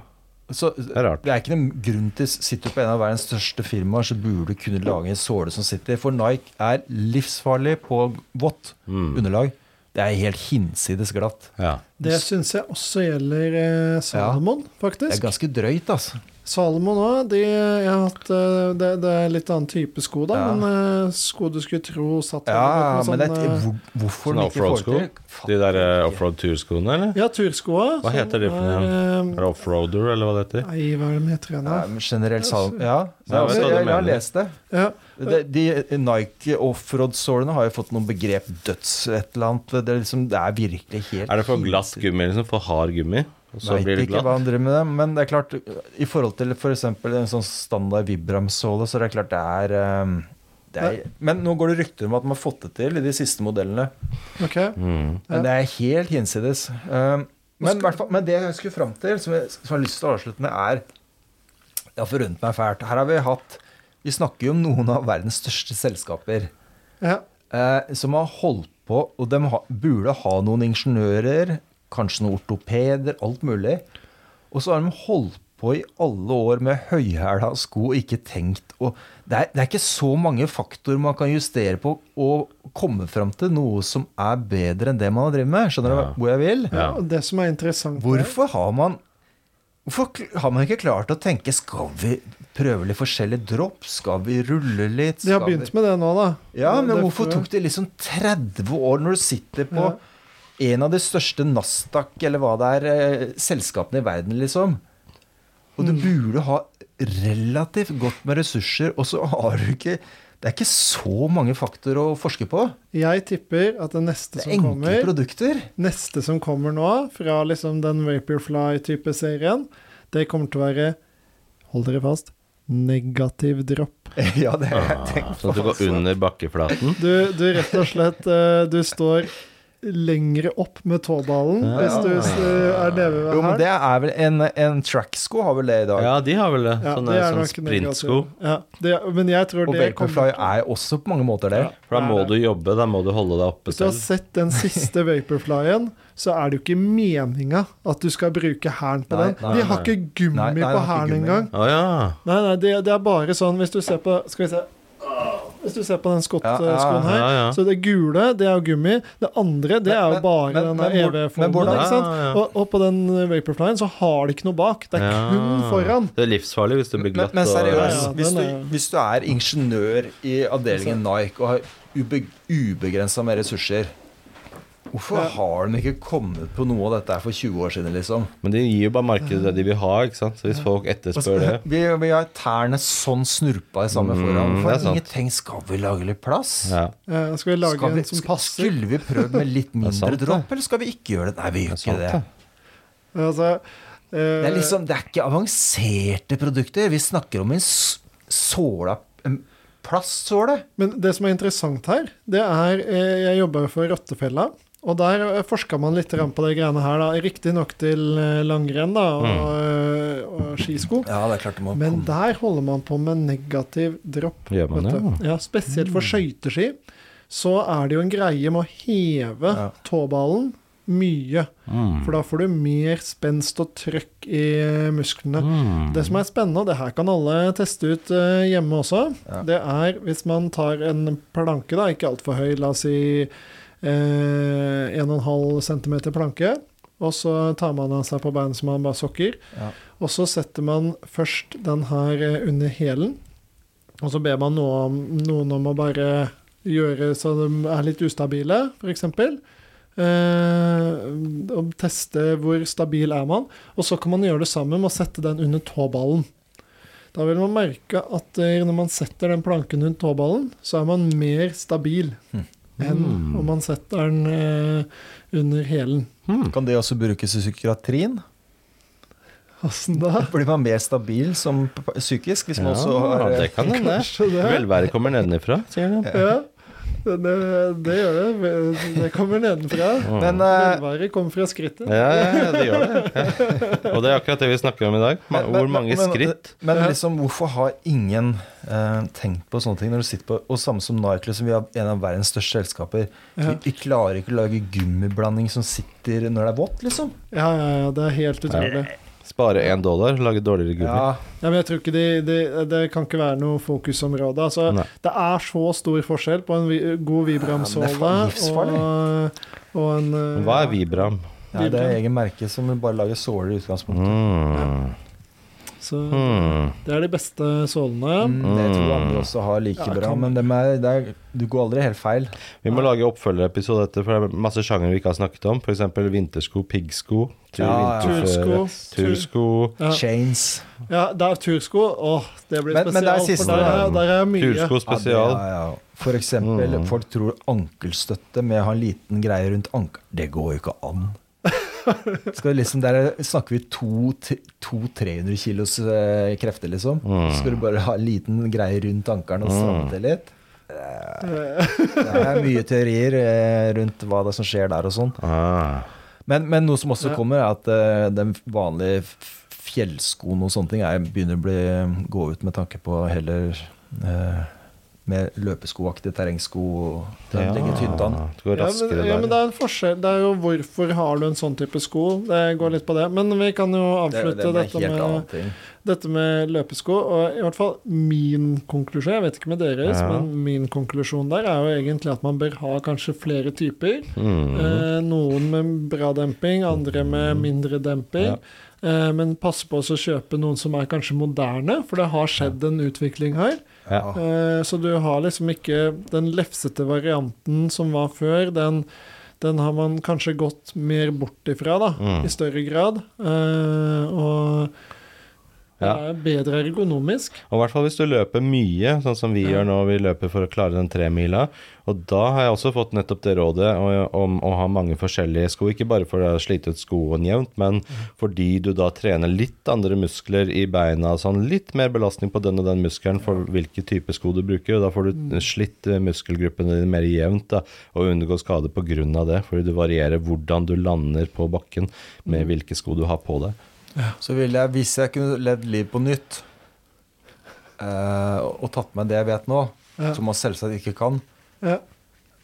Speaker 1: Så
Speaker 2: er rart.
Speaker 1: det er ikke noen grunn til Sitter du på en av verdens største firmaer, så burde du kunne lage en såle som sitter. For Nike er livsfarlig på vått
Speaker 2: Mm.
Speaker 1: underlag. Det er helt hinsides glatt.
Speaker 2: ja.
Speaker 3: Det syns jeg også gjelder eh, Salomon,
Speaker 1: Det er
Speaker 3: faktisk.
Speaker 1: ganske drøyt, altså.
Speaker 3: Salomo nå, de, jeg har hatt, eh, det, det er litt annen type sko, da,
Speaker 1: Ja.
Speaker 3: men eh, sko du skulle tro satt
Speaker 1: Ja,
Speaker 3: godt
Speaker 1: men
Speaker 3: med
Speaker 1: det,
Speaker 3: sånn, eh,
Speaker 1: hvor, hvorfor
Speaker 2: Sånne
Speaker 1: de ikke får
Speaker 2: offroad-sko?
Speaker 1: til Fatter
Speaker 2: De der eh,
Speaker 1: jeg ikke.
Speaker 2: offroad turskoene, eller?
Speaker 3: Ja, turskoa.
Speaker 2: Hva heter de for noe Er det offroader, eller hva det heter?
Speaker 3: eh, Nei, hva er det de heter igjen,
Speaker 1: Nei,
Speaker 3: da?
Speaker 1: men generelt Salomo Ja, Altså,
Speaker 2: Ja, jeg
Speaker 1: jeg,
Speaker 2: vet hva du
Speaker 1: jeg, jeg har
Speaker 2: mener.
Speaker 1: lest det.
Speaker 3: Ja.
Speaker 1: De, de Nike offroad-sålene har jo fått noen begrep døds et eller annet. Det er, liksom, det er virkelig helt
Speaker 2: Er det for glatt
Speaker 1: hinsides.
Speaker 2: gummi, liksom? For hard gummi? Og så
Speaker 1: Vet
Speaker 2: blir det
Speaker 1: ikke hva
Speaker 2: glatt?
Speaker 1: han driver med, det, men det er klart I forhold til f.eks. en sånn standard Vibram-såle, så er det klart det er, ehm, det er Men nå går det rykter om at man har fått det til i de siste modellene.
Speaker 3: Ok.
Speaker 2: Mm.
Speaker 3: Ja.
Speaker 1: Men det er helt hinsides. Ehm, men,
Speaker 3: skal-
Speaker 1: hvert fall- men det jeg skulle fram til, som jeg, som jeg har lyst til å avslutte med, er Det har forundret meg fælt. Her har vi hatt Vi snakker jo om noen av verdens største selskaper
Speaker 3: Ja.
Speaker 1: eh, som har holdt på, og de ha, burde ha noen ingeniører, kanskje noen ortopeder, alt mulig. Og så har de holdt på i alle år med høyhæla sko og ikke tenkt og det er, det er ikke så mange faktorer man kan justere på og komme fram til noe som er bedre enn det man har drevet med. Skjønner
Speaker 2: Ja.
Speaker 1: du hvor jeg vil?
Speaker 2: Ja.
Speaker 3: Og det som er interessant
Speaker 1: Hvorfor har man Hvorfor kl- har man ikke klart å tenke Skal vi prøve litt forskjellige dropp? Skal vi rulle litt?
Speaker 3: De har
Speaker 1: Skal vi-
Speaker 3: begynt med det nå, da.
Speaker 1: ja, men
Speaker 3: Det-
Speaker 1: hvorfor tok det liksom 30 år når du sitter på en av de største Nasdaq, eller hva det er, eh, selskapene i verden, liksom? Og du
Speaker 3: Mm.
Speaker 1: burde ha relativt godt med ressurser, og så har du ikke Det er ikke så mange faktorer å forske på.
Speaker 3: Jeg tipper at det neste
Speaker 1: Det er
Speaker 3: som
Speaker 1: enkle
Speaker 3: kommer
Speaker 1: produkter.
Speaker 3: Neste som kommer nå, fra liksom den Vaporfly-type serien, det kommer til å være Hold dere fast negativ dropp.
Speaker 1: ja, det har jeg
Speaker 2: Ah,
Speaker 1: tenkt
Speaker 2: sånn at det går
Speaker 1: altså.
Speaker 2: under bakkeflaten?
Speaker 3: Du, du rett og slett eh, Du står lengre opp med tåballen
Speaker 2: Ja.
Speaker 3: hvis du s- eh, er nede
Speaker 1: Jo,
Speaker 3: ved
Speaker 1: men
Speaker 3: her.
Speaker 1: det er vel En, en tracksko har vel det i dag.
Speaker 2: Ja, de har vel det.
Speaker 3: Ja,
Speaker 2: Sånne
Speaker 3: det er
Speaker 2: sånn
Speaker 3: nok negativ.
Speaker 2: sprintsko.
Speaker 3: Ja, det, men jeg tror
Speaker 1: og
Speaker 3: det
Speaker 1: Vaporfly
Speaker 3: kommer
Speaker 1: er også på mange måter det.
Speaker 3: Ja.
Speaker 2: For da må
Speaker 3: Det
Speaker 2: du jobbe, da må du holde deg oppe
Speaker 3: Hvis du har
Speaker 2: selv.
Speaker 3: sett den siste Vaporflyen, så er det jo ikke meninga at du skal bruke hælen på
Speaker 1: Nei,
Speaker 3: den.
Speaker 1: nei,
Speaker 3: De har
Speaker 2: nei.
Speaker 3: ikke gummi
Speaker 1: Nei, nei, de
Speaker 3: på
Speaker 1: har ikke
Speaker 3: hælen
Speaker 1: gummi.
Speaker 3: engang.
Speaker 2: Å ja.
Speaker 3: Nei, nei, det, det er bare sånn Hvis du ser på Skal vi se Hvis du ser på
Speaker 1: Ja,
Speaker 3: den
Speaker 1: ja,
Speaker 3: skottskoen her,
Speaker 2: ja, ja.
Speaker 3: så det gule, det er jo gummi. Det andre, det
Speaker 1: Men-
Speaker 3: er jo
Speaker 1: men-
Speaker 3: bare
Speaker 1: men- men
Speaker 3: den der
Speaker 1: hvor- men
Speaker 3: EV-formen.
Speaker 1: hvordan-
Speaker 3: ikke sant?
Speaker 2: Ja, ja.
Speaker 3: Og, og på den Vaporflyen så har de ikke noe bak. Det er kun
Speaker 2: Ja.
Speaker 3: foran.
Speaker 2: Det er livsfarlig hvis det blir
Speaker 1: Men,
Speaker 2: glatt.
Speaker 1: men
Speaker 2: og-
Speaker 1: seriøst,
Speaker 3: Ja, ja,
Speaker 1: hvis,
Speaker 3: den
Speaker 1: du,
Speaker 3: er-
Speaker 1: hvis du er ingeniør i avdelingen Nike og har ube, ubegrensa med ressurser Hvorfor
Speaker 3: Ja.
Speaker 1: har de ikke kommet på noe av dette her for 20 år siden, liksom?
Speaker 2: Men de gir jo bare markedet det de vil ha, ikke sant. Så hvis folk etterspør det
Speaker 1: Vi, vi har tærne sånn snurpa i samme
Speaker 2: Mm,
Speaker 1: foran.
Speaker 2: det er
Speaker 1: Hvorfor har
Speaker 2: sant.
Speaker 1: ingen tenkt Skal vi lage litt plass?
Speaker 2: ja.
Speaker 3: Eh, skal vi lage
Speaker 1: Skal vi,
Speaker 3: en som
Speaker 1: sk-
Speaker 3: passer?
Speaker 1: skulle vi prøvd med litt
Speaker 2: er
Speaker 1: mindre
Speaker 2: sant, det.
Speaker 1: dropp, eller skal vi ikke gjøre det? Nei, vi
Speaker 2: Det
Speaker 1: gjør
Speaker 2: er
Speaker 1: ikke
Speaker 2: sant,
Speaker 1: det.
Speaker 2: det.
Speaker 3: Altså, eh,
Speaker 1: Det er liksom, det er ikke avanserte produkter. Vi snakker om en s- såla En plastsåle.
Speaker 3: Men det som er interessant her, det er eh, Jeg jobber jo for Rottefella. Og der forska man litt grann på de greiene her, da. Riktignok til eh, langrenn da, og,
Speaker 2: Mm.
Speaker 3: eh, og skisko.
Speaker 1: Ja, det er klart det må
Speaker 3: Men
Speaker 1: komme.
Speaker 3: der holder man på med negativ dropp.
Speaker 2: Gjør man
Speaker 3: vet
Speaker 2: det? Mm.
Speaker 3: du. Ja, spesielt for skøyteski. Så er det jo en greie med å heve
Speaker 1: Ja.
Speaker 3: tåballen mye.
Speaker 2: Mm.
Speaker 3: For da får du mer spenst og trøkk i musklene.
Speaker 2: Mm.
Speaker 3: Det som er spennende, og det her kan alle teste ut eh, hjemme også,
Speaker 1: Ja.
Speaker 3: det er hvis man tar en planke, da, ikke altfor høy, la oss si eh, 1,5 cm planke, og så tar man av seg på beina som man bare sokker,
Speaker 1: Ja.
Speaker 3: og så setter man først den her eh, under hælen, og så ber man noen om, noen om å bare gjøre så de er litt ustabile, f.eks. Eh, og teste hvor stabil er man. Og så kan man gjøre det sammen med å sette den under tåballen. Da vil man merke at eh, når man setter den planken under tåballen, så er man mer stabil
Speaker 2: Hm.
Speaker 3: enn om man setter den eh, under hælen.
Speaker 1: Kan det også brukes i psykiatrien?
Speaker 3: Åssen da?
Speaker 1: Blir man mer stabil som p- psykisk hvis man også har eh,
Speaker 2: det kan hende.
Speaker 3: Kanskje det.
Speaker 2: Velvære kommer nedenifra, sier de.
Speaker 3: Ja, det, det- det gjør det. Det kommer nedenfra.
Speaker 1: Men eh,
Speaker 3: Velværet kommer fra skrittet.
Speaker 2: Ja, ja, ja, det gjør det. Ja. Og det er akkurat det vi snakker om i dag. Ma-
Speaker 1: men-
Speaker 2: Hvor
Speaker 1: men-
Speaker 2: mange
Speaker 1: men-
Speaker 2: skritt.
Speaker 1: Men
Speaker 3: Ja.
Speaker 1: liksom, hvorfor har ingen eh, tenkt på sånne ting når du sitter på Og samme som Nike, liksom, vi har en av verdens største selskaper.
Speaker 3: Ja.
Speaker 1: Vi, vi klarer ikke å lage gummiblanding som sitter når det er vått, liksom.
Speaker 3: Ja, ja, ja, det er helt utrolig.
Speaker 2: Spare én dollar, lage dårligere gummi.
Speaker 1: Ja,
Speaker 3: Ja, men jeg tror ikke de, de, Det kan ikke være noe fokusområde. Altså,
Speaker 2: Nei.
Speaker 3: det er så stor forskjell på en vi, god
Speaker 1: Ja, men
Speaker 3: Vibram-såle
Speaker 1: det er faen
Speaker 3: og, og en eh,
Speaker 2: Men Hva er Vibram?
Speaker 1: ja, det er egen merke som bare lager såler i utgangspunktet.
Speaker 2: Mm.
Speaker 3: Så
Speaker 2: Hmm.
Speaker 3: det er de beste sålene.
Speaker 1: Mm, det tror jeg andre også har like
Speaker 3: Ja,
Speaker 1: bra,
Speaker 3: kan-
Speaker 1: men dem er, det er, du går aldri helt feil.
Speaker 2: Vi må lage oppfølgerepisode etter, for det er masse sjanger vi ikke har snakket om. F.eks. vintersko, piggsko, tur-
Speaker 1: Ja, ja.
Speaker 2: vinterføre,
Speaker 3: Tursko.
Speaker 2: tursko
Speaker 3: Ja.
Speaker 1: Chains.
Speaker 3: Ja, det er tursko. Åh, det blir
Speaker 1: Men- men det er
Speaker 3: spesielt.
Speaker 1: siste.
Speaker 3: for der, er- der er mye.
Speaker 2: Tursko
Speaker 1: Ja, det
Speaker 2: spesial.
Speaker 1: er- ja. For eksempel,
Speaker 2: Mm.
Speaker 1: folk tror ankelstøtte med å ha en liten greie rundt ankel Det går jo ikke an. Skal du liksom, der snakker vi 200-300 kilos eh, krefter, liksom.
Speaker 2: Mm.
Speaker 1: Skal du bare ha en liten greie rundt ankelen og stramme til litt?
Speaker 3: Eh,
Speaker 1: Det er mye teorier eh, rundt hva det er som skjer der og sånn.
Speaker 2: Ah.
Speaker 1: Men, men noe som også
Speaker 3: Ja.
Speaker 1: kommer, er at eh, den vanlige f- fjellskoen og sånne ting er, begynner å bli, gå ut med tanke på heller eh, mer løpeskoaktig terrengsko. og Den legger hytta an.
Speaker 2: Ah. Det går
Speaker 3: Ja,
Speaker 2: raskere
Speaker 3: men, ja, men det
Speaker 2: der.
Speaker 3: er en forskjell. Det er jo hvorfor har du en sånn type sko. Det går litt på det. Men vi kan jo
Speaker 1: Det,
Speaker 3: avslutte
Speaker 1: det er en
Speaker 3: dette,
Speaker 1: helt
Speaker 3: med,
Speaker 1: annen ting.
Speaker 3: dette med løpesko. Og i hvert fall min konklusjon, jeg vet ikke med deres,
Speaker 2: Ja.
Speaker 3: men min konklusjon der er jo egentlig at man bør ha kanskje flere typer.
Speaker 2: Mm.
Speaker 3: Eh, noen med bra demping, andre med mindre demping.
Speaker 2: Mhm. Ja.
Speaker 3: Eh, men pass på også å kjøpe noen som er kanskje moderne, for det har skjedd en utvikling her.
Speaker 2: Ja.
Speaker 1: Ja.
Speaker 3: Eh, så du har liksom ikke den lefsete varianten som var før. Den, den har man kanskje gått mer bort ifra, da,
Speaker 2: Mm.
Speaker 3: i større grad. Eh, og det
Speaker 2: Ja.
Speaker 3: er bedre ergonomisk.
Speaker 2: Og i hvert fall hvis du løper mye, sånn som vi
Speaker 3: Ja.
Speaker 2: gjør nå. Vi løper for å klare den tremila. Og da har jeg også fått nettopp det rådet å- om å ha mange forskjellige sko. Ikke bare for å slite ut skoen jevnt, men fordi du da trener litt andre muskler i beina. Sånn litt mer belastning på den og den muskelen for hvilke type sko du bruker. Og da får du slitt eh, muskelgruppene dine mer jevnt da, og unngår skade pga. det. Fordi du varierer hvordan du lander på bakken med hvilke sko du har på deg.
Speaker 1: Så ville jeg, hvis jeg kunne levd liv på nytt, eh, og tatt med det jeg vet nå,
Speaker 3: Ja.
Speaker 1: som man selvsagt ikke kan,
Speaker 3: Ja.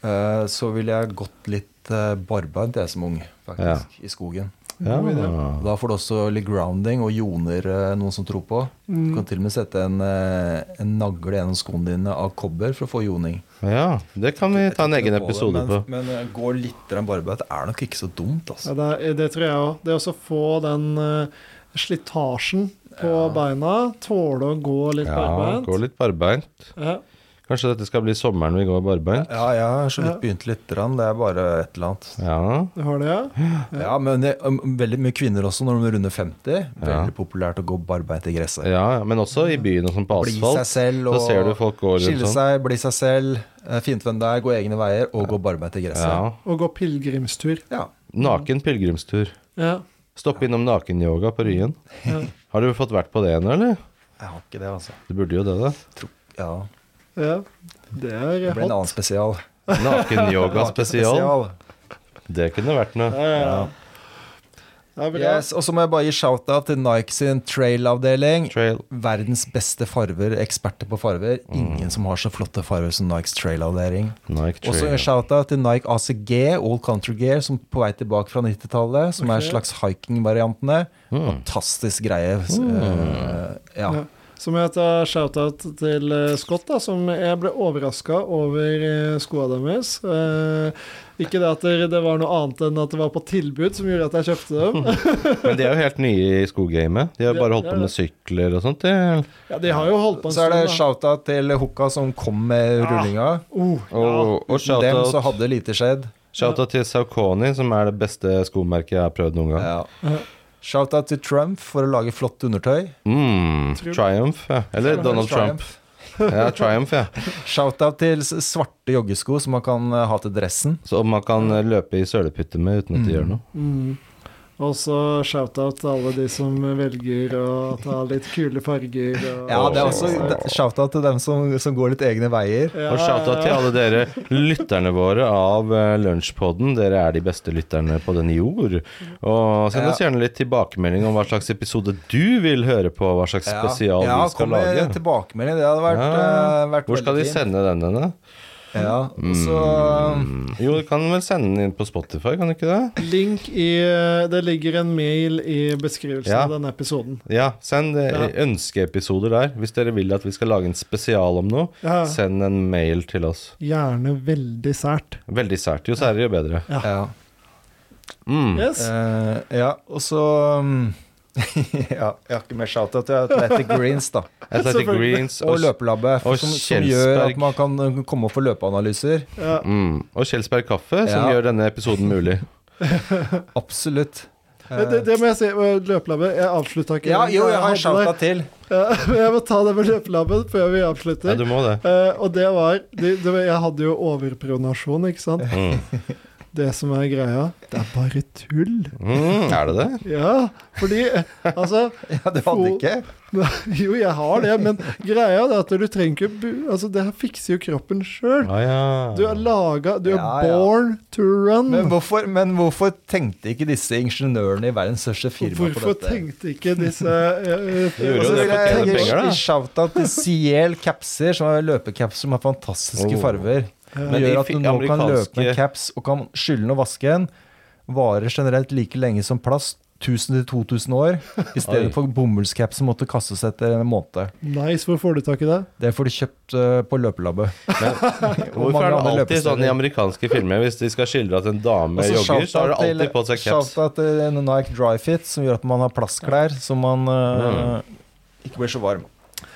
Speaker 1: eh, så ville jeg gått litt eh, barbeint, jeg som ung, faktisk, i skogen.
Speaker 2: Ja.
Speaker 3: God idé.
Speaker 1: Da får du også litt grounding og joner eh, noen som tror på. Du kan til og med sette en, eh, en nagle gjennom skoene dine av kobber for å få joning.
Speaker 2: Ja, det kan vi ta en egen episode på.
Speaker 1: men, men eh, gå litt grann barbeint er nok ikke så dumt,
Speaker 3: Ja,
Speaker 1: altså.
Speaker 3: det, er- det tror jeg òg. Det å så få den eh, slitasjen på beina, tåle å gå litt
Speaker 2: Ja,
Speaker 3: barbeint.
Speaker 2: gå litt barbeint.
Speaker 3: Ja.
Speaker 2: Kanskje dette skal bli sommeren vi går barbeint?
Speaker 1: Ja, jeg har så vidt begynt litt, grann, det er bare et eller annet.
Speaker 2: Ja.
Speaker 3: Du har det, ja?
Speaker 1: Ja, men det, um, veldig mye kvinner også når de runder 50.
Speaker 2: Ja.
Speaker 1: Veldig populært å gå barbeint i gresset.
Speaker 2: ja, men også i byen og sånn på
Speaker 1: Bli seg
Speaker 2: asfalt.
Speaker 1: selv og
Speaker 2: Så ser du folk gå rundt
Speaker 1: skille
Speaker 2: sånn.
Speaker 1: seg, bli seg selv. eh, Fint hvem det er, gå egne veier og gå barbeint i gresset.
Speaker 2: Ja.
Speaker 3: Og gå pilegrimstur.
Speaker 1: Ja.
Speaker 2: Naken pilegrimstur.
Speaker 3: Ja.
Speaker 2: Stopp innom nakenyoga på Ryen.
Speaker 3: Ja.
Speaker 2: Har du fått vært på det ennå, eller?
Speaker 1: Jeg har ikke det, altså.
Speaker 2: Du burde jo det, da.
Speaker 1: Ja.
Speaker 3: ja. Det er
Speaker 1: Det blir en
Speaker 3: hot.
Speaker 1: annen spesial.
Speaker 2: Nakenyoga spesial.
Speaker 1: Spesial.
Speaker 2: Det kunne vært noe.
Speaker 3: Ja, ja. Det er bra.
Speaker 1: Yes, og så må jeg bare gi shout-out til Nike sin trail-avdeling.
Speaker 2: Trail.
Speaker 1: Verdens beste farver, eksperter på farver.
Speaker 2: Mm.
Speaker 1: Ingen som har så flotte farver som Nikes trail-avdeling.
Speaker 2: Nike
Speaker 1: Og så en
Speaker 2: trail.
Speaker 1: shout-out til Nike ACG, All Country Gear, som er på vei tilbake fra 90-tallet. Som er
Speaker 3: Ok.
Speaker 1: slags hiking-variantene.
Speaker 2: Mm.
Speaker 1: Fantastisk greie. S- eh, ja.
Speaker 3: Ja. Så må jeg ta shout-out til eh, Scott, da, som jeg ble overraska over eh, skoa deres. Eh, ikke det at det- det var noe annet enn at det var på tilbud som gjorde at jeg kjøpte dem.
Speaker 2: Men de er jo helt nye i skogamet. De har bare holdt på med sykler og sånt. Det.
Speaker 3: Ja, De har jo holdt på en
Speaker 1: Så er det
Speaker 3: stund. da.
Speaker 1: shout-out til Hukka, som kom med rullinga.
Speaker 3: Oh, ja.
Speaker 2: Og, og
Speaker 1: Uten dem så
Speaker 2: shout-out
Speaker 1: hadde lite skjedd.
Speaker 2: shout til Saucony, som er det beste skomerket jeg har prøvd noen gang.
Speaker 1: Ja.
Speaker 3: Ja.
Speaker 1: Shout-out til Trump for å lage flott undertøy.
Speaker 2: Mm,
Speaker 3: Tror-
Speaker 2: Triumph, ja. Eller Donald Trump. Ja, Triumph, ja.
Speaker 1: Shout-out til s- svarte joggesko som man kan eh, ha til dressen.
Speaker 2: Som man kan eh, løpe i sølepytter med uten at det gjør noe.
Speaker 3: Mm. Og så shout-out til alle de som velger å ta litt kule farger. Og,
Speaker 1: Ja, det er også d- shout-out til dem som, som går litt egne veier.
Speaker 3: Ja,
Speaker 2: Og shout-out til
Speaker 3: ja,
Speaker 2: alle dere lytterne våre av eh, Lunsjpodden. Dere er de beste lytterne på denne jord. Og send oss
Speaker 1: Ja.
Speaker 2: gjerne litt tilbakemelding om hva slags episode du vil høre på, hva slags spesial
Speaker 1: ja,
Speaker 2: vi skal
Speaker 1: kom med
Speaker 2: lage.
Speaker 1: tilbakemelding. Det hadde vært,
Speaker 2: Ja.
Speaker 1: eh, vært
Speaker 2: Hvor skal de
Speaker 1: veldig fint.
Speaker 2: sende den Mm. henne?
Speaker 1: Ja, og så um,
Speaker 2: Jo, du kan vel sende den inn på Spotify, kan du ikke det?
Speaker 3: Link i eh, Det ligger en mail i beskrivelsen
Speaker 2: Ja.
Speaker 3: av denne episoden.
Speaker 2: Ja, send eh,
Speaker 3: Ja.
Speaker 2: ønskeepisoder der. Hvis dere vil at vi skal lage en spesial om noe,
Speaker 3: Ja.
Speaker 2: send en mail til oss.
Speaker 3: Gjerne veldig sært.
Speaker 2: Veldig sært. Jo særere, jo bedre.
Speaker 1: ja.
Speaker 2: Mm.
Speaker 3: Yes.
Speaker 1: Eh, ja, og eh, så mm, ja, jeg har ikke mer shout-out til Athletic Greens da.
Speaker 2: Athletic
Speaker 3: Selvfølgelig.
Speaker 2: Greens
Speaker 1: og
Speaker 2: og,
Speaker 1: Løpelabbet, for
Speaker 2: og
Speaker 1: som, som gjør
Speaker 2: Kjelsberg.
Speaker 1: at man kan eh, komme opp for løpeanalyser.
Speaker 3: Ja.
Speaker 2: mm, og Kjelsberg Kaffe, som
Speaker 1: Ja.
Speaker 2: gjør denne episoden mulig.
Speaker 1: Absolutt.
Speaker 3: Men Det,
Speaker 1: Eh,
Speaker 3: det må jeg si. eh, Løpelabbet, jeg avslutta ikke.
Speaker 1: ja, jo, jeg har en
Speaker 3: hadde det.
Speaker 1: shout-out til.
Speaker 3: Ja, men jeg må ta det med løpelabben før vi avslutter.
Speaker 2: Ja, du må det.
Speaker 3: Eh, og det var det, det, var- Jeg hadde jo overpronasjon, ikke sant?
Speaker 2: Mm.
Speaker 3: Det som er greia, det er bare tull.
Speaker 2: Mm, er det det?
Speaker 3: Ja, fordi eh, Altså,
Speaker 1: Ja, du hadde
Speaker 3: Fo-
Speaker 1: ikke?
Speaker 3: jo, jeg har det, men greia er at du trenger ikke bu- Altså, det her fikser jo kroppen sjøl.
Speaker 2: Ah, ja.
Speaker 3: Du er laga Du er
Speaker 1: Ja, ja.
Speaker 3: born to run.
Speaker 1: Men hvorfor, men hvorfor tenkte ikke disse ingeniørene i verdens største firma på
Speaker 3: Hvorfor
Speaker 1: dette?
Speaker 3: tenkte ikke disse eh,
Speaker 2: Det gjorde
Speaker 1: Og
Speaker 2: jo
Speaker 1: så
Speaker 2: det
Speaker 1: vil
Speaker 2: for å
Speaker 1: jeg
Speaker 2: tjene
Speaker 1: gi
Speaker 2: penger, da.
Speaker 1: en shout-out til Ciel capser, som er løpecapser som har fantastiske
Speaker 2: Oh.
Speaker 1: farger. Det
Speaker 2: Men de
Speaker 1: gjør at du
Speaker 2: fi-
Speaker 1: nå kan løpe med
Speaker 2: amerikanske-
Speaker 1: caps og kan skylle den og vaske den. Varer generelt like lenge som plast, 1000-2000 år, i stedet
Speaker 2: Oi.
Speaker 1: for bomullscaps som måtte kastes etter en måned.
Speaker 3: Nice, hvor får du tak i det?
Speaker 1: Det får du kjøpt eh, på løpelabbet.
Speaker 2: Hvorfor
Speaker 1: mange
Speaker 2: er
Speaker 1: andre
Speaker 2: det alltid
Speaker 1: løpesteder.
Speaker 2: sånn i amerikanske filmer hvis de skal skildre at en dame
Speaker 1: Og så
Speaker 2: jogger, så har
Speaker 1: Altså,
Speaker 2: det
Speaker 1: shout-out til-
Speaker 2: alltid på seg caps?
Speaker 1: Shout-out til en Nike Dryfit, som gjør at man har plastklær som man eh,
Speaker 2: Mm.
Speaker 1: ikke blir så varm.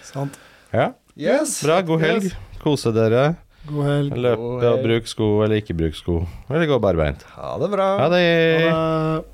Speaker 3: Sant.
Speaker 2: Ja.
Speaker 1: Yes!
Speaker 2: Bra, god helg. Kose dere.
Speaker 3: God helg.
Speaker 2: Løpe og bruk sko eller ikke bruk sko. Eller gå barbeint.
Speaker 1: Ha det bra.
Speaker 2: Ha det.
Speaker 3: Ha det.